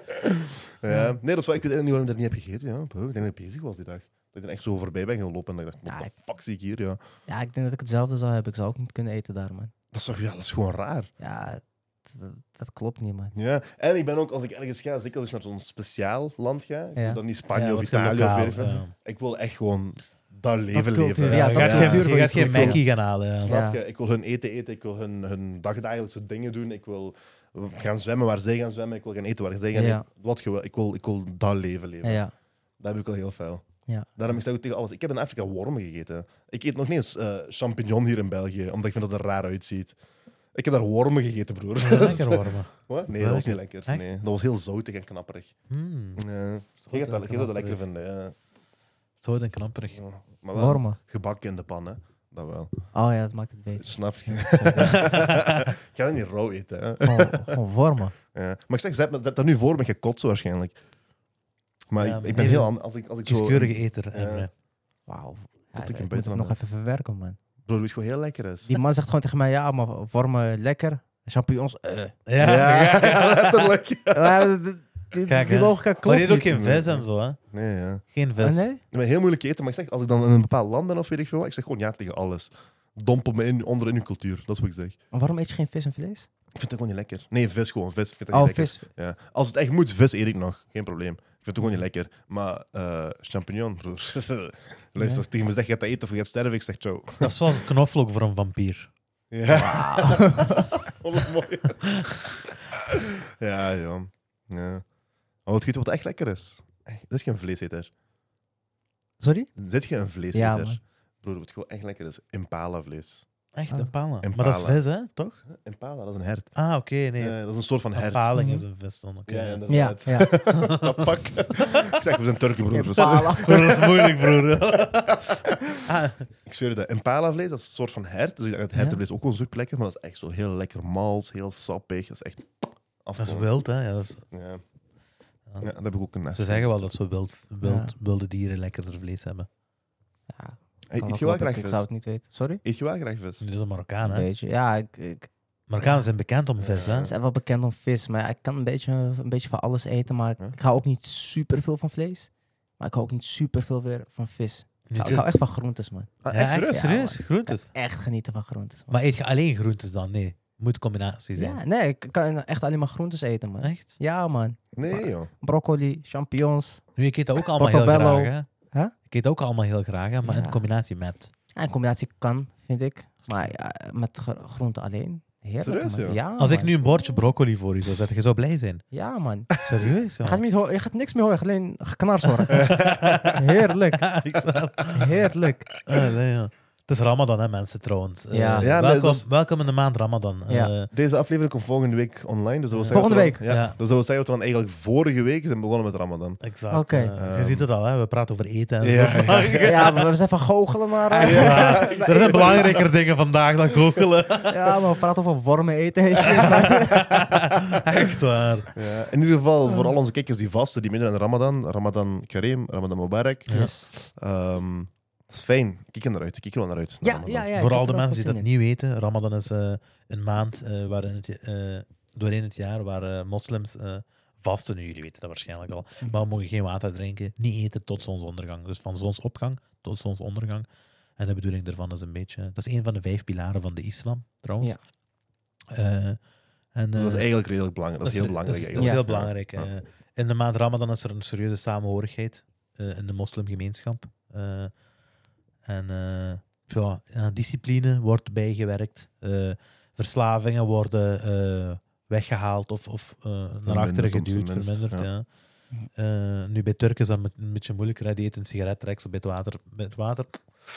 S3: Ja. Nee, dat is waar. Ik weet eigenlijk niet waarom ik dat niet heb gegeten. Ja. Bro, Ik denk dat ik bezig was die dag. Dat ik dan echt zo voorbij ben gaan lopen. En dat ik dacht,
S1: Ja,
S3: what the fuck zie ik hier? Ja.
S1: ja, ik denk dat ik hetzelfde zou hebben. Ik zou ook niet kunnen eten daar, man.
S3: Dat, is toch, ja, dat is gewoon raar.
S1: Ja, d- dat, klopt niet, man.
S3: Ja. En ik ben ook, als ik ergens ga, zeker als ik naar zo'n speciaal land ga, ik
S1: Ja.
S3: wil dan niet Spanje
S2: Ja,
S3: of
S2: wat je
S3: Italië
S2: lokaal,
S3: of weet ik veel.
S2: ja.
S3: Ik wil echt gewoon dat leven
S1: cultuur,
S3: leven.
S1: Ja,
S2: je
S1: dat
S2: gaat
S1: is
S2: geen-
S1: natuurlijk
S2: je
S1: wel
S2: gaat
S1: iets
S2: geen
S1: voor-
S2: Mackie gaan halen. Ja.
S1: Ja.
S3: Snap je? Ik wil hun eten eten, ik wil hun, hun dagdagelijkse dingen doen, ik wil gaan zwemmen waar zij gaan zwemmen, ik wil gaan eten waar zij gaan
S1: Ja.
S3: eten. Wat je wil, ik wil, ik wil dat leven leven.
S1: Ja, ja.
S3: Dat heb ik al heel veel.
S1: Ja.
S3: Daarom is dat ook tegen alles. Ik heb in Afrika wormen gegeten. Ik eet nog niet eens eh, champignon hier in België, omdat ik vind dat het er raar uitziet. Ik heb daar wormen gegeten, broer.
S2: Lekker warmen.
S3: Wat? Nee, dat was niet lekker.
S2: Echt?
S3: Nee, dat was heel zoutig en knapperig.
S2: Mm,
S3: Nee. Je gaat dat, je gaat dat lekker
S2: knapperig.
S3: vinden, ja.
S2: Zout en knapperig.
S3: Ja. Maar wel
S1: Wormen.
S3: gebakken in de pan, hè. Dat wel.
S1: Oh ja, dat maakt het beter.
S3: Snap je? ik ga dat niet rauw eten, hè.
S1: Gewoon, gewoon wormen.
S3: Ja. Maar ik zeg, zet, me- zet dat nu voor me, je kot zo waarschijnlijk. Maar
S2: Ja,
S3: ik,
S2: maar
S3: ik ben
S2: nee,
S3: heel
S2: dat-
S3: anders. Als ik, als ik zo,
S2: Kieskeurige eter,
S3: Ja.
S2: Emre.
S1: Wauw. Ja,
S3: Dat
S1: ik
S3: ik een
S1: moet het
S3: buitenlander
S1: nog
S3: ben.
S1: even verwerken, man.
S3: Broer, weet je wat heel lekker is?
S1: Die man zegt gewoon tegen mij, ja, maar wormen lekker. Champignons, eh.
S2: Ja,
S3: letterlijk.
S1: Ja, d- d- die,
S2: Kijk,
S1: die
S2: hè.
S1: logica
S2: Maar
S1: klopt
S2: die heeft ook
S1: niet.
S2: geen vis en zo, hè?
S3: Nee, ja.
S2: Geen
S1: Ah,
S2: vis.
S1: nee?
S3: Ik ben heel moeilijk eten, maar ik zeg, als ik dan in een bepaald land ben of weet ik veel wat, ik zeg gewoon ja tegen alles. Dompel me in, onder in uw cultuur. Dat is wat ik zeg.
S1: Maar waarom eet je geen vis en vlees?
S3: Ik vind het gewoon niet lekker. Nee, vis gewoon. Vis vind ik
S1: Oh,
S3: gewoon niet
S1: vis.
S3: lekker. Ja. Als het echt moet, vis eet ik nog. Geen probleem. Ik vind het gewoon niet lekker. Maar eh champignon, broer. Luister, als tegen me zegt, je gaat dat eten of je gaat sterven, ik zeg ciao.
S2: Dat is zoals knoflook voor een vampier.
S3: Ja. Wat een mooi. ja, joh. Ja. Oh, het goed wat echt lekker is. Echt, Dit is geen vleeseter.
S1: Sorry?
S3: Zit je een
S1: Ja,
S3: vleeseter?
S1: man.
S3: Broer, wat gewoon echt lekker is. Impala vlees.
S2: Echt,
S1: Ah.
S2: een pala.
S3: Een
S2: Maar dat is
S3: pala.
S2: vis, hè? Toch?
S3: Impala, dat is een hert.
S2: Ah, oké, nee.
S3: Eh, dat is een soort van
S2: een
S3: hert.
S2: paling
S1: Mhm.
S2: is een vis dan. oké.
S3: Ja, ja,
S1: Ja,
S3: inderdaad.
S1: ja.
S3: dat pak. ik zeg, we zijn Turken, broer. Dus-
S1: Impala.
S2: dat is moeilijk, broer. ah,
S3: Ik zweer dat. Impala vlees, dat is een soort van hert. Dus ik denk dat
S1: Ja.
S3: hertenvlees ook wel zoek lekker, maar dat is echt zo heel lekker mals, heel sappig. Dat is echt...
S2: dat is
S3: afgewond.
S2: wild, hè? Ja, dat is-
S3: Ja. ja, dat heb ik ook een...
S2: ze zeggen wel dat ze wild, wild, wilde dieren lekkerder vlees hebben.
S1: Ja,
S3: Hey,
S1: kan
S3: eet
S1: ook
S3: je
S1: wel,
S3: wel
S1: dat
S3: graag
S1: Ik
S3: vis?
S1: zou het niet weten. Sorry?
S3: Eet je wel graag vis?
S2: Dit is een Marokkaan,
S1: Een
S2: hè?
S1: beetje. Ja, ik, ik
S2: Marokkanen zijn bekend om vis, hè?
S1: ze zijn wel bekend om vis, maar ja, ik kan een beetje, een beetje van alles eten, maar ik,
S3: Ja.
S1: ik hou ook niet super veel van vlees. Maar ik hou ook niet super veel weer van vis. Ik
S3: Dus
S1: hou, ik hou echt van groentes, man.
S3: Ah,
S2: dus- Ja,
S3: echt
S2: echt,
S3: serieus?
S1: Ja,
S2: serieus, groentes.
S1: Echt genieten van groentes, man.
S2: Maar eet je alleen groentes dan? Nee, moet combinatie zijn.
S1: Ja, nee, ik kan echt alleen maar groentes eten, man.
S2: Echt?
S1: Ja, man.
S3: Nee, joh.
S1: Broccoli, champignons.
S2: Nu, ik eet dat ook allemaal heel
S1: Portobello.
S2: graag, hè?
S1: Huh?
S2: Ik eet dat ook allemaal heel graag, hè? Maar
S1: Ja.
S2: in combinatie met.
S1: Ja, een combinatie kan, vind ik. Maar ja, met gro- groenten alleen. Heerlijk,
S3: Serieus,
S1: man.
S3: joh?
S1: Ja,
S2: Als ik
S1: man.
S2: nu een bordje broccoli voor u zou zetten, je zou blij zijn.
S1: Ja, man.
S2: Serieus,
S1: Je
S2: man.
S1: gaat, niet horen- je gaat niks meer horen, alleen geknars horen. Heerlijk.
S2: Ik zweer.
S1: Heerlijk.
S2: Allee, ja. Het is Ramadan, hè, mensen, trouwens. Eh,
S1: Ja.
S3: Ja,
S2: welkom,
S3: dat is-
S2: welkom in de maand Ramadan. Eh,
S1: Ja.
S3: Deze aflevering komt volgende week online. Dus dat wil zeggen
S1: Volgende
S3: dat we-
S2: week?
S3: Ja,
S2: Ja.
S3: Dus dat wil zeggen dat we dan eigenlijk vorige week zijn begonnen met Ramadan.
S2: exact.
S1: Oké.
S2: Eh, je ziet het al, hè? we praten over eten en
S3: Ehm. Ja,
S2: zo.
S3: ja,
S1: Ja, maar we zijn van goochelen, maar... eh,
S2: Ja, er zijn belangrijker dingen vandaag dan goochelen.
S1: Ja, maar we praten over wormen eten en shit. maar-
S2: Echt waar.
S3: Ja, Eh, in ieder geval, voor al onze kijkers die vasten, die midden in Ramadan, Ramadan Kareem, Ramadan Mubarak.
S1: Yes.
S3: Ehm, dat is fijn. Ik kijk er naar uit. Ik kijk er wel naar uit. naar
S1: Ja,
S3: Ramadan.
S1: ja, ja. ik
S2: Vooral
S1: heb
S2: de
S1: er ook
S2: mensen die
S1: wel
S2: dat
S1: zin in.
S2: niet weten, Ramadan is eh, een maand eh, waarin het, eh, doorheen het jaar waar eh, moslims eh, vasten. Nu, jullie weten dat waarschijnlijk al.
S1: Mhm.
S2: Maar we mogen geen water drinken, niet eten tot zonsondergang. Dus van zonsopgang tot zonsondergang. En de bedoeling daarvan is een beetje... Dat is een van de vijf pilaren van de islam, trouwens.
S1: Ja.
S2: Eh, en,
S3: Dus dat is
S2: eh,
S3: eigenlijk redelijk belangrijk. Dat is heel
S2: dat
S3: belangrijk.
S2: is- Dat is
S3: eigenlijk.
S2: heel belangrijk.
S3: Ja.
S2: eh. in de maand Ramadan is er een serieuze samenhorigheid eh, in de moslimgemeenschap. Eh, en eh, ja, aan discipline wordt bijgewerkt. Eh, verslavingen worden eh, weggehaald of, of eh, naar achteren
S3: op zijn
S2: geduwd,
S3: minst,
S2: verminderd.
S3: ja.
S2: Ja. Eh, nu bij Turken is dat met- een beetje moeilijker. hè. Die eten een sigaret direct op bij het water. Bij het water.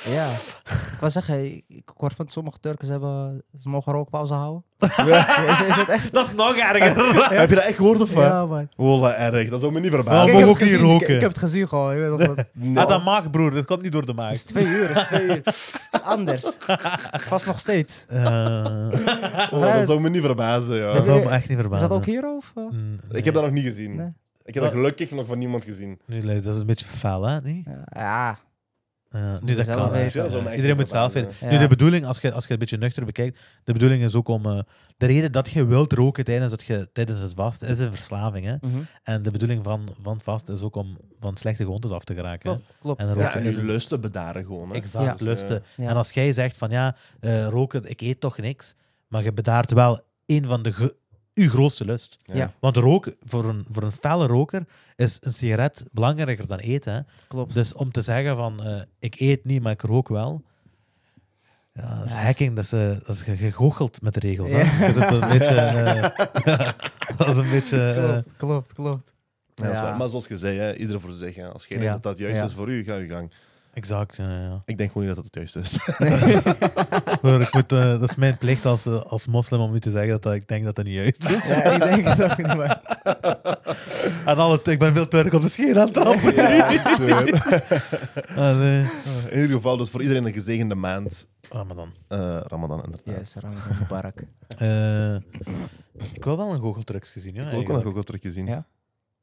S1: Ja. Ik wou zeggen, ik hoor van sommige Turkers hebben... Ze mogen rookpauze houden. Is, is het echt...
S2: Dat is nog erger.
S3: Heb je dat echt gehoord of wat?
S1: Ja, man.
S3: Oh, wat erg. Dat zou me niet
S2: Wel,
S3: verbazen. Oh,
S1: Kijk,
S2: mogen
S1: ik heb het
S2: ook niet
S1: gezien, ik-
S2: roken.
S1: Ik, heb het gezien gewoon. Je weet toch dat-
S3: Nee.
S2: Ah, dat maag, broer. Dat komt niet door de maag.
S1: Het is twee uur, het is twee uur. Het is anders. Vast nog steeds.
S2: Eh,
S3: Oh, dat zou me niet verbazen. Ja.
S2: dat zou me echt niet
S1: Is
S2: verbazen.
S1: dat ook hier of? eh?
S2: Mm,
S3: Ik
S2: nee.
S3: heb dat nog niet gezien.
S1: Nee.
S3: Ik heb dat gelukkig nog van niemand gezien.
S2: Nu, luister, dat is een beetje fel, hè? Nee?
S1: Ja.
S2: Eh, nu,
S1: moeten
S2: dat
S1: zelf
S2: kan. hè.
S1: weten. Ja,
S3: dat is wel
S2: Eh,
S3: mijn
S2: iedereen moet zelf
S3: eigen verhaal,
S2: weten.
S1: ja.
S2: Nu,
S1: Ja.
S2: de bedoeling, als je, als je het een beetje nuchter bekijkt, de bedoeling is ook om... eh, de reden dat je wilt roken tijdens, dat je, tijdens het vast is een verslaving, hè?
S1: Mhm.
S2: En de bedoeling van, van vast is ook om van slechte gewoontes af te geraken. hè.
S1: Klopt, klopt.
S2: En
S3: Ja,
S2: roken
S3: en
S2: is
S3: je lusten bedaren gewoon. Hè.
S2: Exact,
S1: Ja.
S2: lusten.
S1: Ja.
S2: En als jij zegt van, ja, eh, roken, ik eet toch niks, maar je bedaart wel één van de... ge- uw grootste lust.
S1: Ja. Ja.
S2: Want roken, voor een, voor een felle roker is een sigaret belangrijker dan eten. Hè?
S1: Klopt.
S2: Dus om te zeggen van, eh, ik eet niet, maar ik rook wel. Ja, dat is
S1: Ja,
S2: hacking, dat is, eh, dat is ge- gegoocheld met de regels. hè.
S1: Ja.
S2: Dat is een beetje... eh, dat is een beetje... eh,
S1: klopt, klopt, klopt.
S3: Ja, dat is
S1: Ja.
S3: waar. Maar zoals je zei, hè, ieder voor zich. Hè. Als jij
S1: Ja.
S3: denkt dat dat juist
S1: Ja.
S3: is voor u, ga je gang.
S2: exact, ja, ja.
S3: Ik denk gewoon niet dat dat het juist is. Dus,
S2: Hoor, ik moet, eh, dat is mijn plicht als, eh, als moslim om u te zeggen dat, dat ik denk dat dat niet juist is.
S1: Ja, ik denk het ook niet, maar...
S2: En alle, ik ben veel Turk op de scheer aan Ah, het trappen. Allee.
S3: eh, In ieder geval, dus voor iedereen een gezegende maand.
S2: Ramadan.
S3: eh, Ramadan, inderdaad.
S1: Yes, Ramadan Mubarak.
S2: Eh, ik wil wel een goocheltrucs gezien, ja.
S3: Ik heb ook wel een
S2: eigenlijk.
S3: goocheltruc gezien.
S1: Ja?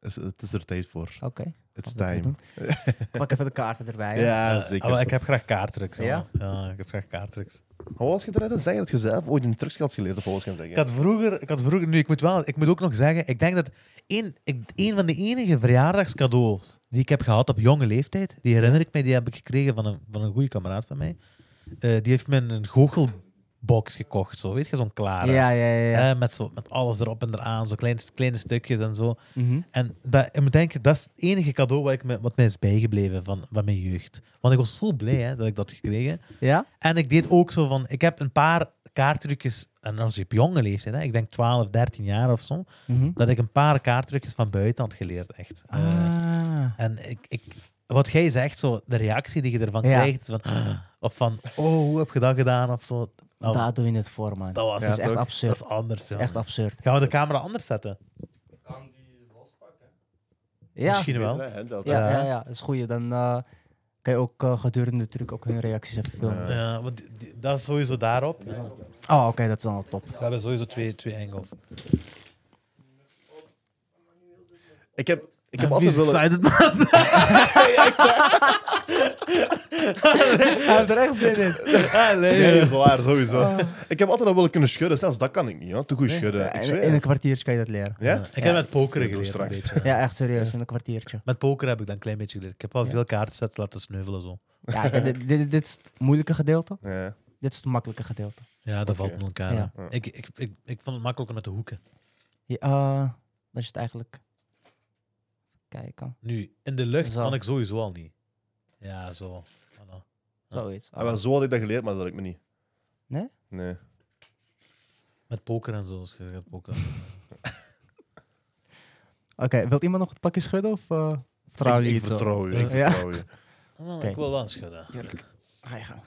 S3: Is- het is er tijd voor.
S1: Oké.
S3: It's
S1: dat we
S3: time.
S1: doen. Pak even de kaarten erbij.
S3: Ja,
S1: hè.
S3: zeker.
S2: Ah, maar ik heb graag kaarttrucs. Ja?
S1: Ja?
S2: ja, ik heb graag kaarttrucs.
S3: Maar wat was je eruit aan het zeggen? Dat je zelf ooit een trucs had geleerd, of wat was je aan het
S2: Ik
S3: zeggen?
S2: had vroeger, ik had vroeger nu, ik moet, wel, ik moet ook nog zeggen, ik denk dat een, ik, een van de enige verjaardagscadeaus die ik heb gehad op jonge leeftijd, die herinner ik mij, die heb ik gekregen van een, van een goede kameraad van mij. eh, die heeft me een goochelbox gekocht. Zo, weet je, zo'n klare.
S1: Ja, ja, ja. ja.
S2: Hè, met, zo, met alles erop en eraan, zo kleine, kleine stukjes en zo.
S1: Mhm.
S2: En dat, ik moet denken, dat is het enige cadeau wat, ik me, wat mij is bijgebleven van, van mijn jeugd. Want ik was zo blij hè, dat ik dat had gekregen.
S1: ja?
S2: En ik deed ook zo van, ik heb een paar kaartrucjes, en dat was op jonge leeftijd, hè, ik denk 12, 13 jaar of zo,
S1: Mhm.
S2: dat ik een paar kaartrucjes van buiten had geleerd, echt. Eh,
S1: Ah.
S2: en ik, ik, wat jij zegt, zo, de reactie die je ervan
S1: Ja.
S2: krijgt, van, "Ah," of van, oh, hoe heb je dat gedaan, of zo. Nou,
S1: Daar doe je het voor, man.
S2: dat was
S1: Oh.
S2: dus
S1: dat is echt
S3: toch?
S2: dat
S1: absurd.
S2: is anders.
S1: Dat
S2: Ja.
S1: is echt absurd.
S2: Gaan we de camera anders zetten?
S1: Ja,
S2: Misschien wel.
S1: ja,
S2: Ja.
S1: ja, ja, dat is goed. Dan eh, kan je ook eh, gedurende de truc ook hun reacties even filmen.
S3: Ja.
S2: Ja, want die- die- dat is sowieso daarop.
S1: Oh, oké, dat is dan al top.
S2: We hebben sowieso twee, twee engels.
S3: Ik heb, ik heb altijd willen...
S2: excited, man.
S1: Hij heeft er echt zin in.
S3: Nee, dat is waar, sowieso.
S1: Ah.
S3: Ik heb altijd al willen kunnen schudden. Zelfs dat kan ik niet, hoor. Te goed schudden. Ik
S1: In,
S3: zweer.
S1: in een kwartiertje kan je dat leren.
S3: Ja?
S2: Ik heb met pokeren
S3: Dat doe ik
S2: geleerd. Een
S3: straks.
S2: beetje.
S1: Ja, echt serieus, in een kwartiertje.
S2: Met poker heb ik dan een klein beetje geleerd. Ik heb wel veel kaartsets laten sneuvelen. Zo.
S1: Ja, dit, dit- dit, dit is het moeilijke gedeelte.
S3: Ja.
S1: Dit is het makkelijke gedeelte.
S2: Ja, dat valt in elkaar.
S1: Ja.
S2: hè. Ik, ik, ik, ik vond het makkelijker met de hoeken.
S1: Ja, eh, dat is het eigenlijk. Kijken.
S2: Nu, in de lucht
S1: Zo.
S2: kan ik sowieso al niet. Ja, zo. Voilà.
S1: Zoiets.
S3: Ah, wel, zo had ik dat geleerd, maar dat lukt me niet.
S1: Nee?
S3: Nee.
S2: Met poker en zo. Als je gaat pokeren.
S1: Oké, wilt iemand nog het pakje schudden of eh vertrouwen jullie
S3: Ik, ik
S1: het zo?
S3: vertrouw je, ik
S1: Ja.
S3: vertrouw je.
S2: Oh,
S1: Oké.
S2: Ik wil wel eens schudden.
S1: Ga je gang.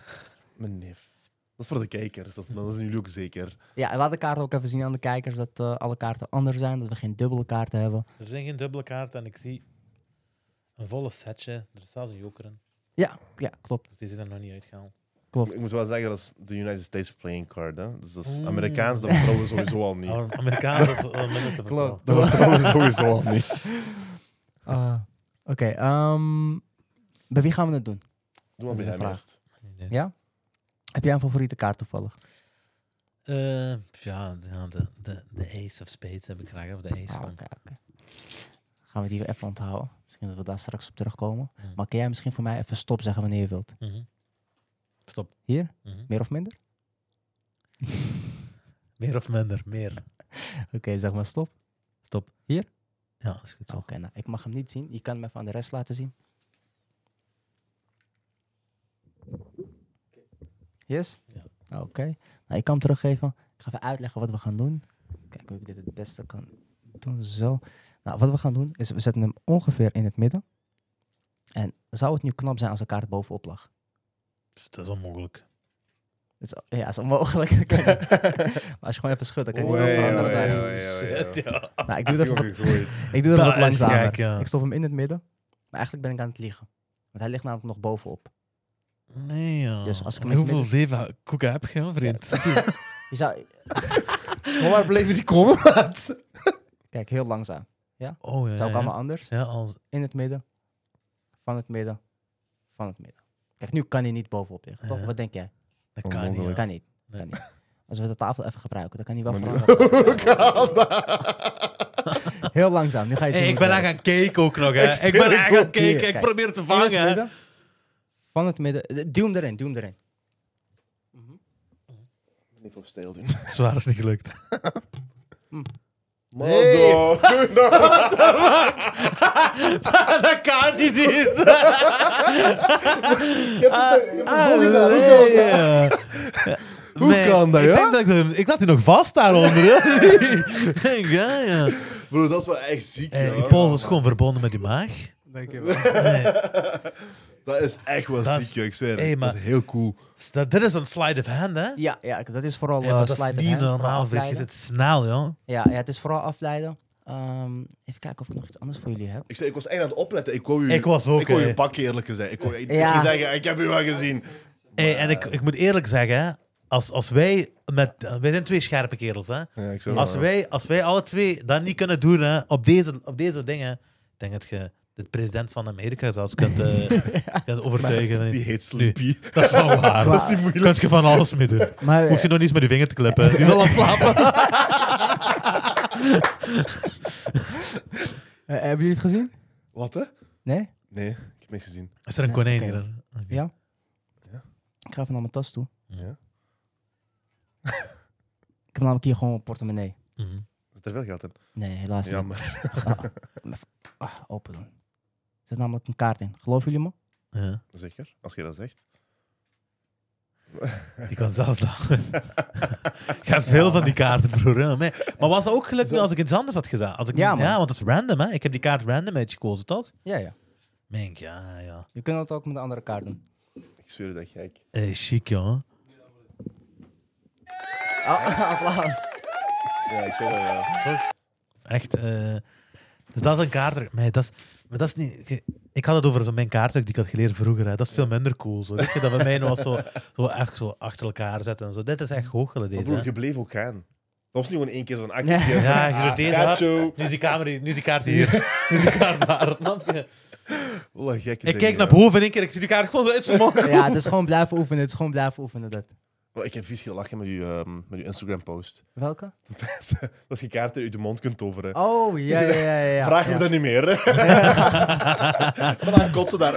S3: Mijn neef. Dat is voor de kijkers, dat, is- dat is jullie ook zeker.
S1: Ja, en laat de kaarten ook even zien aan de kijkers dat eh, alle kaarten anders zijn, dat we geen dubbele kaarten hebben.
S2: Er zijn geen dubbele kaarten en ik zie een volle setje. Er is zelfs een joker in.
S1: Ja, ja klopt.
S2: Dus die zit er nog niet uitgehaald.
S1: klopt.
S3: Ik moet wel zeggen, dat is de United States playing card. Hè? Dus dat is
S2: Mm.
S3: Amerikaans, dat vertrouwen we sowieso al niet.
S2: Maar Amerikaans is wel minder te vertrouwen.
S3: Dat vertrouwen we sowieso al niet.
S1: Ah, Oké, ehm, bij wie gaan we het doen?
S3: Doe maar bij
S1: is een
S3: hem
S1: vraag.
S3: eerst.
S2: Nee.
S1: Ja? Heb jij een favoriete kaart toevallig?
S2: Eh, ja, ja, de, de, de Ace of Spades heb ik graag. Of de Ace
S1: Ah,
S2: van.
S1: oké, oké. Gaan we die even onthouden? Misschien dat we daar straks op terugkomen.
S2: Mm.
S1: Maar kun jij misschien voor mij even stop zeggen wanneer je wilt?
S2: Mhm. Stop.
S1: Hier?
S2: Mhm.
S1: Meer of minder?
S2: Meer of minder? Meer.
S1: Oké, zeg maar stop.
S2: Stop.
S1: Hier?
S2: Ja, dat is goed
S1: Oké,
S2: zo.
S1: nou, ik mag hem niet zien. Je kan hem even aan de rest laten zien. Yes?
S2: Ja.
S1: Oké. Nou, ik kan hem teruggeven. Ik ga even uitleggen wat we gaan doen. Kijken hoe ik dit het beste kan doen. Zo. Nou, wat we gaan doen is we zetten hem ongeveer in het midden. En zou het nu knap zijn als de kaart bovenop lag?
S2: Dat is onmogelijk.
S1: Dat is, ja, dat is onmogelijk. Dat kan niet. Maar als je gewoon even schudt, dan kan je
S3: Oei,
S1: niet
S3: oei,
S1: veranderen.
S3: oei, Ah,
S1: daar.
S3: oei.
S2: ja.
S1: Nou, ik doe
S3: Die
S1: het even wat
S3: jongen gegooid.
S1: Ik doe dat
S2: Dat
S1: wat
S2: is
S1: langzamer.
S2: gek, ja.
S1: Ik stop hem in het midden. Maar eigenlijk ben ik aan het liegen. Want hij ligt namelijk nog bovenop.
S2: Nee, ja.
S1: Dus als ik hem
S2: Maar
S1: in het
S2: Hoeveel zeven koeken heb je, hè, vriend?
S1: Je zou...
S3: Maar waar bleven die komen, maat?
S1: Kijk, heel langzaam.
S2: Oh,
S1: Zou
S2: ja.
S1: ik
S2: ja.
S1: allemaal anders?
S2: Ja, als...
S1: In het midden. Van het midden. Van het midden. Kijk, nu kan hij niet bovenop liggen, toch?
S2: Ja.
S1: Wat denk jij?
S2: Dat kan niet.
S3: Onmogelijk.
S2: ja.
S1: Kan niet.
S2: Nee.
S1: Kan niet. Als we de tafel even gebruiken, dan kan hij wel
S3: Maar
S1: veranderen.
S3: Hoe kan dat?
S1: Heel langzaam. Nu ga je zien.
S2: Hey, ik
S1: hoe
S2: ben
S1: het
S2: echt aan het kijken ook nog,
S3: Ik
S2: hè. Ik
S3: zweer
S2: ben
S3: het
S2: echt aan het
S1: ook. Hier,
S2: kijken. Ik
S1: kijk.
S2: probeer te
S1: werkt.
S2: vangen,
S1: In het
S2: hè.
S1: midden. Van het midden. Eh, Duw hem erin, duw hem erin.
S3: Even op stijl doen.
S2: Zwaar is niet gelukt.
S3: Mando, doe nou.
S2: dat kan niet eens.
S3: Allee. Hoe kan dat,
S2: ik
S3: ja?
S2: Denk dat ik, er- ik laat die nog vast daaronder. hè. ja, ja.
S3: Bro, dat is wel echt ziek,
S2: Eh,
S3: joh.
S2: je pols is gewoon verbonden met die maag.
S1: Dankjewel.
S3: Dat is echt wel
S2: Dat
S3: ziek,
S2: is-
S3: joh, ik zweer.
S2: Hey,
S3: het. dat
S2: maar-
S3: is heel cool.
S2: Dat, dit is een slide of hand, hè?
S1: Ja, ja, dat is vooral
S2: Eh,
S1: eh,
S2: maar dat
S1: slide
S2: is
S1: of
S2: niet
S1: hand, vooral
S2: normaal, Frik. Je
S1: afleiden.
S2: zit snel, joh.
S1: Ja, ja, het is vooral afleiden. Ehm, even kijken of ik nog iets anders voor jullie heb.
S3: Ik, zei, ik was echt aan het opletten. Ik wou u,
S2: Ik was ook,
S3: Ik wou
S2: hè.
S3: je pakken, eerlijk gezegd. Ik, wou, ik, ik
S1: Ja.
S3: ging zeggen, ik heb u wel gezien.
S2: Hey, en ik, ik moet eerlijk zeggen, hè, als, als wij met... eh, Wij zijn twee scherpe kerels, hè?
S3: Ja, ik zei,
S2: Als wij, als wij alle twee dat niet kunnen doen hè, op, deze, op deze dingen, ik denk dat je de president van Amerika zelfs kunt, eh, kunt overtuigen.
S3: Die heet Sleepy.
S2: Dat is wel waar.
S1: Dat is niet
S2: moeilijk. Kun je van alles mee doen.
S1: Maar,
S2: Hoef je nog niet eens met je vinger te klippen. Die zal aan het slapen.
S1: eh, hebben jullie het gezien?
S3: Wat, hè?
S1: Nee?
S3: Nee, ik heb niks gezien.
S2: Is er een
S1: Ja,
S2: konijn
S1: oké.
S2: hier?
S1: Ja? Ik ga even naar mijn tas toe.
S3: Ja.
S1: Ik heb namelijk hier gewoon een portemonnee.
S2: Mhm.
S3: Zit er veel geld in?
S1: Nee, helaas niet.
S3: Jammer.
S1: Ah, open doen. Er zit namelijk een kaart in. Geloven jullie me?
S2: Ja.
S3: Zeker, als je dat zegt.
S2: Die kan zelfs lachen. Ik heb veel van die kaarten, broer. hè. Maar maar was dat ook gelukt nu als ik iets anders had gedaan? Als ik,
S1: Ja, man.
S2: want dat is random, hè? Ik heb die kaart random uitgekozen, toch?
S1: Ja, ja.
S2: Mink, ja, ja.
S1: Je kunt het ook met een andere kaart doen.
S3: Ik zweer dat gek.
S2: Eh, chic, joh.
S1: Ah, applaus.
S3: Ja, ik zweer dat ja.
S2: Echt. eh, dus dat is een kaartdruk. Maar dat is, maar dat is niet. ge- Ik had het over zo mijn kaartdruk die ik had geleerd vroeger. Hè. Dat is veel minder cool. Zo. Weet je, dat bij mij was zo, zo echt zo achter elkaar zetten. En zo. Dit is echt goochelen,
S3: Maar
S2: deze.
S3: broer,
S2: hè.
S3: je bleef ook gaan. Dat was niet gewoon één keer zo'n actie.
S1: Nee.
S2: Ja, je doet deze.
S3: Gacho.
S2: hap. Nu is die kamer hier. Nu is die kaart hier. Nu is die kaart daar. snap je?
S3: Wat een gekke
S2: Ik
S3: dingen,
S2: kijk naar
S3: hè.
S2: boven in één keer. Ik zie die kaart gewoon zo uit zijn mond.
S1: Ja, het is gewoon blijven oefenen. Het is gewoon blijven oefenen. Dat.
S3: Oh, ik heb vies gelachen met je, met uw Instagram-post.
S1: Welke?
S3: dat je kaarten uit je mond kunt toveren.
S1: Oh, ja, ja, ja. ja, ja.
S3: Vraag hem
S1: ja.
S3: dat niet meer. hè. Maar dan komt ze daar.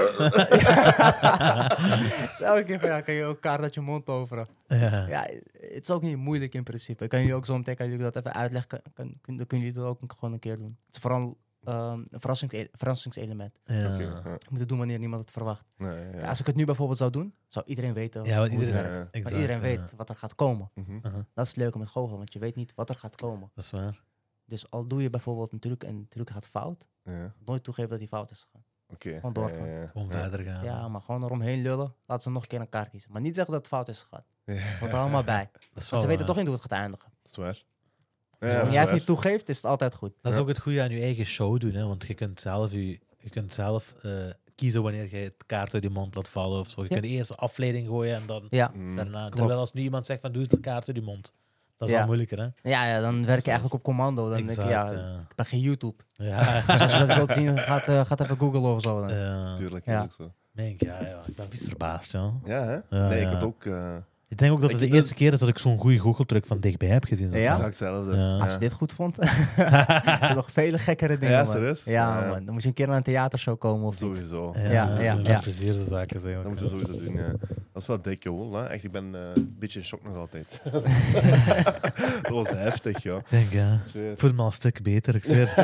S1: Het is elke keer van, ja, kan je ook kaart uit je mond toveren.
S2: Ja.
S1: Ja, het is ook niet moeilijk in principe. Ik kan jullie ook zo meteen, kan jullie dat even uitleggen. Kan, kan, kun- dan kunnen jullie dat ook gewoon een keer doen. Het is vooral ehm, een verrassings- verrassingselement.
S2: Ja.
S3: Oké, ja.
S1: Je moet het doen wanneer niemand het verwacht.
S3: Nee, ja.
S1: Ja, als ik het nu bijvoorbeeld zou doen, zou iedereen weten.
S2: Ja, want
S1: hoe het
S2: iedereen,
S1: werkt.
S3: ja.
S2: exact,
S1: Want iedereen
S2: ja.
S1: weet wat er gaat komen.
S3: Mhm.
S1: Dat is het leuke met goochelen, want je weet niet wat er gaat komen.
S2: Dat is waar.
S1: Dus al doe je bijvoorbeeld een truc en de truc gaat fout,
S3: Ja,
S1: nooit toegeven dat die fout is gegaan.
S3: Oké.
S1: Gewoon doorgaan.
S3: Ja, ja, ja.
S2: Gewoon verder gaan.
S1: Ja, maar gewoon eromheen lullen. Laat ze nog een keer een kaart kiezen. Maar niet zeggen dat het fout is gegaan.
S3: Ja.
S1: Want er allemaal bij.
S2: Dat is wel
S1: Want ze weten
S2: waar.
S1: toch niet hoe het gaat eindigen.
S3: Dat is waar.
S1: Dus
S3: dat
S1: wanneer
S3: is
S1: jij het
S3: waar.
S1: niet toegeeft, is het altijd goed.
S2: Dat is
S3: Ja.
S2: ook het goede aan je eigen show doen, hè? want je kunt zelf, je, je kunt zelf eh, kiezen wanneer je het kaart uit je mond laat vallen of zo. Je
S1: Ja.
S2: kunt eerst de afleiding gooien en dan
S1: Ja.
S3: Mm.
S2: daarna. Terwijl als nu iemand zegt van doe het kaart uit je mond, dat is
S1: Ja.
S2: al moeiker, hè?
S1: Ja, ja, dan werk je eigenlijk op commando. Dan denk je, ja,
S2: Exact, ja.
S1: ik ben geen YouTube.
S2: Ja,
S1: Dus als je dat wilt zien, gaat, eh, gaat even googlen of zo. dan.
S2: ja.
S3: Tuurlijk,
S1: Ja.
S3: ja. Ook zo.
S2: Denk, ja, ja, ik ben vies verbaasd, ja.
S3: Ja, hè?
S2: Ja,
S3: nee, ik
S2: ja.
S3: had ook eh
S2: Ik denk ook dat het
S3: Ik-
S2: de eerste keer is dat ik zo'n goede goocheltruc van dichtbij heb gezien. zo
S1: Ja?
S2: van-
S3: exact hetzelfde.
S2: Ja.
S1: Als je dit goed vond, had je nog vele gekkere dingen.
S3: Ja,
S1: man.
S3: serieus?
S1: Ja,
S3: Ja.
S1: man. Dan moet je een keer naar een theatershow komen of iets.
S3: Sowieso.
S2: Ja,
S1: Ja,
S2: ja,
S1: ja,
S2: dat
S1: ja.
S2: plezier de zaken zijn.
S3: Dat moeten we sowieso doen, ja. Dat is wel dik, joh. Hè? Echt, ik ben eh, een beetje in shock nog altijd. dat was heftig, joh.
S2: Ik denk, ja.
S3: Ik zweer.
S2: Ik voel me al een stuk beter, ik zweer.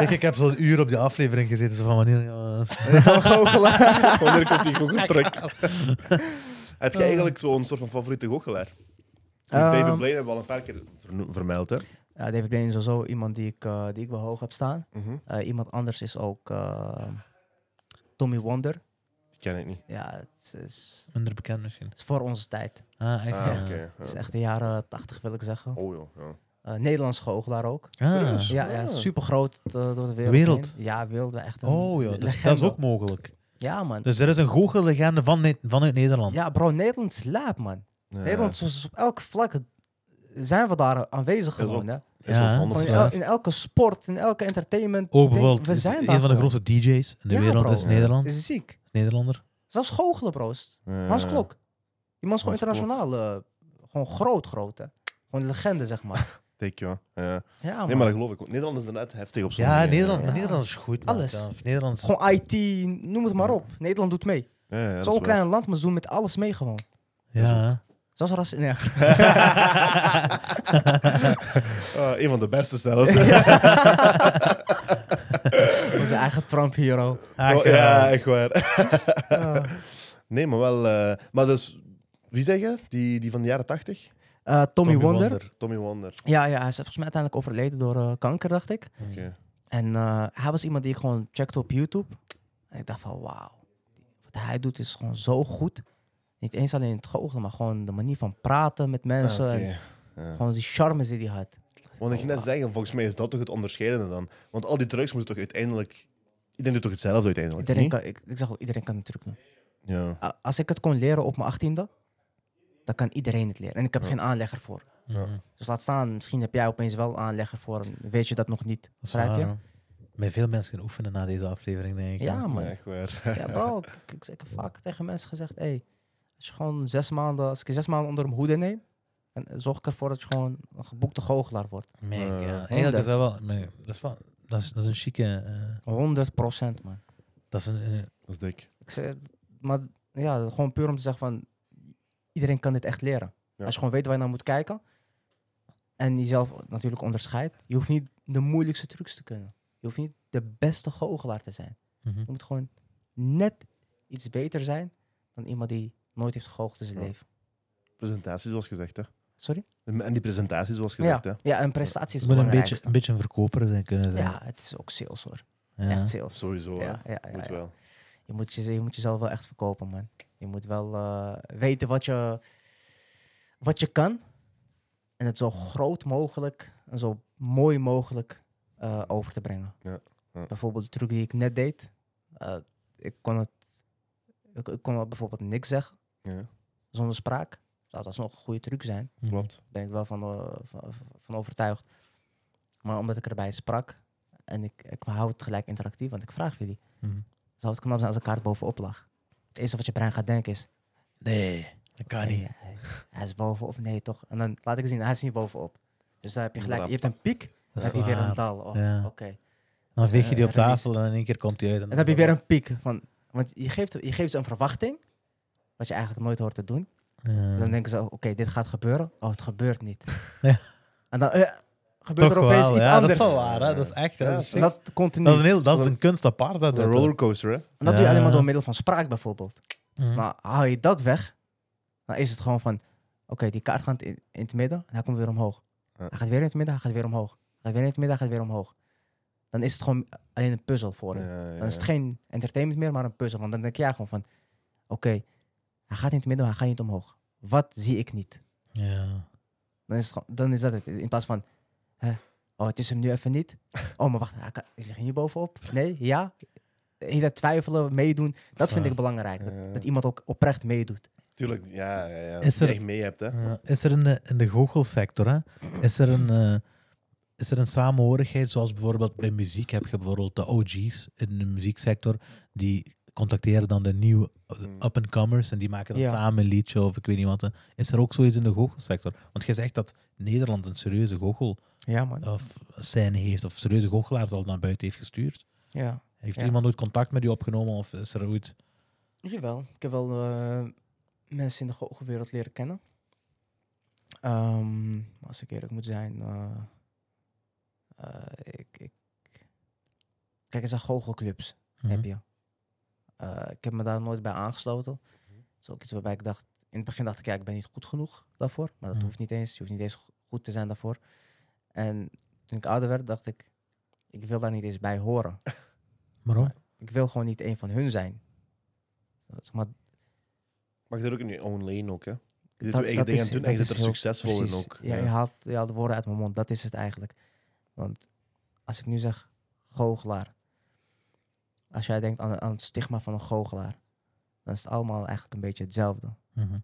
S2: Ik, ik heb zo'n uur op die aflevering gezeten, zo van wanneer... eh,
S1: Oh,
S3: Wanneer komt die goocheltruc? Heb je eigenlijk zo'n soort van favoriete goochelaar? David
S1: Oh. Ehm,
S3: Blaine hebben we al een paar keer verno- vermeld, hè?
S1: Ja, David Blaine is sowieso iemand die ik, eh, die ik wel hoog heb staan.
S3: Mhm.
S1: Eh, iemand anders is ook eh, Tommy Wonder.
S3: Die ken ik niet.
S1: Ja, het is,
S2: Minder bekend misschien.
S1: het is voor onze tijd.
S2: Ah, echt?
S3: Ah,
S2: ja.
S3: oké.
S1: Het is
S3: ja.
S1: echt de jaren tachtig, wil ik zeggen.
S3: Oh, joh. Ja.
S1: Eh Nederlands goochelaar ook.
S2: Ah.
S1: Ja, ja super groot door de wereld.
S2: Wereld.
S1: heen. Ja, wereld. Echt een
S2: Oh ja, dus dat is
S1: legende.
S2: ook mogelijk.
S1: Ja, man.
S2: Dus er is een goochellegende van Ne- vanuit Nederland.
S1: Ja, bro, Nederland is laap, man.
S3: Ja.
S1: Nederland is is op elk vlak zijn we daar aanwezig
S3: Ja,
S1: gewoon, hè.
S3: Is wel
S2: Ja.
S3: anders,
S1: Gewoon in,
S2: waar.
S1: el- Oh, in elke sport, in elke entertainment.
S2: Ook
S1: ding,
S2: Oh, bijvoorbeeld,
S1: we zijn
S2: een
S1: daar
S2: van de
S1: gewoon.
S2: grootste DJ's in de
S1: Ja,
S2: wereld
S1: bro.
S2: is
S3: Ja.
S2: Nederland.
S1: Is ziek.
S2: Nederlander.
S1: Zelfs goochelen, bro's.
S3: Ja.
S1: Hans Klok. Die man is gewoon
S3: Hans Klok.
S1: internationaal. eh, gewoon groot, groot, hè. Gewoon een legende, zeg maar.
S3: Dik, joh. Ja.
S1: Ja,
S3: Nee, maar dat geloof ik ook. Nederland is inderdaad heftig op zo'n
S2: Ja,
S3: manier.
S2: Nederland,
S1: Oh, Ja.
S2: maar Nederland is goed. man.
S1: Alles.
S2: Ja, of Nederland is-
S1: Gewoon IT, noem het maar op. Nederland doet mee.
S3: Ja, ja, dat is
S1: Zo'n
S3: waar.
S1: klein land, maar ze doen met alles mee gewoon.
S2: Ja.
S1: Zelfs ras... Nee,
S3: Ah, een van de beste zelfs.
S1: onze eigen Trump-hero.
S2: Ach,
S3: Oh,
S1: eh,
S3: ja, echt waar. Nee, maar wel... eh, maar dus... Wie zeg je? Die, die van de jaren tachtig?
S1: Eh, Tommy, Wonder.
S3: Tommy Wonder.
S1: Ja, ja, hij is volgens mij uiteindelijk overleden door eh, kanker, dacht ik.
S3: Oké.
S1: En eh, hij was iemand die ik gewoon checkte op YouTube. En ik dacht van, wauw. Wat hij doet is gewoon zo goed. Niet eens alleen het goochelen, maar gewoon de manier van praten met mensen.
S3: Ah, oké.
S1: En
S3: Ja.
S1: gewoon die charmes die hij had.
S3: Want ik ging net zeggen, volgens mij is dat toch het onderscheidende dan. Want al die drugs moeten toch uiteindelijk... Iedereen doet toch hetzelfde uiteindelijk,
S1: Oh, Iedereen
S3: niet?
S1: kan, ik, ik zeg ook, iedereen kan het truc doen.
S3: Ja.
S1: A- Als ik Oh, het kon leren op mijn achttiende, dan kan iedereen het leren. En ik heb geen aanlegger voor.
S2: Mhm.
S1: Dus laat staan, misschien heb jij opeens wel aanlegger voor. en Weet je dat nog niet?
S2: Dat is
S1: Begrijp
S2: waar,
S1: je?
S2: hoor. Bij veel mensen gaan oefenen na deze aflevering, denk ik.
S1: Ja, man.
S3: Nee, echt waar.
S1: Ja, bro, ik, ik- ik- ik heb vaak tegen mensen gezegd: hey, als je gewoon zes maanden, als ik je zes maanden onder mijn hoede neem, dan zorg ik ervoor dat je gewoon een geboekte goochelaar wordt.
S2: Mink,
S3: Eh,
S2: ja.
S1: honderd.
S2: Eigenlijk is dat wel... maar Dat is, wel, dat is, dat is een chique... eh,
S1: 100% man.
S2: dat is een, een-
S3: Dat is dik.
S1: Ik zeg, maar ja, gewoon puur om te zeggen: van iedereen kan dit echt leren.
S3: Ja.
S1: Als je gewoon weet waar je naar moet kijken en jezelf natuurlijk onderscheidt. Je hoeft niet de moeilijkste trucs te kunnen. Je hoeft niet de beste goochelaar te zijn.
S2: Mhm.
S1: Je moet gewoon net iets beter zijn dan iemand die nooit heeft gegoogeld in zijn
S3: Ja.
S1: leven.
S3: Presentatie, zoals gezegd. Hè.
S1: Sorry?
S3: En die presentatie, zoals gezegd.
S1: ja.
S3: Hè.
S1: ja, een prestatie is het
S2: Het moet een beetje,
S1: belangrijkste.
S2: een beetje een verkoper zijn kunnen zijn.
S1: Ja, het is ook sales hoor. Het
S2: Ja.
S1: is Echt sales.
S3: Sowieso. hè.
S1: Ja, ja, ja,
S3: Moet
S1: ja.
S3: wel.
S1: Je, moet je, je moet jezelf wel echt verkopen, man. Je moet wel eh, weten wat je, wat je kan. En het zo groot mogelijk en zo mooi mogelijk eh, over te brengen.
S3: Ja, ja.
S1: Bijvoorbeeld de truc die ik net deed. eh, ik, kon het, ik, ik kon wel bijvoorbeeld niks zeggen
S3: Ja,
S1: zonder spraak. Zou dat nog een goede truc zijn?
S2: Mhm.
S3: klopt.
S1: ben ik wel van, eh, van, van overtuigd. Maar omdat ik erbij sprak en ik, ik hou het gelijk interactief, want ik vraag jullie:
S2: Mhm.
S1: zou het knap zijn als een kaart bovenop lag? Het eerste wat je brein gaat denken is:
S2: Nee, dat kan
S1: nee,
S2: niet.
S1: hij, hij is bovenop, nee toch? En dan laat ik zien, hij is niet bovenop. Dus daar heb je gelijk, je hebt een piek, dan
S2: Dat is
S1: heb je weer een
S2: waar.
S1: dal. Oh,
S2: Ja.
S1: Oké.
S2: Dan veeg je die op
S1: Eh, remis.
S2: tafel en in één keer komt hij uit.
S1: En dan heb je weer een piek. Van, want je geeft, je geeft ze een verwachting, wat je eigenlijk nooit hoort te doen.
S2: Ja.
S1: Dan denken ze, oké, dit gaat gebeuren. Oh, het gebeurt niet.
S2: Ja.
S1: En dan eh, gebeurt er
S2: Toch
S1: opeens
S2: wel,
S1: iets
S2: ja,
S1: anders.
S2: Dat is wel waar, hè? dat is echt. hè.
S3: Ja,
S2: dat, is
S1: En
S2: sick.
S1: dat continu.
S2: dat is een heel, dat is een kunst apart. Dat,
S3: Een
S2: dat-
S3: rollercoaster, hè?
S1: En dat doe je alleen maar
S2: Ja.
S1: door middel van spraak bijvoorbeeld.
S2: Mhm.
S1: Maar haal je dat weg, dan is het gewoon van... Oké, die kaart gaat in, in het midden en hij komt weer omhoog.
S3: Ja.
S1: Hij gaat weer in het midden, hij gaat weer omhoog. Hij gaat weer in het midden, hij gaat weer omhoog. Dan is het gewoon alleen een puzzel voor
S3: Ja,
S1: hem.
S3: ja,
S1: Dan is
S3: ja.
S1: het geen entertainment meer, maar een puzzel. Want dan denk jij gewoon van... Oké, hij gaat in het midden, maar hij gaat niet omhoog. Wat zie ik niet?
S2: Ja.
S1: Dan is, het gewoon- dan is dat het. In plaats van, hè, oh, het is hem nu even niet. Oh, maar wacht, hij kan- hij ligt hier bovenop. Nee, ja. Heel dat twijfelen, meedoen. Dat,
S2: is
S1: vind ik
S2: waar.
S1: belangrijk. Dat,
S3: Ja.
S1: dat iemand ook oprecht meedoet.
S3: Tuurlijk, ja, ja, ja.
S2: Is
S3: Dat je
S2: er-
S3: echt mee hebt, hè?
S2: Ja, Eh, Is er in de, in de goochelsector, hè, is er een... eh, is er een samenhorigheid, zoals bijvoorbeeld bij muziek heb je bijvoorbeeld de OG's in de muzieksector, die contacteren dan de nieuwe
S3: Hmm.
S2: up-and-comers en die maken dan
S1: Ja.
S2: samen een liedje of ik weet niet wat. hè. Is er ook zoiets in de goochelsector? Want jij zegt dat Nederland een serieuze goochel
S1: Ja, man.
S2: of scène heeft, of serieuze goochelaars al naar buiten heeft gestuurd.
S1: Ja.
S2: Heeft
S1: Ja.
S2: iemand ooit contact met u opgenomen of is er ooit...
S1: Jawel. Ik heb wel eh, mensen in de goochelwereld leren kennen. Ehm, als ik eerlijk moet zijn. eh, eh, ik, ik... Kijk eens aan goochelclubs.
S2: Mhm.
S1: heb je. Eh, ik heb me daar nooit bij aangesloten. Dat is ook iets waarbij ik dacht... In het begin dacht ik, ja, ik ben niet goed genoeg daarvoor. Maar dat
S2: Mhm.
S1: hoeft niet eens. Je hoeft niet eens go- goed te zijn daarvoor. En toen ik ouder werd, dacht ik... Ik wil daar niet eens bij horen.
S2: Waarom?
S1: Ik wil gewoon niet een van hun zijn. Dat is maar
S3: Maar je zit ook in je own lane ook, hè? Je
S1: Dat-
S3: zit je eigen
S1: dat
S3: dingen
S1: is-
S3: aan het doen
S1: dat
S3: en je zit
S1: is
S3: er
S1: heel
S3: succesvol in
S1: Precies.
S3: ook.
S1: Ja, Je, haalt, je haalt de woorden uit mijn mond. Dat is het eigenlijk. Want als ik nu zeg goochelaar. Als jij denkt aan, aan het stigma van een goochelaar. Dan is het allemaal eigenlijk een beetje hetzelfde.
S2: Mhm.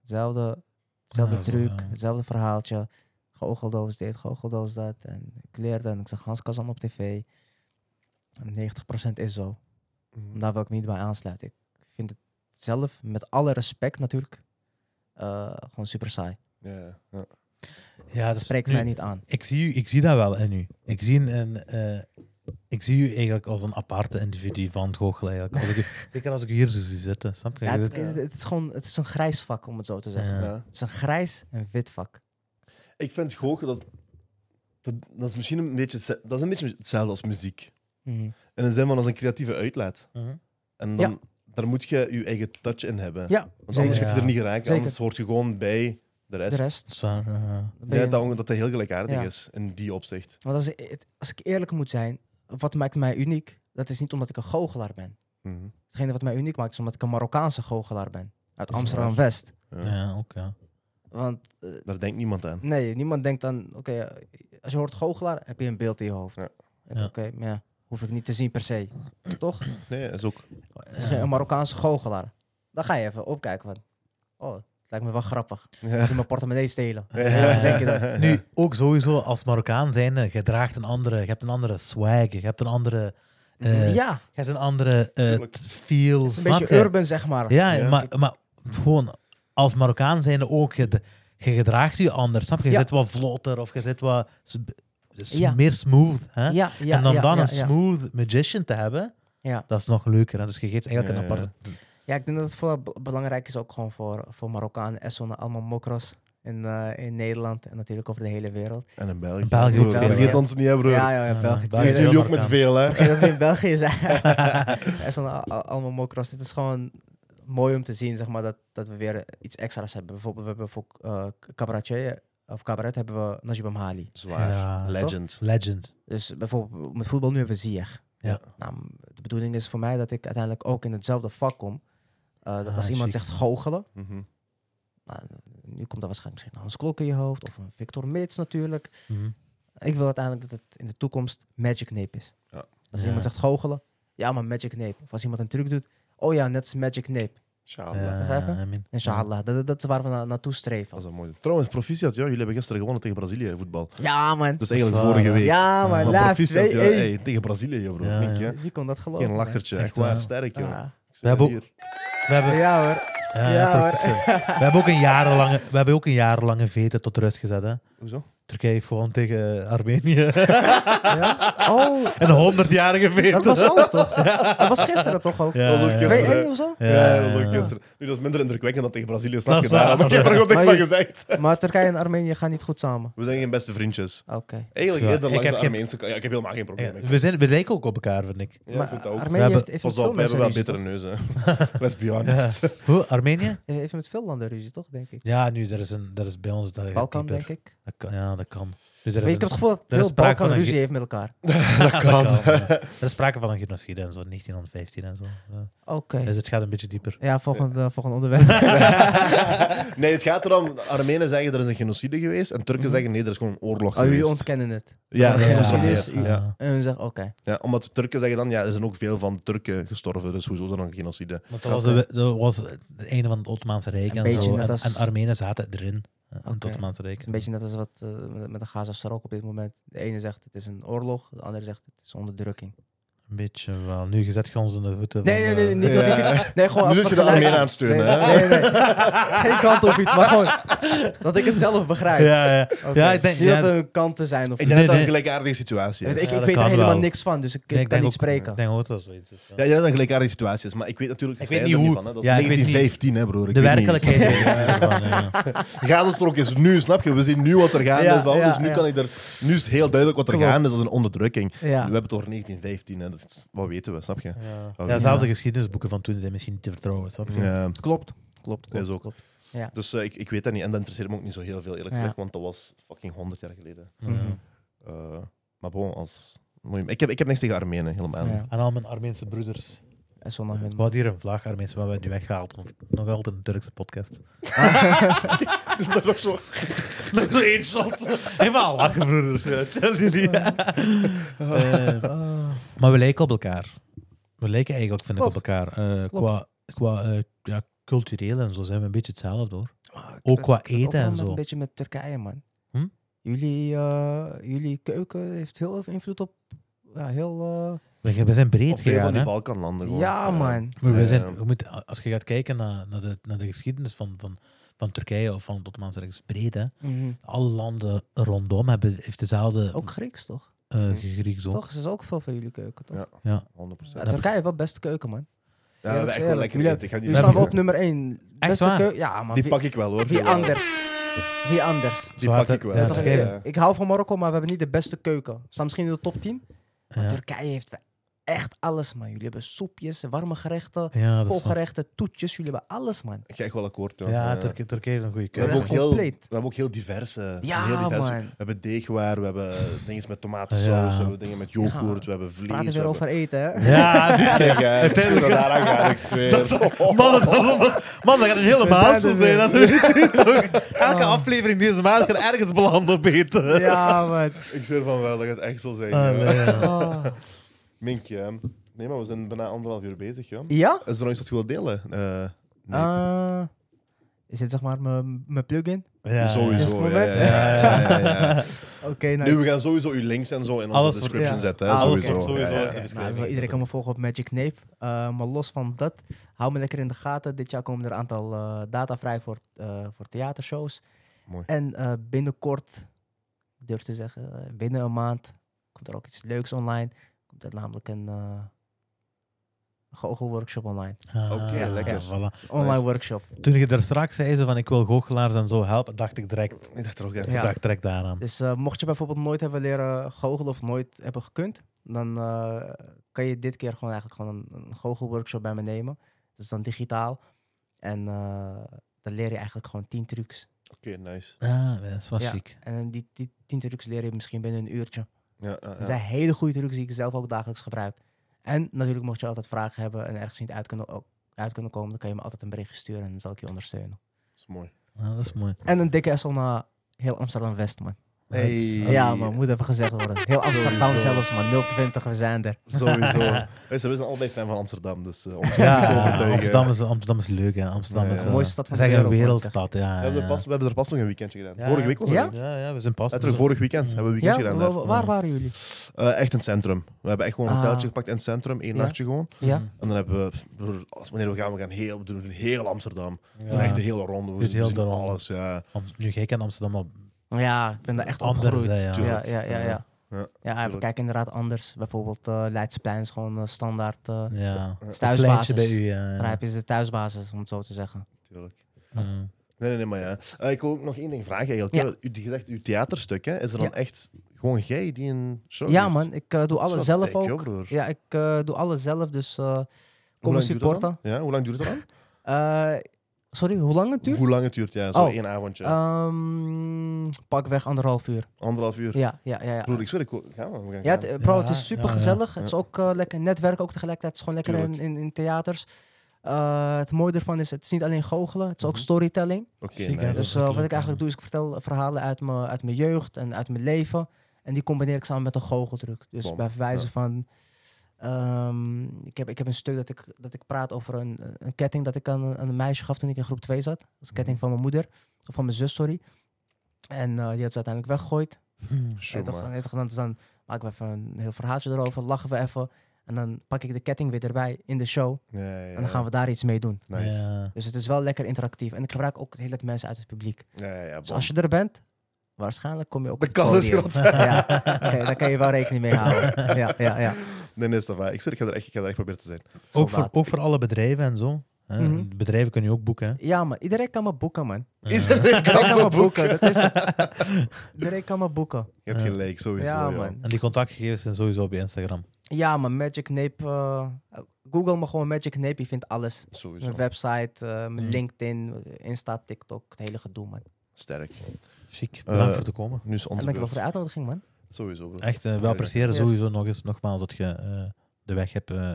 S1: Hetzelfde, hetzelfde
S2: Ja, zo,
S1: truc,
S2: ja.
S1: hetzelfde verhaaltje. Goocheldoos dit, goocheldoos dat. En ik leerde en ik zag Hans Kazan op tv. En 90% is zo.
S3: Mhm.
S1: Daar wil ik me niet bij aansluiten. Ik vind het zelf, met alle respect natuurlijk, eh, gewoon super saai.
S3: Ja, ja.
S2: Ja,
S1: Het
S2: dus
S1: spreekt
S2: nu-
S1: mij niet aan.
S2: Ik zie, u, ik zie dat wel in u. Ik zie, een, eh, ik zie u eigenlijk als een aparte individu van het goochelen. Eigenlijk. Als ik, u- zeker als ik u hier zo zie zitten. Snap je?
S1: Ja,
S2: Je
S1: het,
S2: zit-
S1: het- het is gewoon het is een grijs vak, om het zo te zeggen.
S2: Ja.
S3: Ja.
S1: Het is een grijs en wit vak.
S3: Ik vind goochelen, dat, dat, dat is misschien een beetje, hetze- dat is een beetje hetzelfde als muziek. In de zin van als een creatieve uitlaat.
S2: Mhm.
S3: En dan, daar moet je je eigen touch in hebben.
S1: Ja,
S3: Want anders
S1: zeker.
S3: gaat je er niet geraken.
S1: Zeker.
S3: Anders hoort je gewoon bij de rest.
S1: de rest.
S2: Dat is waar, eh, ja, ja.
S1: dan
S3: Ik
S1: ben je-
S3: denk dat, dat hij heel gelijkaardig
S1: Ja.
S3: is in die opzicht.
S1: Want als, ik- het- als ik eerlijk moet zijn, wat maakt mij uniek, dat is niet omdat ik een goochelaar ben.
S3: Mhm.
S1: Hetgene wat mij uniek maakt, is omdat ik een Marokkaanse goochelaar ben. Uit
S3: Dat is
S1: Amsterdam-West.
S3: Ja.
S2: ja, ook ja.
S1: Want eh,
S3: Daar denkt niemand aan.
S1: nee, niemand denkt aan... Oké, eh, als je hoort goochelaar, heb je een beeld in je hoofd.
S3: Ja.
S1: Ik-
S2: Ja.
S1: Oké, maar ja, hoef ik niet te zien per se. Toch?
S3: Nee, dat is ook.
S1: Zeg je, Een Marokkaanse goochelaar. Dan ga je even opkijken. Want, oh, het lijkt me wel grappig.
S3: Ja.
S1: Dat die mijn portemonnee stelen.
S2: Ja.
S1: Denk je dat?
S2: Nu, ook sowieso als Marokkaan zijnde, je draagt een andere, je hebt een andere swag, je hebt een andere, eh,
S1: ja,
S2: je hebt een andere eh,
S3: Tuurlijk.
S2: t- feel.
S1: het is een
S2: snap
S1: beetje
S2: je?
S1: urban, zeg maar.
S2: Ja,
S3: Ja.
S2: Maar, maar gewoon als Marokkaan zijnde ook, je, je gedraagt je anders, snap je? Je
S1: Ja.
S2: zit wat vlotter of je zit wat s- s-
S1: Ja.
S2: meer smooth. Hè?
S1: ja, ja,
S2: en dan
S1: ja,
S2: dan
S1: ja,
S2: een
S1: ja.
S2: smooth magician te hebben,
S1: Ja.
S2: dat is nog leuker. Hè? Dus je geeft eigenlijk
S3: Ja,
S2: een
S3: ja,
S2: aparte...
S1: Ja, Ja, ik denk dat het vooral be- belangrijk is ook gewoon voor, voor Marokkanen en zo'n allemaal mokros in, eh, in Nederland en natuurlijk over de hele wereld.
S3: En in België.
S2: In België ook
S3: Broer,
S1: veel,
S3: Vergeet
S1: ja.
S3: ons niet, hè, broer.
S1: Ja, ja, ja, België.
S2: Ja, België.
S1: Ik
S3: Jullie
S1: weet
S3: jullie
S1: dat-
S3: ook met veel, hè.
S1: ik weet dat we in België zijn. en zo'n al- al- allemaal mokros. Het is gewoon mooi om te zien, zeg maar, dat, dat we weer iets extra's hebben. Bijvoorbeeld, we hebben voor eh cabaretje, of cabaret hebben we Najib Amhali.
S3: Zwaar.
S2: Ja.
S3: Legend.
S2: Legend.
S1: Dus bijvoorbeeld met voetbal nu hebben we Ziyech.
S2: Ja.
S1: Nou, de bedoeling is voor mij dat ik uiteindelijk ook in hetzelfde vak kom. Eh, dat
S2: Ah,
S1: als iemand
S2: chic.
S1: zegt goochelen,
S3: Mhm.
S1: nou, nu komt er waarschijnlijk misschien Hans Klok in je hoofd of een Victor Mits natuurlijk.
S2: Mhm.
S1: Ik wil uiteindelijk dat het in de toekomst Magic Kneep is.
S3: Ja.
S1: Als
S2: Ja.
S1: iemand zegt goochelen, ja maar Magic Kneep. Of als iemand een truc doet, oh ja, net als Magic Kneep.
S3: Inshallah.
S2: Ja,
S1: begrijp je?
S2: Eh, I mean,
S1: Inshallah, dat, dat is waar we na- naartoe
S3: Dat
S1: streven.
S3: is wel mooi. Trouwens, proficiat, joh. Jullie hebben gisteren gewonnen tegen Brazilië in voetbal.
S1: Ja man.
S3: Dus eigenlijk
S2: Dat is waar,
S3: vorige
S2: hè?
S3: week.
S1: Ja man,
S2: Ja.
S3: Maar
S1: laat
S3: proficiat, joh.
S1: 2-1.
S3: Hey, tegen Brazilië, joh, bro.
S2: Ja,
S3: Denk
S2: ja.
S3: je?
S1: Wie kon dat geloven?
S3: Geen
S1: man?
S3: lachertje, echt
S2: Echt waar.
S3: waar. Sterk, joh.
S1: Ah.
S3: Ik zeg
S2: We hebben
S3: hier.
S2: We hebben, ja,
S1: Ja hoor. Ja, hoor.
S2: precies. we hebben ook een jarenlange, we hebben ook een jarenlange vete tot rust gezet. Hè.
S3: Hoezo?
S2: Turkije heeft gewoon tegen Armenië
S1: Ja? Oh,
S2: een honderdjarige vete.
S1: Dat was ook toch? Dat was gisteren toch ook?
S2: Ja,
S3: Dat was ook
S2: ja.
S3: gisteren.
S1: 2-1 of zo?
S3: Ja, dat was ook gisteren. Nu, dat is minder indrukwekkend dan tegen Brazilië, snap
S2: Dat
S3: je
S2: is
S3: daar.
S2: waar.
S3: Maar ik heb er gewoon niks
S1: Maar
S3: van
S1: je-
S3: gezegd.
S1: Maar Turkije en Armenië gaan niet goed samen.
S3: We zijn geen beste vriendjes.
S1: Oké.
S3: Eigenlijk
S2: Ja,
S3: eerder
S2: ik
S3: langs
S2: heb
S3: de
S2: geen-
S3: Armeense kant. Ja, ik heb helemaal geen probleem.
S2: Ja, we, zijn, we lijken ook op elkaar, vind ik.
S3: Ja, ik
S1: maar
S3: vind dat ook.
S1: Armenië
S2: We hebben-
S1: heeft, heeft met
S3: Pas
S1: veel
S3: op, we hebben
S1: mensen
S3: wel
S1: ruzie,
S3: betere neuzen. Let's be honest.
S2: Hoe, Armenië?
S1: toch? Heeft met veel landen ruzie, toch, denk ik?
S2: Ja, nu, er is, een, er is bij ons... Dat
S1: Balkan, denk ik.
S2: Dat kan, ja, dat kan. Nu, er is
S1: Maar ik heb
S2: een-
S1: het gevoel dat
S2: er is
S1: veel
S2: sprake van
S1: Balkan
S2: een
S1: ruzie
S2: ge-
S1: heeft met elkaar.
S2: dat kan. ja. Er is sprake van een genocide en zo, 1915 en zo. Ja.
S1: Oké.
S2: Dus het gaat een beetje dieper.
S1: Ja, volgend, eh, volgend onderwerp.
S3: nee, het gaat erom. Armenen zeggen er is een genocide geweest. En Turken zeggen nee, er is gewoon een oorlog
S1: Oh, jullie
S3: geweest.
S1: ontkennen het.
S3: Ja,
S1: Ja,
S3: dat is
S1: ja,
S3: meer.
S1: ja.
S3: Ja.
S1: En we zeggen, oké.
S3: Ja, omdat Turken zeggen dan, ja, er zijn ook veel van Turken gestorven, dus hoezo is dat dan genocide?
S2: Want dat was, de, dat was het einde van het Ottomaanse Rijk
S1: Een
S2: en
S1: beetje
S2: zo.
S1: net
S2: En,
S1: als-
S2: en Armenen zaten erin, eh, in het
S1: Oké.
S2: Ottomaanse Rijk.
S1: Een beetje net als wat eh, met- met de Gaza-strook op dit moment. De ene zegt het is een oorlog, de andere zegt het is onderdrukking.
S2: Een beetje wel. Nu gezet je ons in de voeten.
S1: Nee, nee,
S2: van,
S1: nee,
S2: eh,
S1: niet,
S3: Ja.
S1: niet- niet- nee, gewoon
S3: Nu
S1: als
S3: zit je de
S1: vergelijking.
S3: Armenen aan het steunen,
S1: nee,
S3: hè?
S1: nee, nee, Geen kant op iets, maar gewoon dat ik het zelf begrijp.
S2: Ja, ja.
S1: Oké.
S2: Ja, ik denk-
S1: Niet
S2: ja,
S1: dat er kanten zijn of
S3: Ik denk
S1: iets.
S3: dat dat een
S2: nee.
S3: gelijkaardige situatie
S1: Ik,
S3: is.
S1: ik,
S2: Ja, dat
S1: weet er
S2: kan
S1: helemaal
S2: wel.
S1: niks van, dus ik, ik
S2: Nee, ik
S1: kan
S2: denk
S1: niet
S2: ook-
S1: spreken.
S2: Ik denk ook dat dat zoiets is. ja.
S3: Ja, ik denk dat dat een gelijkaardige situatie is, maar ik weet natuurlijk
S2: Ik weet
S3: verder
S2: niet hoe-
S3: van, hè. Dat
S2: ja,
S3: is
S2: ik weet niet.
S3: 1915, hè, broer. Ik
S2: De
S3: weet
S2: werkelijkheid. eh, ervan, ja.
S3: Niet. Gazastrook is nu, snap je? We zien nu wat er gaande
S1: Ja,
S3: is. wel,
S1: ja,
S3: dus nu,
S1: ja.
S3: kan ik er, nu is het heel duidelijk wat er
S1: Klopt.
S3: gaande is. Dat is een onderdrukking. We
S1: Ja.
S3: hebben het over 1915, hè. Dat is- wat weten we, snap je?
S2: Ja.
S3: Oh,
S2: Ja,
S3: ja.
S2: zelfs de geschiedenisboeken van toen zijn misschien niet te vertrouwen. Snap je?
S3: Ja.
S1: Klopt. Klopt, klopt.
S3: is ook.
S1: klopt. Ja.
S3: Dus eh, ik, ik weet dat niet. En dat interesseert me ook niet zo heel veel, eerlijk
S1: Ja.
S3: gezegd. Want dat was fucking 100 jaar geleden.
S2: Ja.
S1: Mhm.
S3: Eh, maar bon, als... moet je- Ik heb, ik heb niks tegen Armenen, helemaal niet.
S1: Ja.
S2: En al mijn Armeense broeders.
S1: En zonder
S2: Ik
S1: hun.
S2: had hier een vlag Armeense, maar we hebben die weggehaald. Want het is nog altijd een Turkse podcast.
S3: Dat was zo-
S2: Nog zo één shot. Helemaal lachen, broeders. Ja, Chill jullie. Eh, maar we lijken op elkaar. We lijken eigenlijk, vind ik, op
S1: Klopt.
S2: elkaar. Eh, qua qua eh, ja, cultureel en zo zijn we een beetje hetzelfde, hoor.
S1: Ah, ik
S2: Ook
S1: ben-
S2: qua
S1: ik ben
S2: eten
S1: overal
S2: en
S1: met
S2: zo.
S1: Een beetje met Turkije, man.
S2: Hm?
S1: Jullie, eh, jullie keuken heeft heel veel invloed op. Ja, heel. eh,
S2: We, we zijn breed
S3: Of veel van
S2: gegaan,
S3: die
S2: hè.
S3: Balkanlanden gewoon.
S1: ja,
S3: Eh,
S1: man.
S2: Maar we
S3: Ja,
S2: zijn,
S3: ja.
S2: we moeten, als je gaat kijken naar, naar, de, naar de geschiedenis van, van, van Turkije of van het Ottomaanse Rijk, is breed, hè.
S1: Mhm.
S2: Alle landen rondom hebben, heeft dezelfde
S1: Ook Grieks, toch?
S2: eh Grieks ook.
S1: Toch? Ze is ook veel van jullie keuken, toch?
S3: Ja.
S1: Ja.
S3: 100%.
S2: Ja,
S3: Ja,
S2: dat-
S1: Turkije heeft wel beste keuken, man.
S3: we hebben echt wel
S1: eerlijk.
S3: lekker
S1: Jullie-
S3: eten. Ik ga die-
S1: Jullie staan wel
S2: hebben-
S1: op nummer 1. Beste
S2: waar?
S1: keuken. Ja, man.
S3: Die
S1: wie-
S3: pak ik wel hoor.
S1: Wie
S3: Ja.
S1: anders? Wie anders?
S3: Die
S2: Zwaar,
S3: pak ik wel.
S2: ja,
S1: Ja,
S2: toch?
S1: toch,
S2: Turkije.
S1: eh, Ik hou van Marokko, maar we hebben niet de beste keuken. Staan misschien in de top 10. Maar
S2: Ja.
S1: Turkije heeft wel echt alles, man. Jullie hebben soepjes, warme gerechten,
S2: Ja, dat is waar.
S1: volgerechten, toetjes. Jullie hebben alles, man.
S3: Ik ga echt wel akkoord. Ja,
S2: Ja,
S3: Ja.
S2: Turkije, Turkije heeft een goede
S3: eh, We
S1: Ja,
S2: keuze.
S3: hebben,
S1: echt
S3: ook heel, we
S1: compleet.
S3: hebben ook heel diverse.
S1: Ja,
S3: heel diverse.
S1: man.
S3: We hebben deegwaar, we hebben dingen met tomatensaus,
S2: Ja.
S3: we hebben dingen met
S1: Ja.
S3: yoghurt, we hebben vlees.
S1: Praten
S3: we
S1: weer over
S3: hebben-
S1: eten, hè?
S2: Ja, dit
S3: Kijk, hè, als je
S2: Uiteindelijk-
S3: dat daaraan gaat, ik
S2: Dat is-
S3: zweer. Oh,
S2: Man, dat, man, dat gaat een hele
S1: We
S2: maand zo
S1: zijn er
S2: zijn.
S1: weer. Ah.
S2: Dat weet u toch? Elke aflevering deze maand gaat ergens belanden op eten.
S1: Ja, man.
S3: Ik zweer van wel, dat gaat echt zo
S1: Ah,
S3: zijn. ja.
S2: Allee, ja.
S1: Oh.
S3: Minkje, hè. nee, maar we zijn bijna anderhalf uur bezig. Ja.
S1: Ja?
S3: Is er nog iets wat je wilt delen? Eh, nee.
S1: Ah, is dit zeg maar mijn mijn plugin?
S2: Ja,
S1: Is het
S3: Sowieso. Ja,
S1: moment?
S3: ja, ja, ja, ja, ja.
S1: Oké, nou.
S3: Nu, we gaan sowieso uw links en zo in onze
S2: Alles wordt-
S3: description
S1: ja.
S3: zetten. Hè,
S2: Alles
S3: sowieso.
S2: wordt sowieso
S3: Ja, ja,
S2: in de
S3: ja.
S2: description.
S1: Nou, wel iedereen kan me volgen op Magic Nape. Eh, maar los van dat, hou me lekker in de gaten. Dit jaar komen er een aantal eh, data vrij voor, eh, voor theatershows.
S3: Mooi.
S1: En eh, binnenkort, ik durf te zeggen, eh, binnen een maand komt er ook iets leuks online. Komt er namelijk een eh, Goochelworkshop online.
S3: Oké,
S2: Ah,
S3: lekker.
S2: voilà.
S1: Online
S3: Nice.
S1: workshop.
S2: Toen je er straks zei zo van ik wil goochelaars en zo helpen, dacht ik direct,
S3: Ik dacht er ook aan.
S1: Ja.
S2: dacht direct daaraan.
S1: Dus eh, mocht je bijvoorbeeld nooit hebben leren goochelen of nooit hebben gekund, dan eh, kan je dit keer gewoon eigenlijk gewoon een, een goochelworkshop bij me nemen. Dat is dan digitaal. En eh, dan leer je eigenlijk gewoon 10 trucs.
S3: Oké, nice.
S2: Ah, dat is wel
S1: Ja.
S2: chic.
S1: En die, die 10 trucs leer je misschien binnen een uurtje.
S3: Ja, ja,
S1: Dat
S3: ja.
S1: zijn hele goede trucs die ik zelf ook dagelijks gebruik. En natuurlijk mocht je altijd vragen hebben en ergens niet uit kunnen, ook uit kunnen komen, dan kan je me altijd een berichtje sturen en dan zal ik je ondersteunen.
S3: Dat is mooi.
S2: Ah, dat is mooi.
S1: En een dikke SL naar heel Amsterdam-West, man.
S3: Hey.
S1: Ja, man, moet even gezegd worden. Heel Amsterdam
S3: Sowieso.
S1: zelfs, man. 020, we zijn er.
S3: Sowieso. Wij zijn- wij zijn allebei fan van Amsterdam, dus eh, ons
S2: Ja,
S3: niet te overtuigen.
S2: Amsterdam is, Amsterdam is leuk, hè. Amsterdam
S3: Ja, ja.
S2: is
S3: De
S2: eh,
S1: mooiste stad van
S2: zeg
S1: de
S2: een
S1: wereld, wordt
S2: wereldstad. Ja,
S3: We
S2: ja,
S3: hebben, er
S2: ja.
S3: pas, we hebben er pas nog een weekendje gedaan.
S2: Ja,
S3: Vorige
S2: ja.
S3: week was
S1: Ja? Mm.
S3: er.
S2: Ja, ja, we zijn pas.
S3: Letterlijk vorig weekend hebben we een
S1: Ja,
S3: weekendje
S1: wa-
S3: gedaan.
S1: wa- waar
S3: daar.
S1: waren jullie?
S3: Eh, echt in het centrum. We hebben echt gewoon een
S1: Ah.
S3: hoteltje gepakt in het centrum, één
S1: Ja.
S3: nachtje gewoon.
S1: Ja.
S3: En dan hebben we, Mm. pff, broer, als wanneer we gaan, we gaan heel, we doen heel Amsterdam. We doen
S2: Ja.
S3: echt de hele ronde. We
S2: Doet heel
S3: zien
S2: de ronde.
S3: alles, ja.
S2: Am- Nu, jij kent Amsterdam al.
S1: Ja, ik ben daar echt
S2: Anders,
S1: opgegroeid.
S2: hè,
S1: ja.
S2: ja.
S1: Ja, ja, ja, ja.
S3: Ja,
S1: we
S3: tuurlijk.
S1: kijken inderdaad anders. Bijvoorbeeld eh Leidsplein is gewoon eh, standaard eh
S2: Ja.
S1: thuisbasis.
S2: Kleintje bij u, ja.
S1: Dan heb je de thuisbasis, om het zo te zeggen.
S3: Tuurlijk.
S2: Mm.
S3: Nee, nee, nee, maar ja. Eh, ik wil ook nog één ding vragen eigenlijk.
S1: Ja.
S3: Ja. U, die gezegd, uw theaterstuk, hè, is er dan
S1: Ja.
S3: echt gewoon jij die een show
S1: Ja,
S3: heeft?
S1: man, ik eh, doe
S3: Oh, Dat is
S1: alles
S3: wel
S1: zelf
S3: dik, joh,
S1: ook.
S3: broer.
S1: Ja, ik eh, doe alles zelf, dus eh,
S3: Hoe
S1: kom me
S3: lang duurt dat
S1: supporten.
S3: dan? Ja, hoe lang duurt het dan?
S1: Eh, sorry, hoe lang het duurt?
S3: Hoe lang het duurt, ja. Zo
S1: Oh.
S3: één avondje.
S1: Ehm, pak weg anderhalf uur.
S3: Anderhalf uur.
S1: Ja, ja, ja. ja.
S3: Broer, ik zweer, ik wil- Ga maar, we gaan
S1: Ja,
S3: gaan.
S1: het, eh, bro, het
S2: Ja,
S1: is super
S2: ja,
S1: gezellig.
S3: ja.
S1: Het is ook eh, lekker netwerken ook tegelijkertijd. Het is gewoon lekker in,
S3: Tuurlijk.
S1: in, in theaters. Eh, het mooie ervan is, het is niet alleen goochelen, het is ook
S2: Mhm.
S1: storytelling.
S3: Oké,
S2: Ziek, hè,
S3: nice.
S2: dat
S1: Dus
S2: is
S1: eh,
S2: ook
S1: wat
S2: leuk,
S1: ik eigenlijk doe,
S2: ja.
S1: is ik vertel verhalen uit mijn, uit mijn jeugd en uit mijn leven. En die combineer ik samen met een goocheltruc. Dus
S3: Bom,
S1: bij verwijzen
S3: ja.
S1: van... ehm, ik, heb, ik heb een stuk dat ik, dat ik praat over een, een ketting dat ik aan, een- aan een meisje gaf toen ik in groep 2 zat. Dat is een
S3: Mhm.
S1: ketting van mijn moeder. Of van mijn zus, sorry. En eh, die had ze uiteindelijk weggegooid.
S3: Zo,
S1: Weet toch,
S3: maar.
S1: weet toch, dan, dus dan maken we even een heel verhaaltje erover, lachen we even. En dan pak ik de ketting weer erbij in de show.
S3: Ja, ja,
S1: En dan gaan we daar iets mee doen.
S3: ja. Nice.
S2: Ja.
S1: Dus het is wel lekker interactief. En ik gebruik ook heel het mensen uit het publiek.
S3: Ja, ja, ja.
S1: Dus
S3: bom.
S1: als je er bent, waarschijnlijk kom je ook.
S3: De
S1: op het
S3: kans is
S1: podium.
S3: groot.
S1: Ja, oké, daar kan je wel rekening mee houden. Ja, ja, ja.
S3: Nee, nee, Stava. Ik zweer, ik ga er echt, ik ga er echt proberen te zijn.
S2: Ook,
S1: Soldaat.
S2: voor, ook voor alle bedrijven en zo. hè.
S1: Mhm.
S2: Bedrijven kunnen je ook boeken. Hè.
S1: Ja, man. Iedereen kan me boeken, man.
S3: Iedereen
S1: Iedereen kan
S3: kan
S1: me
S3: mijn boek.
S1: boeken. Dat is het. Iedereen kan me boeken.
S3: Je hebt gelijk, sowieso.
S1: Ja,
S3: Ja,
S1: man.
S2: En die contactgegevens zijn sowieso op je Instagram.
S1: Ja, man. Magic Nape. eh, Google me gewoon Magic Nape. Je vindt alles.
S3: Sowieso.
S1: Mijn website, eh, mijn
S2: Mm.
S1: LinkedIn, Insta, TikTok, het hele gedoe, man.
S3: Sterk.
S2: Chic.
S3: Eh,
S2: Bedankt voor te komen.
S3: Nu is
S1: En
S3: onze
S1: dankjewel voor
S3: beurt.
S1: de uitnodiging, man.
S3: Sowieso, bro.
S2: Echt, eh, we
S3: Yes.
S2: appreciëren
S1: Yes.
S2: sowieso nog eens nogmaals dat je eh, de weg hebt, eh,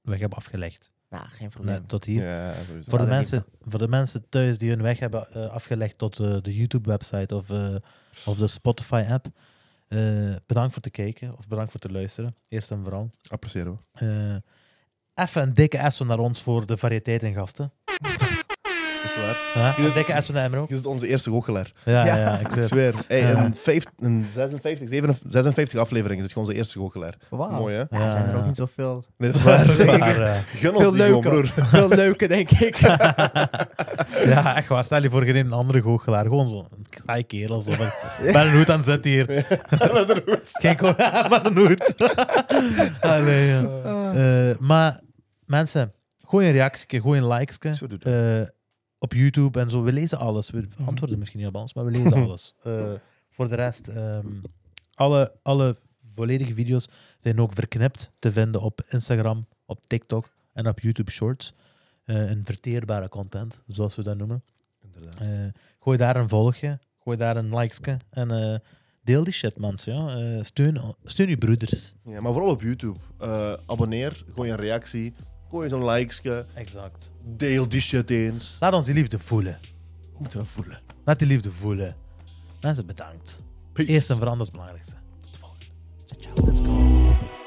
S2: weg hebt afgelegd.
S1: Nou, geen probleem.
S2: Nee, tot hier.
S3: Ja, sowieso.
S2: Voor, de
S1: Ja, dat
S2: mensen, voor de mensen thuis die hun weg hebben eh, afgelegd tot eh, de YouTube-website of, eh, of de Spotify-app, eh, bedankt voor te kijken of bedankt voor te luisteren. Eerst en vooral.
S3: Appreciëren we.
S2: Eh, even een dikke S naar ons voor de variëteit en gasten.
S3: Is het waar?
S2: Huh? Een dikke S naar Emro.
S3: Je bent onze eerste goochelaar.
S2: Ja,
S1: Ja.
S2: ja. ik
S3: Ik
S2: zweer.
S3: zweer. Hey,
S2: Ja.
S3: een, vijf- een 56, 57, 56 afleveringen. Dit is gewoon onze eerste goochelaar.
S1: Wauw.
S2: Ah.
S3: Mooi, hè?
S1: Ja, er zijn er
S2: Ja.
S1: ook niet zoveel.
S3: Nee, dat is waar.
S2: Maar, eh,
S3: Gun ons
S1: Veel
S3: die gewoon, broer.
S1: leuker. Veel leuker, denk ik.
S2: Ja, echt waar. Stel je voor, je neemt een andere goochelaar. Gewoon zo'n saai kerel. Zo. van, Ik ben een hoed aan het zetten hier. Kijk hoor, met een hoed. Allee, ja. Eh, maar mensen, gooi een reactie, gooi een likes. Eh,
S3: Zo doet
S2: op YouTube en zo. We lezen alles. We antwoorden misschien niet op alles, maar we lezen alles. Eh, voor de rest, ehm, alle, alle volledige video's zijn ook verknipt te vinden op Instagram, op TikTok en op YouTube Shorts. Eh, een verteerbare content, zoals we dat noemen.
S3: Inderdaad.
S2: Eh, gooi daar een volgje, gooi daar een likeske en eh, deel die shit, mensen. Ja. Eh, steun, steun je broeders.
S3: Ja, maar vooral op YouTube. Eh, abonneer, gooi een reactie, gooi zo'n likesje,
S2: Exact.
S3: deel die shit eens.
S2: Laat ons die liefde voelen.
S3: Hoe moet je dat voelen?
S2: Laat die liefde voelen. Mensen, bedankt.
S3: Peace.
S2: Eerst en vooral dat is het belangrijkste.
S1: Ciao, ciao. Let's go.